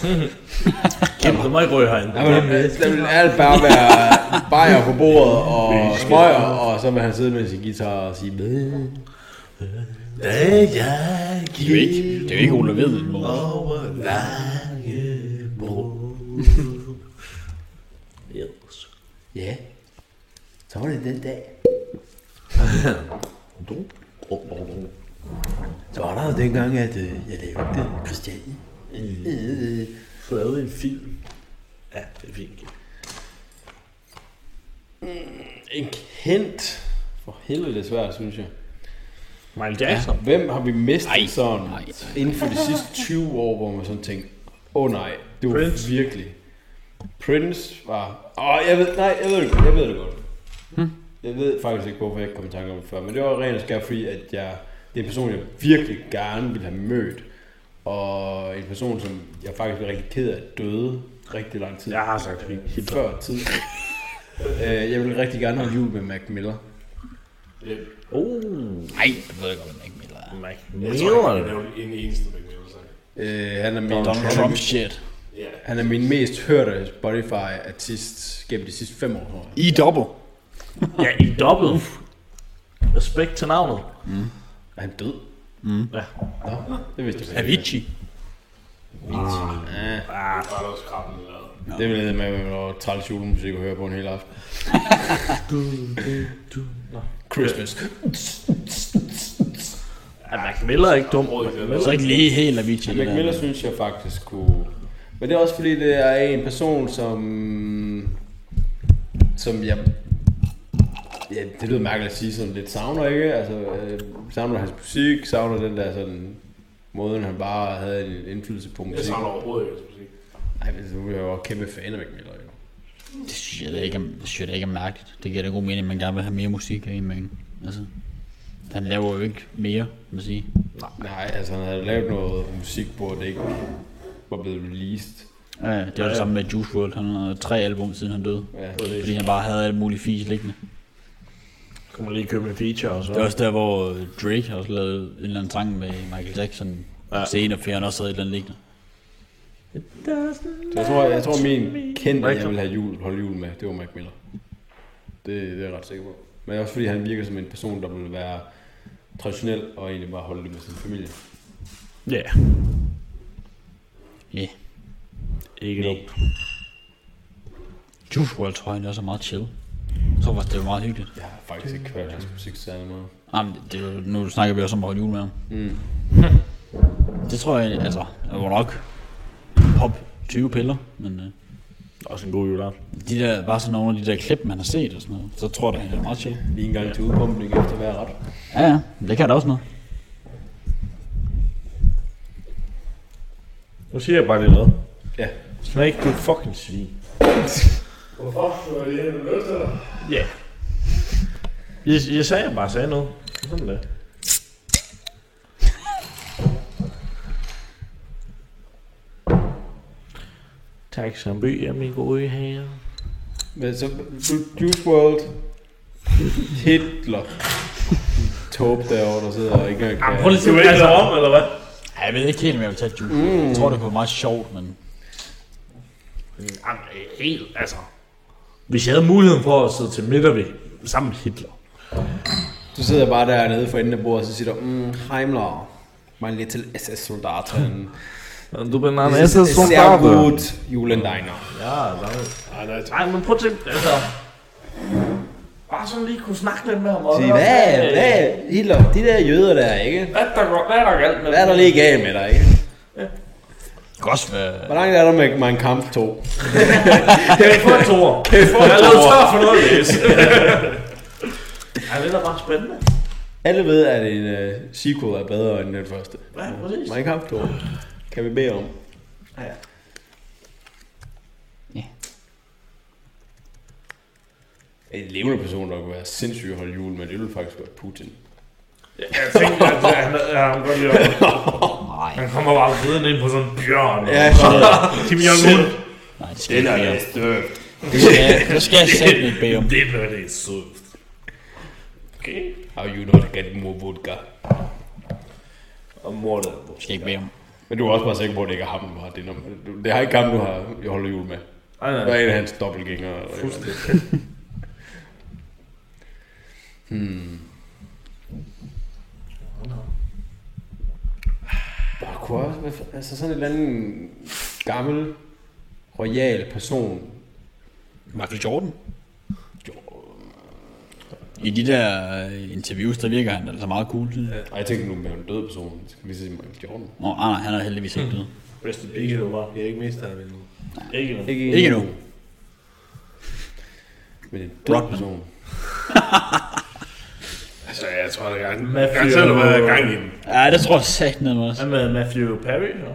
Speaker 1: Kim, du må ikke ryge herinde.
Speaker 2: Der ville, der ville alt bare være bajer på bordet og smøger, og så vil han sidde med sin guitar og sige med.
Speaker 4: Det er jo ikke, det er jo ikke Ole Ved, den måde.
Speaker 2: Ja, så var det den dag. Så var der jo dengang, at øh, jeg lavede det, Christiane. Øh, øh,
Speaker 1: Du lavede en film. Ja, det er fint. Kim.
Speaker 2: En kendt. For helvede, det er svært, synes jeg.
Speaker 1: Michael Jackson.
Speaker 2: Hvem har vi mistet
Speaker 4: Ej,
Speaker 2: ej, sådan
Speaker 4: ej,
Speaker 2: ej,
Speaker 4: ej.
Speaker 2: inden for de sidste 20 år, hvor man sådan tænkte, åh oh, nej, det var
Speaker 1: Prince.
Speaker 2: Prince. virkelig. Prince var... Åh, oh, jeg ved, nej, jeg ved det godt, jeg ved det godt. Hmm.
Speaker 4: Hm?
Speaker 2: Jeg ved faktisk ikke, hvorfor jeg ikke kom i tanke om det før, men det var rent og skær, fordi at jeg, det er en person, jeg virkelig gerne ville have mødt, og en person, som jeg faktisk er rigtig ked af døde rigtig lang tid.
Speaker 1: Jeg har sagt fint. [laughs]
Speaker 2: Før tid. Øh, jeg ville rigtig gerne have jul med Mac Miller.
Speaker 1: Oh,
Speaker 4: Nej, det ved jeg godt, man ikke melder.
Speaker 1: Mike
Speaker 5: Jeg tror ikke,
Speaker 1: Miller.
Speaker 5: jeg nævnte en eneste McMillan-sang.
Speaker 2: Øh, han er min,
Speaker 4: Donald
Speaker 2: han er
Speaker 4: Trump
Speaker 2: min-
Speaker 4: shit.
Speaker 5: Ja.
Speaker 2: Han er min mest hørte Spotify-artist gennem de sidste fem år, tror jeg.
Speaker 4: I double.
Speaker 1: Ja, i dobbelt. Respekt til navnet.
Speaker 2: Er han død?
Speaker 4: Mm.
Speaker 1: Ja.
Speaker 2: Nå, det vidste jeg ikke.
Speaker 4: Avicii.
Speaker 2: Ja,
Speaker 5: Ah, det var da også krabben lavet.
Speaker 2: det ville jeg med, at være træls julemusik at høre på en hel aften. Christmas.
Speaker 1: Ja, Mac Miller er ikke dum.
Speaker 4: Så ikke lige helt Avicii. det
Speaker 2: Mac
Speaker 4: der.
Speaker 2: Miller synes jeg faktisk kunne... Men det er også fordi, det er en person, som... Som jeg... Ja, det lyder mærkeligt at sige, som lidt savner, ikke? Altså, øh, savner hans musik, savner den der sådan... Måden, han bare havde en indflydelse på musik.
Speaker 5: Jeg savner overhovedet ikke hans musik.
Speaker 2: Nej, men du er jo kæmpe fan af Mac Miller, jo.
Speaker 4: Det synes jeg da ikke, er- det synes jeg da ikke er mærkeligt. Det giver da god mening, at man gerne vil have mere musik af en mand. Altså, han laver jo ikke mere, man sige.
Speaker 2: Nej, altså han havde lavet noget musik, hvor det ikke var blevet released.
Speaker 4: Ja, ja, det var det samme med Juice WRLD. Han har tre album, siden han døde.
Speaker 2: Ja.
Speaker 4: Fordi han bare havde alt muligt fis liggende.
Speaker 1: Kan man lige købe en feature og så?
Speaker 4: Det er også der, hvor øh, Drake har også lavet en eller anden sang med Michael Jackson Ja. Senere, fordi han også havde et eller andet liggende.
Speaker 2: Så jeg tror, jeg, jeg tror min kendte, jeg vil have jul, holde jul med, det var Mac Miller. Det, det er jeg ret sikker på. Men også fordi han virker som en person, der vil være traditionel og egentlig bare holde det med sin familie.
Speaker 1: Ja. Yeah.
Speaker 4: Ja. Yeah.
Speaker 1: Ikke dumt.
Speaker 4: Juice WRLD tror jeg, det er også er meget chill. Jeg tror faktisk, det var meget hyggeligt.
Speaker 2: Jeg har faktisk ikke hørt hans musik særlig meget.
Speaker 4: Jamen, det, er jo- nu snakker vi også om at holde jul med ham. Mm. [laughs] det tror jeg, altså, jeg var nok pop 20 piller, men øh,
Speaker 1: Også en god juleaften.
Speaker 4: de der, bare sådan nogle af de der klip, man har set og sådan noget, så tror jeg, da, det er meget chill.
Speaker 2: Lige en gang til udpumpning efter hver ret.
Speaker 4: Ja, ja, men det kan da også noget.
Speaker 1: Nu siger jeg bare lige noget.
Speaker 2: Ja.
Speaker 1: Snake, du fucking svin.
Speaker 7: Hvorfor? Fordi han er nødt til det.
Speaker 1: Ja. Yeah. Jeg, jeg sagde, jeg bare sagde noget. Sådan der. Tak som by er min gode herre.
Speaker 2: Men så Ju- Juice World, Hitler, Taupe derovre, der sidder og ikke engang kan...
Speaker 1: Prøv lige at se, altså om, eller hvad?
Speaker 4: Ja, jeg ved ikke helt, om jeg vil tage Juice. Mm. Jeg tror, det kunne være meget sjovt, men
Speaker 1: Jamen, helt, altså. Hvis jeg havde muligheden for at sidde til middag ved sammen med Hitler.
Speaker 2: Du sidder bare dernede for enden af bordet, og så siger du, mm, Heimler, mein little SS-soldaten.
Speaker 1: Du bliver en
Speaker 2: Es ist sehr gut, Julendeiner.
Speaker 1: Ja, nej. Nej, men prøv at tænke, altså. Bare sådan lige kunne snakke lidt med ham. og-
Speaker 2: Sige, hvad, hvad, Hitler, de der jøder der, ikke?
Speaker 1: Hvad er der, går- hvad er der galt med
Speaker 2: Hvad er der lige galt med dig, ikke?
Speaker 4: det kan også være...
Speaker 2: Hvor langt er der med Mein Kampf 2?
Speaker 1: Kan vi få en tor? Kan vi få en tor? Jeg er tør for noget, Læs. [laughs] Ej, det er da bare spændende.
Speaker 2: Alle ved, at en uh, sequel er bedre end den første.
Speaker 1: Ja, præcis.
Speaker 2: Mein Kampf 2 kan vi bede om.
Speaker 4: Ja.
Speaker 2: En levende person, der kunne være sindssyg at holde jul, men det ville faktisk være Putin.
Speaker 1: Jeg tænkte, at øh, han, øh, han, godt lide at-
Speaker 2: [laughs]
Speaker 4: Nej,
Speaker 1: han kommer bare ridende ind på sådan en bjørn.
Speaker 2: Ja,
Speaker 1: Ja.
Speaker 2: [laughs]
Speaker 1: Kim Jong-un.
Speaker 4: nej, det skal jeg ikke.
Speaker 5: støv.
Speaker 4: Det skal jeg, det skal jeg sætte ikke bede om.
Speaker 1: Det bliver det sødt. Okay.
Speaker 2: How you not get more vodka?
Speaker 1: Og mor der.
Speaker 4: Det skal jeg ikke bede om.
Speaker 2: Men du er også bare sikker på, at det ikke er ham, du har det nummer. Du- Det har ikke ham, du har jeg holder jul med.
Speaker 1: Nej,
Speaker 2: Det er
Speaker 1: nej.
Speaker 2: en af hans dobbeltgængere. eller et eller andet. hmm. Der kunne også være altså sådan en eller anden gammel, royal person.
Speaker 4: Michael Jordan? I de der øh, interviews, der virker han altså meget cool. Ja.
Speaker 2: Ej, jeg tænkte nu med en død person. Jeg skal lige sige Michael Jordan.
Speaker 4: Nå, ah, nej, han er heldigvis ikke død.
Speaker 1: Rest in peace, du var.
Speaker 7: Jeg er ikke mest af det nu.
Speaker 1: Ikke noget.
Speaker 2: Ikke,
Speaker 4: Ikke nu.
Speaker 2: Men en død [laughs]
Speaker 4: Rodman.
Speaker 2: person.
Speaker 5: Altså, jeg tror, der er gang,
Speaker 1: Matthew-
Speaker 5: gang selv, der er gang i den.
Speaker 4: Ja, det tror jeg sagt ned med os.
Speaker 1: Hvad med Matthew Perry? så?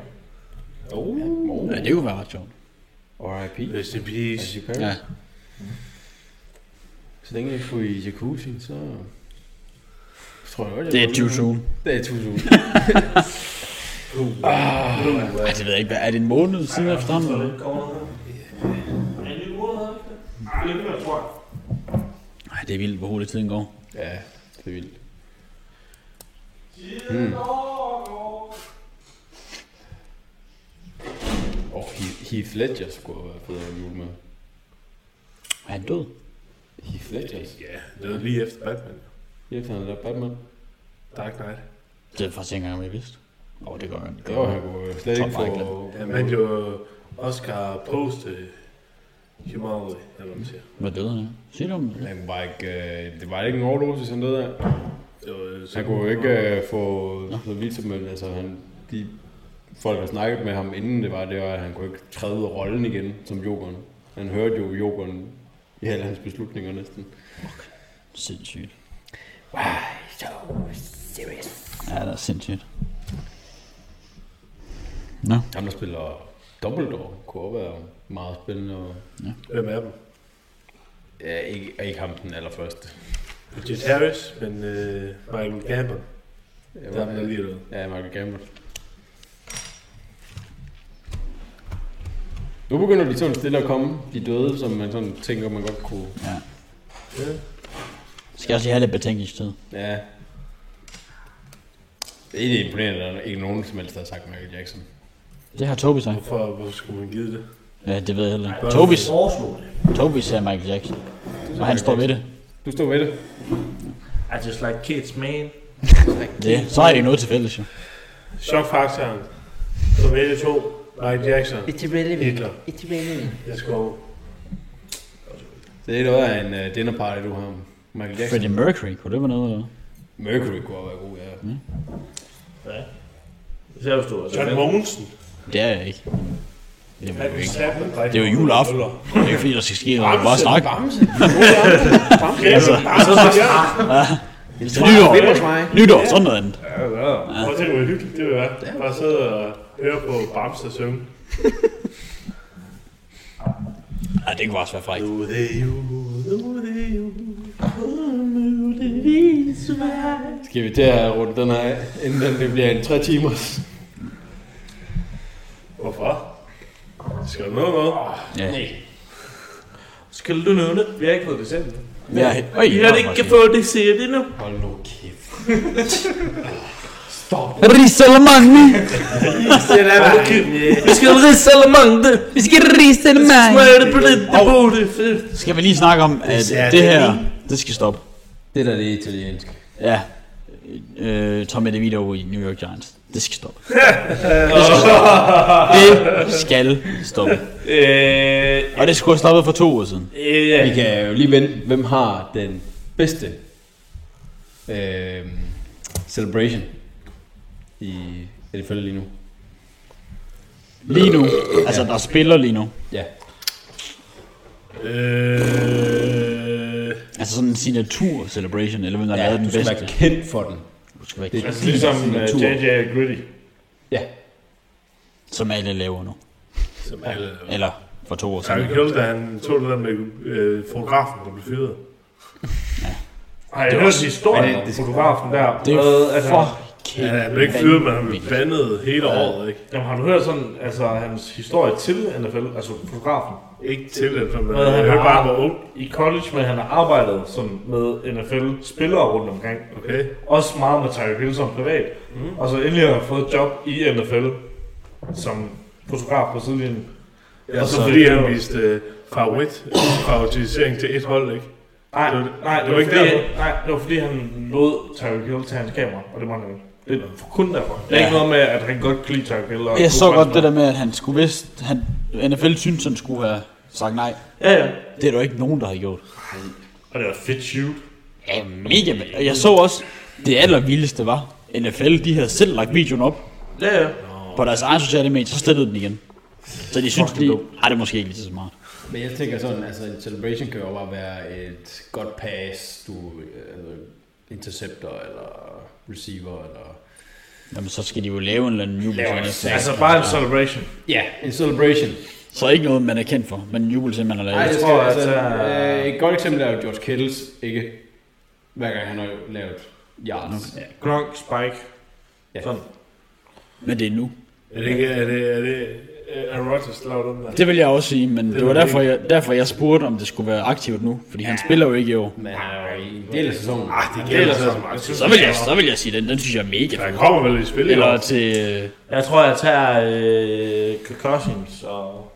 Speaker 4: Ja, det kunne være ret sjovt.
Speaker 2: R.I.P.
Speaker 5: Rest in peace.
Speaker 2: Jim Perry.
Speaker 4: Ja.
Speaker 2: Altså, Så længe jeg får i jacuzzi, så... så Tror jeg godt, jeg
Speaker 4: Det er
Speaker 2: går
Speaker 4: too
Speaker 2: ud.
Speaker 4: soon.
Speaker 2: Det er tusind.
Speaker 4: Ej, det ved jeg ikke. Hvad- Er det en måned siden efter ham? eller? Ej, det er vildt, hvor hurtigt tiden går.
Speaker 2: ja, det er vildt. Hmm. Og Heath- Heath Ledger skulle have været bedre end jul med.
Speaker 4: Er han død?
Speaker 2: Heath Ledger?
Speaker 5: Ja, det var lige efter Batman.
Speaker 2: Heath han er der Batman.
Speaker 5: Dark Knight.
Speaker 4: Det er faktisk ikke engang, om jeg vidste. Åh, oh, det gør han.
Speaker 2: Det var han kunne slet
Speaker 4: Tom
Speaker 2: ikke få...
Speaker 5: Ja, man jo Oscar post øh, humanity, eller hvad man siger.
Speaker 4: Hvad døde han? af? Sig det om det.
Speaker 2: Han kunne bare ikke... øh, det var ikke en overdosis, han døde af.
Speaker 5: Det var, øh,
Speaker 2: Han kunne jo ikke øh, få så vidt som men altså han, de folk, der snakkede med ham inden det var, det var, at han kunne ikke træde rollen igen som jokeren. Han hørte jo jokeren i alle hans beslutninger næsten.
Speaker 4: Sindssygt. Why so serious? Ja, det er sindssygt. Nå,
Speaker 2: Ham, der spiller Dumbledore, kunne også være meget spændende. Og, øh,
Speaker 5: Hvem er dem?
Speaker 2: ja, ikke, ikke ham den allerførste.
Speaker 5: Richard Harris, men øh, Michael Gambon.
Speaker 2: Jeg
Speaker 5: Der er der lige noget.
Speaker 2: Ja, Michael Gambon. Nu begynder de sådan stille at komme, de døde, som man sådan tænker, man godt kunne...
Speaker 4: skal jeg også lige have lidt betænkningstid.
Speaker 2: Ja, Det er ikke imponerende, at der er ikke nogen som helst, der har sagt Michael Jackson.
Speaker 4: Det har Tobi sagt.
Speaker 5: Hvorfor, hvorfor skulle man give det?
Speaker 4: Ja, det ved jeg heller ikke. Tobis,
Speaker 9: Foreslog det.
Speaker 4: Tobis er Michael Jackson. Og han står ved det.
Speaker 2: Du står ved det.
Speaker 9: I just like kids, man.
Speaker 4: det. Så har de ikke noget til fælles, jo.
Speaker 5: Chokfaktoren. Så vælge to. Mike Jackson. It's irrelevant. Hitler. It's irrelevant. Jeg skal over.
Speaker 2: Det er noget af en uh, dinner party, du har. Michael Jackson.
Speaker 4: Freddie Mercury, kunne det være noget, eller?
Speaker 2: Mercury kunne også være god, ja. Mm.
Speaker 9: Især hvis du
Speaker 5: John Mogensen.
Speaker 4: Det er jeg ikke. Det er jeg jo ikke.
Speaker 5: Det
Speaker 4: Det er jo juleaften. Det er jo ikke fordi, der skal ske noget. Bare snak.
Speaker 2: Bamse.
Speaker 5: Altså, altså,
Speaker 4: Nytår. Nytår, sådan noget andet.
Speaker 5: Prøv at tænke, hvor hyggeligt det vil være. Bare sidde og høre på Bamse synge.
Speaker 4: Ja, det kunne også være frækt.
Speaker 5: Nu er det jul, nu er det jul.
Speaker 2: Skal vi til at runde den her af, inden den det bliver en 3 timers?
Speaker 5: Hvorfor? Skal du nå noget?
Speaker 4: Ja.
Speaker 9: Skal du nævne det? Vi har ikke fået det selv.
Speaker 4: Ja, øj,
Speaker 9: Vi har ikke fået det selv endnu.
Speaker 2: Hold nu kæft.
Speaker 4: Risalamande!
Speaker 9: Vi skal risalamande.
Speaker 4: Vi skal risalamande!
Speaker 9: Smager det på det, det burde.
Speaker 4: Skal vi lige snakke om, at det her, det skal stoppe.
Speaker 2: Det der, det er italiensk.
Speaker 4: Ja. Øh, Tom DeVito i New York Giants. [laughs] Det skal stoppe. Det skal stoppe.
Speaker 9: Øh,
Speaker 4: Og det skulle have stoppet for to uger siden.
Speaker 9: øh, ja.
Speaker 2: Vi kan jo lige vente, hvem har den bedste øh, celebration i NFL lige nu.
Speaker 4: Lige nu. Altså, der spiller lige nu.
Speaker 2: Ja.
Speaker 5: Øh,
Speaker 4: Altså sådan en signatur celebration, eller hvem der ja,
Speaker 2: ja
Speaker 4: lavede den
Speaker 2: du skal
Speaker 4: bedste.
Speaker 2: være kendt for den.
Speaker 4: Du skal være
Speaker 2: Det er
Speaker 4: kendt.
Speaker 5: altså ligesom øh,
Speaker 4: Signatur.
Speaker 5: JJ og Gritty.
Speaker 2: Ja.
Speaker 4: Som alle laver nu.
Speaker 5: Som alle...
Speaker 4: Eller for to år siden.
Speaker 5: Terry Hill, da han tog det der med øh, fotografen, der blev fyret. Ej, jeg hørte historien om fotografen der.
Speaker 4: Det
Speaker 9: Hvad,
Speaker 4: er
Speaker 9: altså-
Speaker 4: for
Speaker 5: Ja,
Speaker 4: kæmpe.
Speaker 5: han blev ikke fyret, men han blev bandet hele året, ikke?
Speaker 1: Jamen, har du hørt sådan, altså hans historie til NFL, altså fotografen?
Speaker 5: Ikke til det, men
Speaker 1: Hvad,
Speaker 5: jeg
Speaker 1: han
Speaker 5: hørte
Speaker 1: var-
Speaker 5: bare, han var ung.
Speaker 1: I college, men han har arbejdet sådan med NFL-spillere rundt omkring.
Speaker 5: Okay.
Speaker 1: Også meget med Tyreek Hill som privat. Mm. Og så endelig har han fået et job i NFL som fotograf på sidelinjen.
Speaker 5: Ja,
Speaker 1: Og
Speaker 5: så
Speaker 1: så
Speaker 5: fordi
Speaker 1: det
Speaker 5: han
Speaker 1: var-
Speaker 5: viste øh, favorit, favoritisering til et hold, ikke?
Speaker 1: Nej,
Speaker 5: Det var
Speaker 1: det,
Speaker 5: det-
Speaker 1: nej,
Speaker 5: det
Speaker 1: det,
Speaker 5: var
Speaker 1: var
Speaker 5: ikke
Speaker 1: fordi,
Speaker 5: derfor.
Speaker 1: nej, det var fordi, han lod Tyreek Hill tage hans kamera, og det var han ikke. Det er kun derfor. Det er ikke noget med, at han godt kan lide Tyreek Hill. og
Speaker 4: Jeg
Speaker 1: kunne
Speaker 4: så
Speaker 1: godt
Speaker 4: godt
Speaker 1: lide
Speaker 4: det der med, at han skulle vidst, han, NFL synes, han skulle have sagt nej.
Speaker 1: Ja, ja.
Speaker 4: Det er der jo ikke nogen, der har gjort.
Speaker 1: Og det var fedt shoot.
Speaker 4: Ja, mega vildt. Og jeg så også, det allervildeste var, NFL, de havde selv lagt videoen op
Speaker 1: Ja, ja.
Speaker 4: på deres egen sociale medier, så slettede den igen. Så de synes lige, nej, det er måske ikke lige så smart.
Speaker 2: Men jeg tænker sådan, altså en celebration kan jo bare være et godt pass, du øh, altså, interceptor eller receiver eller...
Speaker 4: Jamen, så skal de jo lave en eller anden jubelscene.
Speaker 1: Altså bare en celebration.
Speaker 2: Ja, en celebration.
Speaker 4: Så ikke noget, man er kendt for, men en jubelscene, man har lavet.
Speaker 2: Nej, det skal,
Speaker 1: tror,
Speaker 2: altså,
Speaker 1: at,
Speaker 2: øh, et godt eksempel er jo George Kittles, ikke? Hver gang han har lavet yards. Okay.
Speaker 1: Gronk, Spike.
Speaker 2: Ja.
Speaker 1: Sådan.
Speaker 4: Men det er nu.
Speaker 5: Er det ikke, er det, er det, er Rodgers lavet den der?
Speaker 4: Det vil jeg også sige, men det, var
Speaker 5: vil jeg
Speaker 4: derfor jeg, derfor, jeg spurgte, om det skulle være aktivt nu, fordi han spiller jo ikke i år.
Speaker 2: Men han er jo i en del af sæsonen.
Speaker 5: Ah, det gælder så meget.
Speaker 4: Så vil jeg, så vil jeg sige den, den synes jeg er mega
Speaker 5: Han
Speaker 4: fed.
Speaker 5: kommer vel i spil i
Speaker 4: Eller
Speaker 5: år.
Speaker 4: til... øh,
Speaker 9: Jeg tror, jeg tager øh, concussions og...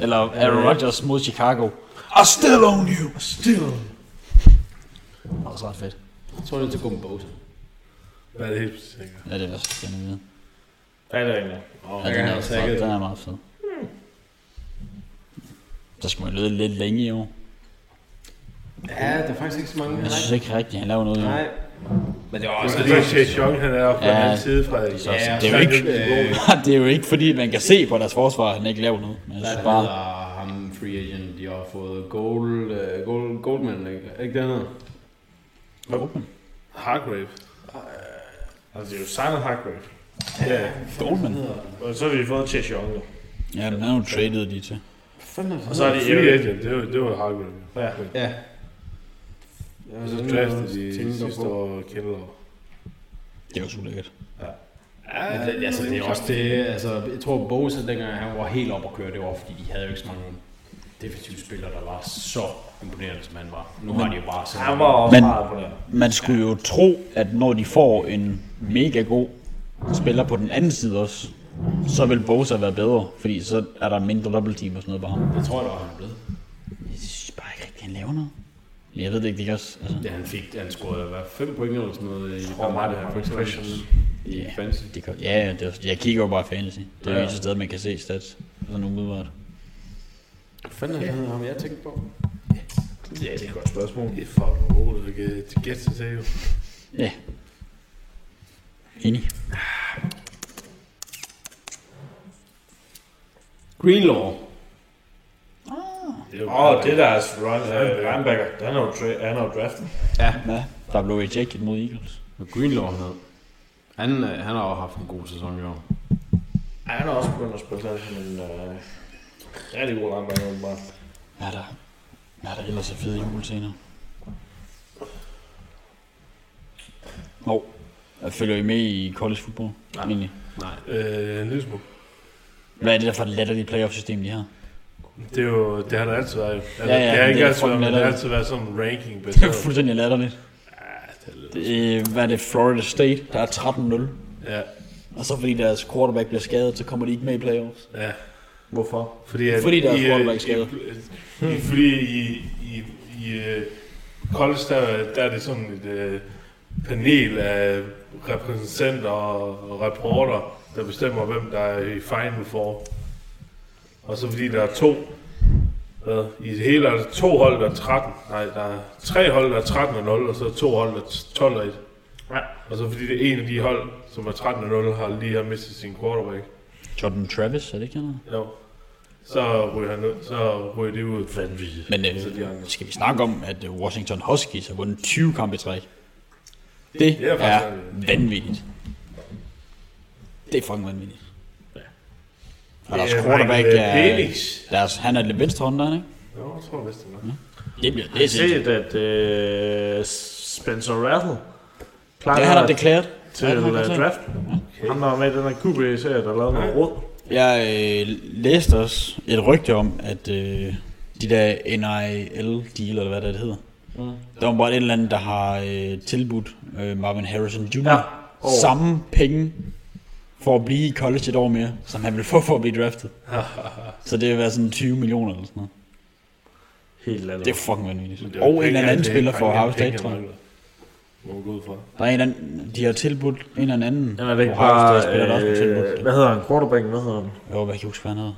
Speaker 4: Eller Aaron Rodgers mod Chicago. I still own you. I still own you. Det var også ret fedt.
Speaker 2: Jeg tror, det er til Gumbo. Hver
Speaker 5: Ja, det er helt sikkert.
Speaker 4: Ja, det er også spændende at vide.
Speaker 9: Hvad er det egentlig?
Speaker 4: Ja,
Speaker 2: gang
Speaker 4: den
Speaker 2: han
Speaker 4: er,
Speaker 2: har
Speaker 4: fed.
Speaker 2: sækket.
Speaker 4: den er meget fed. Der skulle man lede lidt længe i år.
Speaker 2: Ja, der er faktisk ikke så mange.
Speaker 4: Jeg synes ikke rigtigt, han laver noget i år.
Speaker 2: Nej. Men det var
Speaker 5: Og
Speaker 2: også
Speaker 5: så lige Chase Young, han er oppe på
Speaker 4: Ja.
Speaker 5: den anden side fra det.
Speaker 4: Så, så det, er jo ikke, [laughs]
Speaker 2: Øh,
Speaker 4: det er jo ikke, fordi man kan se på deres forsvar, at han ikke laver noget. Men jeg
Speaker 2: hvad
Speaker 4: synes bare,
Speaker 2: hedder ham free agent? De har fået Gold, uh, Gold, Goldman, ikke? Er ikke det andet?
Speaker 5: Hargrave.
Speaker 1: Altså, det er jo Simon Hargrave.
Speaker 4: Goldman.
Speaker 1: Og så har vi fået Chase Young. jo.
Speaker 4: Ja, men han er jo traded de til.
Speaker 1: Og så er det
Speaker 5: Free
Speaker 1: Eric.
Speaker 5: agent, det var, det var Hargrave.
Speaker 1: Ja.
Speaker 2: Ja.
Speaker 5: Så draftede de sidste år Kendall.
Speaker 4: Det er jo så lækkert.
Speaker 2: Men det, altså, det er også det, altså, jeg tror Bosa, dengang han var helt op at køre, det var fordi, de havde jo ikke så mange defensiv spiller, der var så imponerende, som han var. Nu har de jo bare sådan...
Speaker 8: Han var også
Speaker 4: Men-
Speaker 8: meget imponerende.
Speaker 4: Man skulle jo tro, at når de får en mega god spiller på den anden side også, så vil Bosa være bedre, fordi så er der mindre double team og sådan noget på ham.
Speaker 2: Jeg tror, der var han er blevet.
Speaker 4: Jeg synes bare ikke rigtigt, han laver noget. Men jeg ved det ikke, det ikke også. Altså,
Speaker 2: Ja, han fik, han scorede hvad, 5 point eller sådan noget. Jeg
Speaker 8: tror meget, det var impressions.
Speaker 2: I
Speaker 4: Ja.
Speaker 2: fantasy.
Speaker 4: det kan, ja, ja, det er, jeg kigger jo bare fantasy. Det er jo
Speaker 2: Ja.
Speaker 4: ja. eneste sted, man kan se stats. Sådan umiddelbart.
Speaker 2: Hvad fanden er det, han hedder ham, jeg tænkte på?
Speaker 5: Ja, det er et godt spørgsmål. Det er fucking roligt. Det kan det gætte sig til, jo.
Speaker 4: Ja. Enig.
Speaker 2: Greenlaw.
Speaker 5: Det er jo
Speaker 8: Åh, det der
Speaker 1: altså
Speaker 8: er run, uh, linebacker, han er jo, tra- han er jo draftet.
Speaker 4: Ja. Der blev ejected mod Eagles.
Speaker 2: Hvad Greenlaw han hed. Han, øh, han har jo haft en god sæson i år.
Speaker 8: Ja, han er også begyndt at spille sådan en uh, rigtig god linebacker, åbenbart.
Speaker 4: Hvad er der? Hvad er der ellers af fede julescener? Hov. Oh. Følger I med i college football? Nej. Egentlig?
Speaker 5: Øh, en lille smule.
Speaker 4: Hvad er det der for et latterligt playoff-system, de har?
Speaker 5: Det, er jo, det har der altid været. jo. Altså,
Speaker 4: Ja, ja,
Speaker 5: det har
Speaker 4: men
Speaker 5: ikke
Speaker 4: det er
Speaker 5: altid været,
Speaker 4: fucking
Speaker 5: men det har
Speaker 4: latterligt.
Speaker 5: altid været sådan en ranking
Speaker 4: [laughs] Det er
Speaker 5: baseret.
Speaker 4: fuldstændig latterligt. Det, er- hvad er det? Florida State, der er 13-0.
Speaker 5: Ja,
Speaker 4: Og så fordi deres quarterback bliver skadet, så kommer de ikke med i playoffs.
Speaker 5: ja.
Speaker 8: Hvorfor?
Speaker 5: Fordi, at
Speaker 4: Fordi der er
Speaker 5: i, øh,
Speaker 4: quarterback skadet.
Speaker 5: i- i- Fordi i, i, i øh, college, der, der er det sådan et øh, panel af repræsentanter og rapporter, der bestemmer, hvem der er i Final Four. Og så fordi der er to, hvad, i det hele er der to hold, der er 13. Nej, der er tre hold, der er 13 og 0, og så er to hold, der er 12 og 1.
Speaker 8: Ja.
Speaker 5: Og så fordi det ene af de hold, som er 13 og 0, har lige har mistet sin quarterback.
Speaker 4: Jordan Travis, er det ikke han? hedder?
Speaker 5: Jo. Så ryger han ud, så ryger de ud. Vanvittigt.
Speaker 4: Men øh, skal vi snakke om, at øh, Washington Huskies har vundet 20 kampe i træk? Det
Speaker 5: Det er
Speaker 4: er,
Speaker 5: faktisk
Speaker 4: er vanvittigt. Det er fucking vanvittigt. Ja. Og deres quarterback er...
Speaker 5: Penix.
Speaker 4: Deres, han er lidt venstre hånd, der, ikke?
Speaker 5: Jo, jeg tror vist, det er nok.
Speaker 4: Det bliver det
Speaker 1: Jeg har
Speaker 4: er sindssygt.
Speaker 1: set, at øh, Spencer Rattle
Speaker 4: Det
Speaker 1: plejer
Speaker 4: har han
Speaker 1: at-
Speaker 4: deklareret.
Speaker 1: til uh, draft. Han var med i den her QB-serie, der lavede noget råd.
Speaker 4: Jeg øh, læste også et rygte om, at øh, de der NIL-deal, eller hvad det, er, det hedder, mm. der var bare en eller anden, der har øh, tilbudt øh, Marvin Harrison Jr. Ja.
Speaker 1: Ja.
Speaker 4: Oh. samme penge for at blive i college et år mere, som han ville få for at blive
Speaker 1: [laughs]
Speaker 4: draftet. så det vil være sådan 20 millioner eller sådan noget.
Speaker 1: Helt andet.
Speaker 4: Det er fucking vanvittigt.
Speaker 5: Det er
Speaker 4: Og
Speaker 5: jo
Speaker 4: en eller
Speaker 5: penge,
Speaker 4: anden
Speaker 5: det er
Speaker 4: spiller
Speaker 5: ikke
Speaker 4: for
Speaker 5: penge,
Speaker 4: Ohio
Speaker 5: det er
Speaker 4: State,
Speaker 5: penge,
Speaker 4: tror jeg.
Speaker 5: han mangler. Må man gå ud fra.
Speaker 4: Der er en eller anden, de har tilbudt en eller anden.
Speaker 1: Jamen, er det ikke
Speaker 4: Ohio
Speaker 1: bare,
Speaker 4: State-spiller, der også blev
Speaker 1: øh,
Speaker 4: tilbudt.
Speaker 1: hvad hedder han? Quarterback, hvad hedder han?
Speaker 4: Jo, hvad kan jeg huske, hvad han hedder?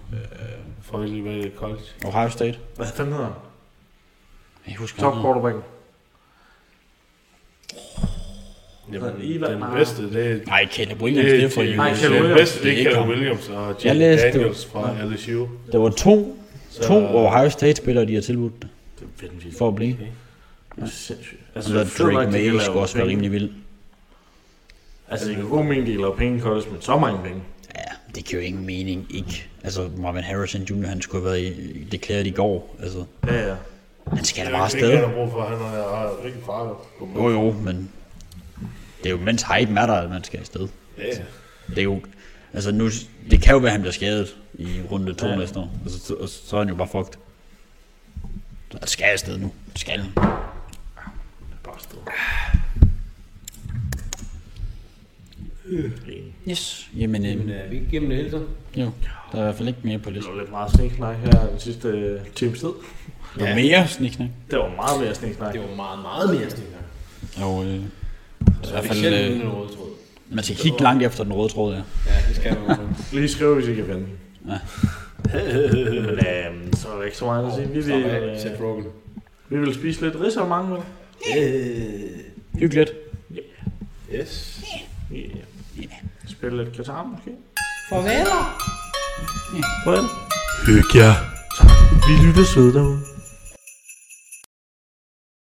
Speaker 5: Får vi lige med college.
Speaker 4: Ohio State.
Speaker 1: Hvad fanden hedder han?
Speaker 4: Jeg husker, hvad
Speaker 1: Top
Speaker 4: han hedder.
Speaker 1: quarterback.
Speaker 5: Jamen,
Speaker 1: Ivan
Speaker 5: den
Speaker 1: Mar-
Speaker 5: bedste, det er...
Speaker 4: Nej, Caleb Williams, det er fra
Speaker 1: Nej,
Speaker 4: USA.
Speaker 1: Caleb Øh,
Speaker 5: Den
Speaker 1: Williams.
Speaker 5: bedste, det
Speaker 4: Det er
Speaker 5: er
Speaker 4: ikke
Speaker 5: Caleb
Speaker 4: ham.
Speaker 5: Williams og
Speaker 4: Jeg
Speaker 5: Jim
Speaker 4: læste det.
Speaker 5: Daniels fra LSU.
Speaker 4: Der var to, to Ohio State-spillere, de har tilbudt det,
Speaker 1: Det er vanvittigt.
Speaker 4: for at blive.
Speaker 1: Det er sindssygt.
Speaker 4: Altså,
Speaker 1: Altså,
Speaker 4: der
Speaker 1: jeg føler
Speaker 4: Drake
Speaker 1: ikke, de
Speaker 4: May
Speaker 1: kan lave
Speaker 4: skulle også være
Speaker 1: penge.
Speaker 4: rimelig vild.
Speaker 1: Altså, det kan god mening, de laver penge i college, men så mange penge.
Speaker 4: Ja, det giver jo ingen mening, ikke? Altså, Marvin Harrison Jr., han skulle have været i- deklareret i går. Altså,
Speaker 1: Ja, ja.
Speaker 4: han skal da
Speaker 5: Det
Speaker 4: bare
Speaker 5: er ikke,
Speaker 4: afsted.
Speaker 5: han har brug for. Han er har rigtig farlig.
Speaker 4: Jo, jo, men det er jo mens hypen er der, at man skal afsted.
Speaker 5: Ja,
Speaker 4: Det er jo, altså nu, det kan jo være, at han bliver skadet i runde to ja. næste år. Altså, så, og så er han jo bare fucked. Så han skal afsted nu. Skal han.
Speaker 1: Bare stå.
Speaker 4: Yes. Jamen, øh,
Speaker 2: Men øh, er vi ikke igennem det hele så?
Speaker 4: jo, der er i hvert fald ikke mere på
Speaker 1: Det
Speaker 4: listen.
Speaker 1: var lidt meget sniksnak her den sidste øh, times tid.
Speaker 4: Der er mere sniksnak.
Speaker 1: Det var meget mere sniksnak.
Speaker 2: Det var meget, meget mere snikker.
Speaker 4: Og øh, i hvert
Speaker 2: Fik
Speaker 4: fald,
Speaker 2: selv
Speaker 4: øh,
Speaker 2: en rød tråd.
Speaker 4: man skal kigge langt efter den røde tråd, ja.
Speaker 2: Ja, det skal man jo.
Speaker 1: Lige skriv, hvis I kan finde den.
Speaker 4: Ja.
Speaker 1: [laughs] Men øhm, så er der ikke så meget at sige. Vi vil,
Speaker 2: Slap af,
Speaker 1: øh,
Speaker 2: Seth Rogen.
Speaker 1: vi vil spise lidt ris og mange. vel?
Speaker 4: Hyggeligt.
Speaker 1: Ja. Spille lidt guitar måske.
Speaker 5: Hyg jer. Vi lyttes ved derude.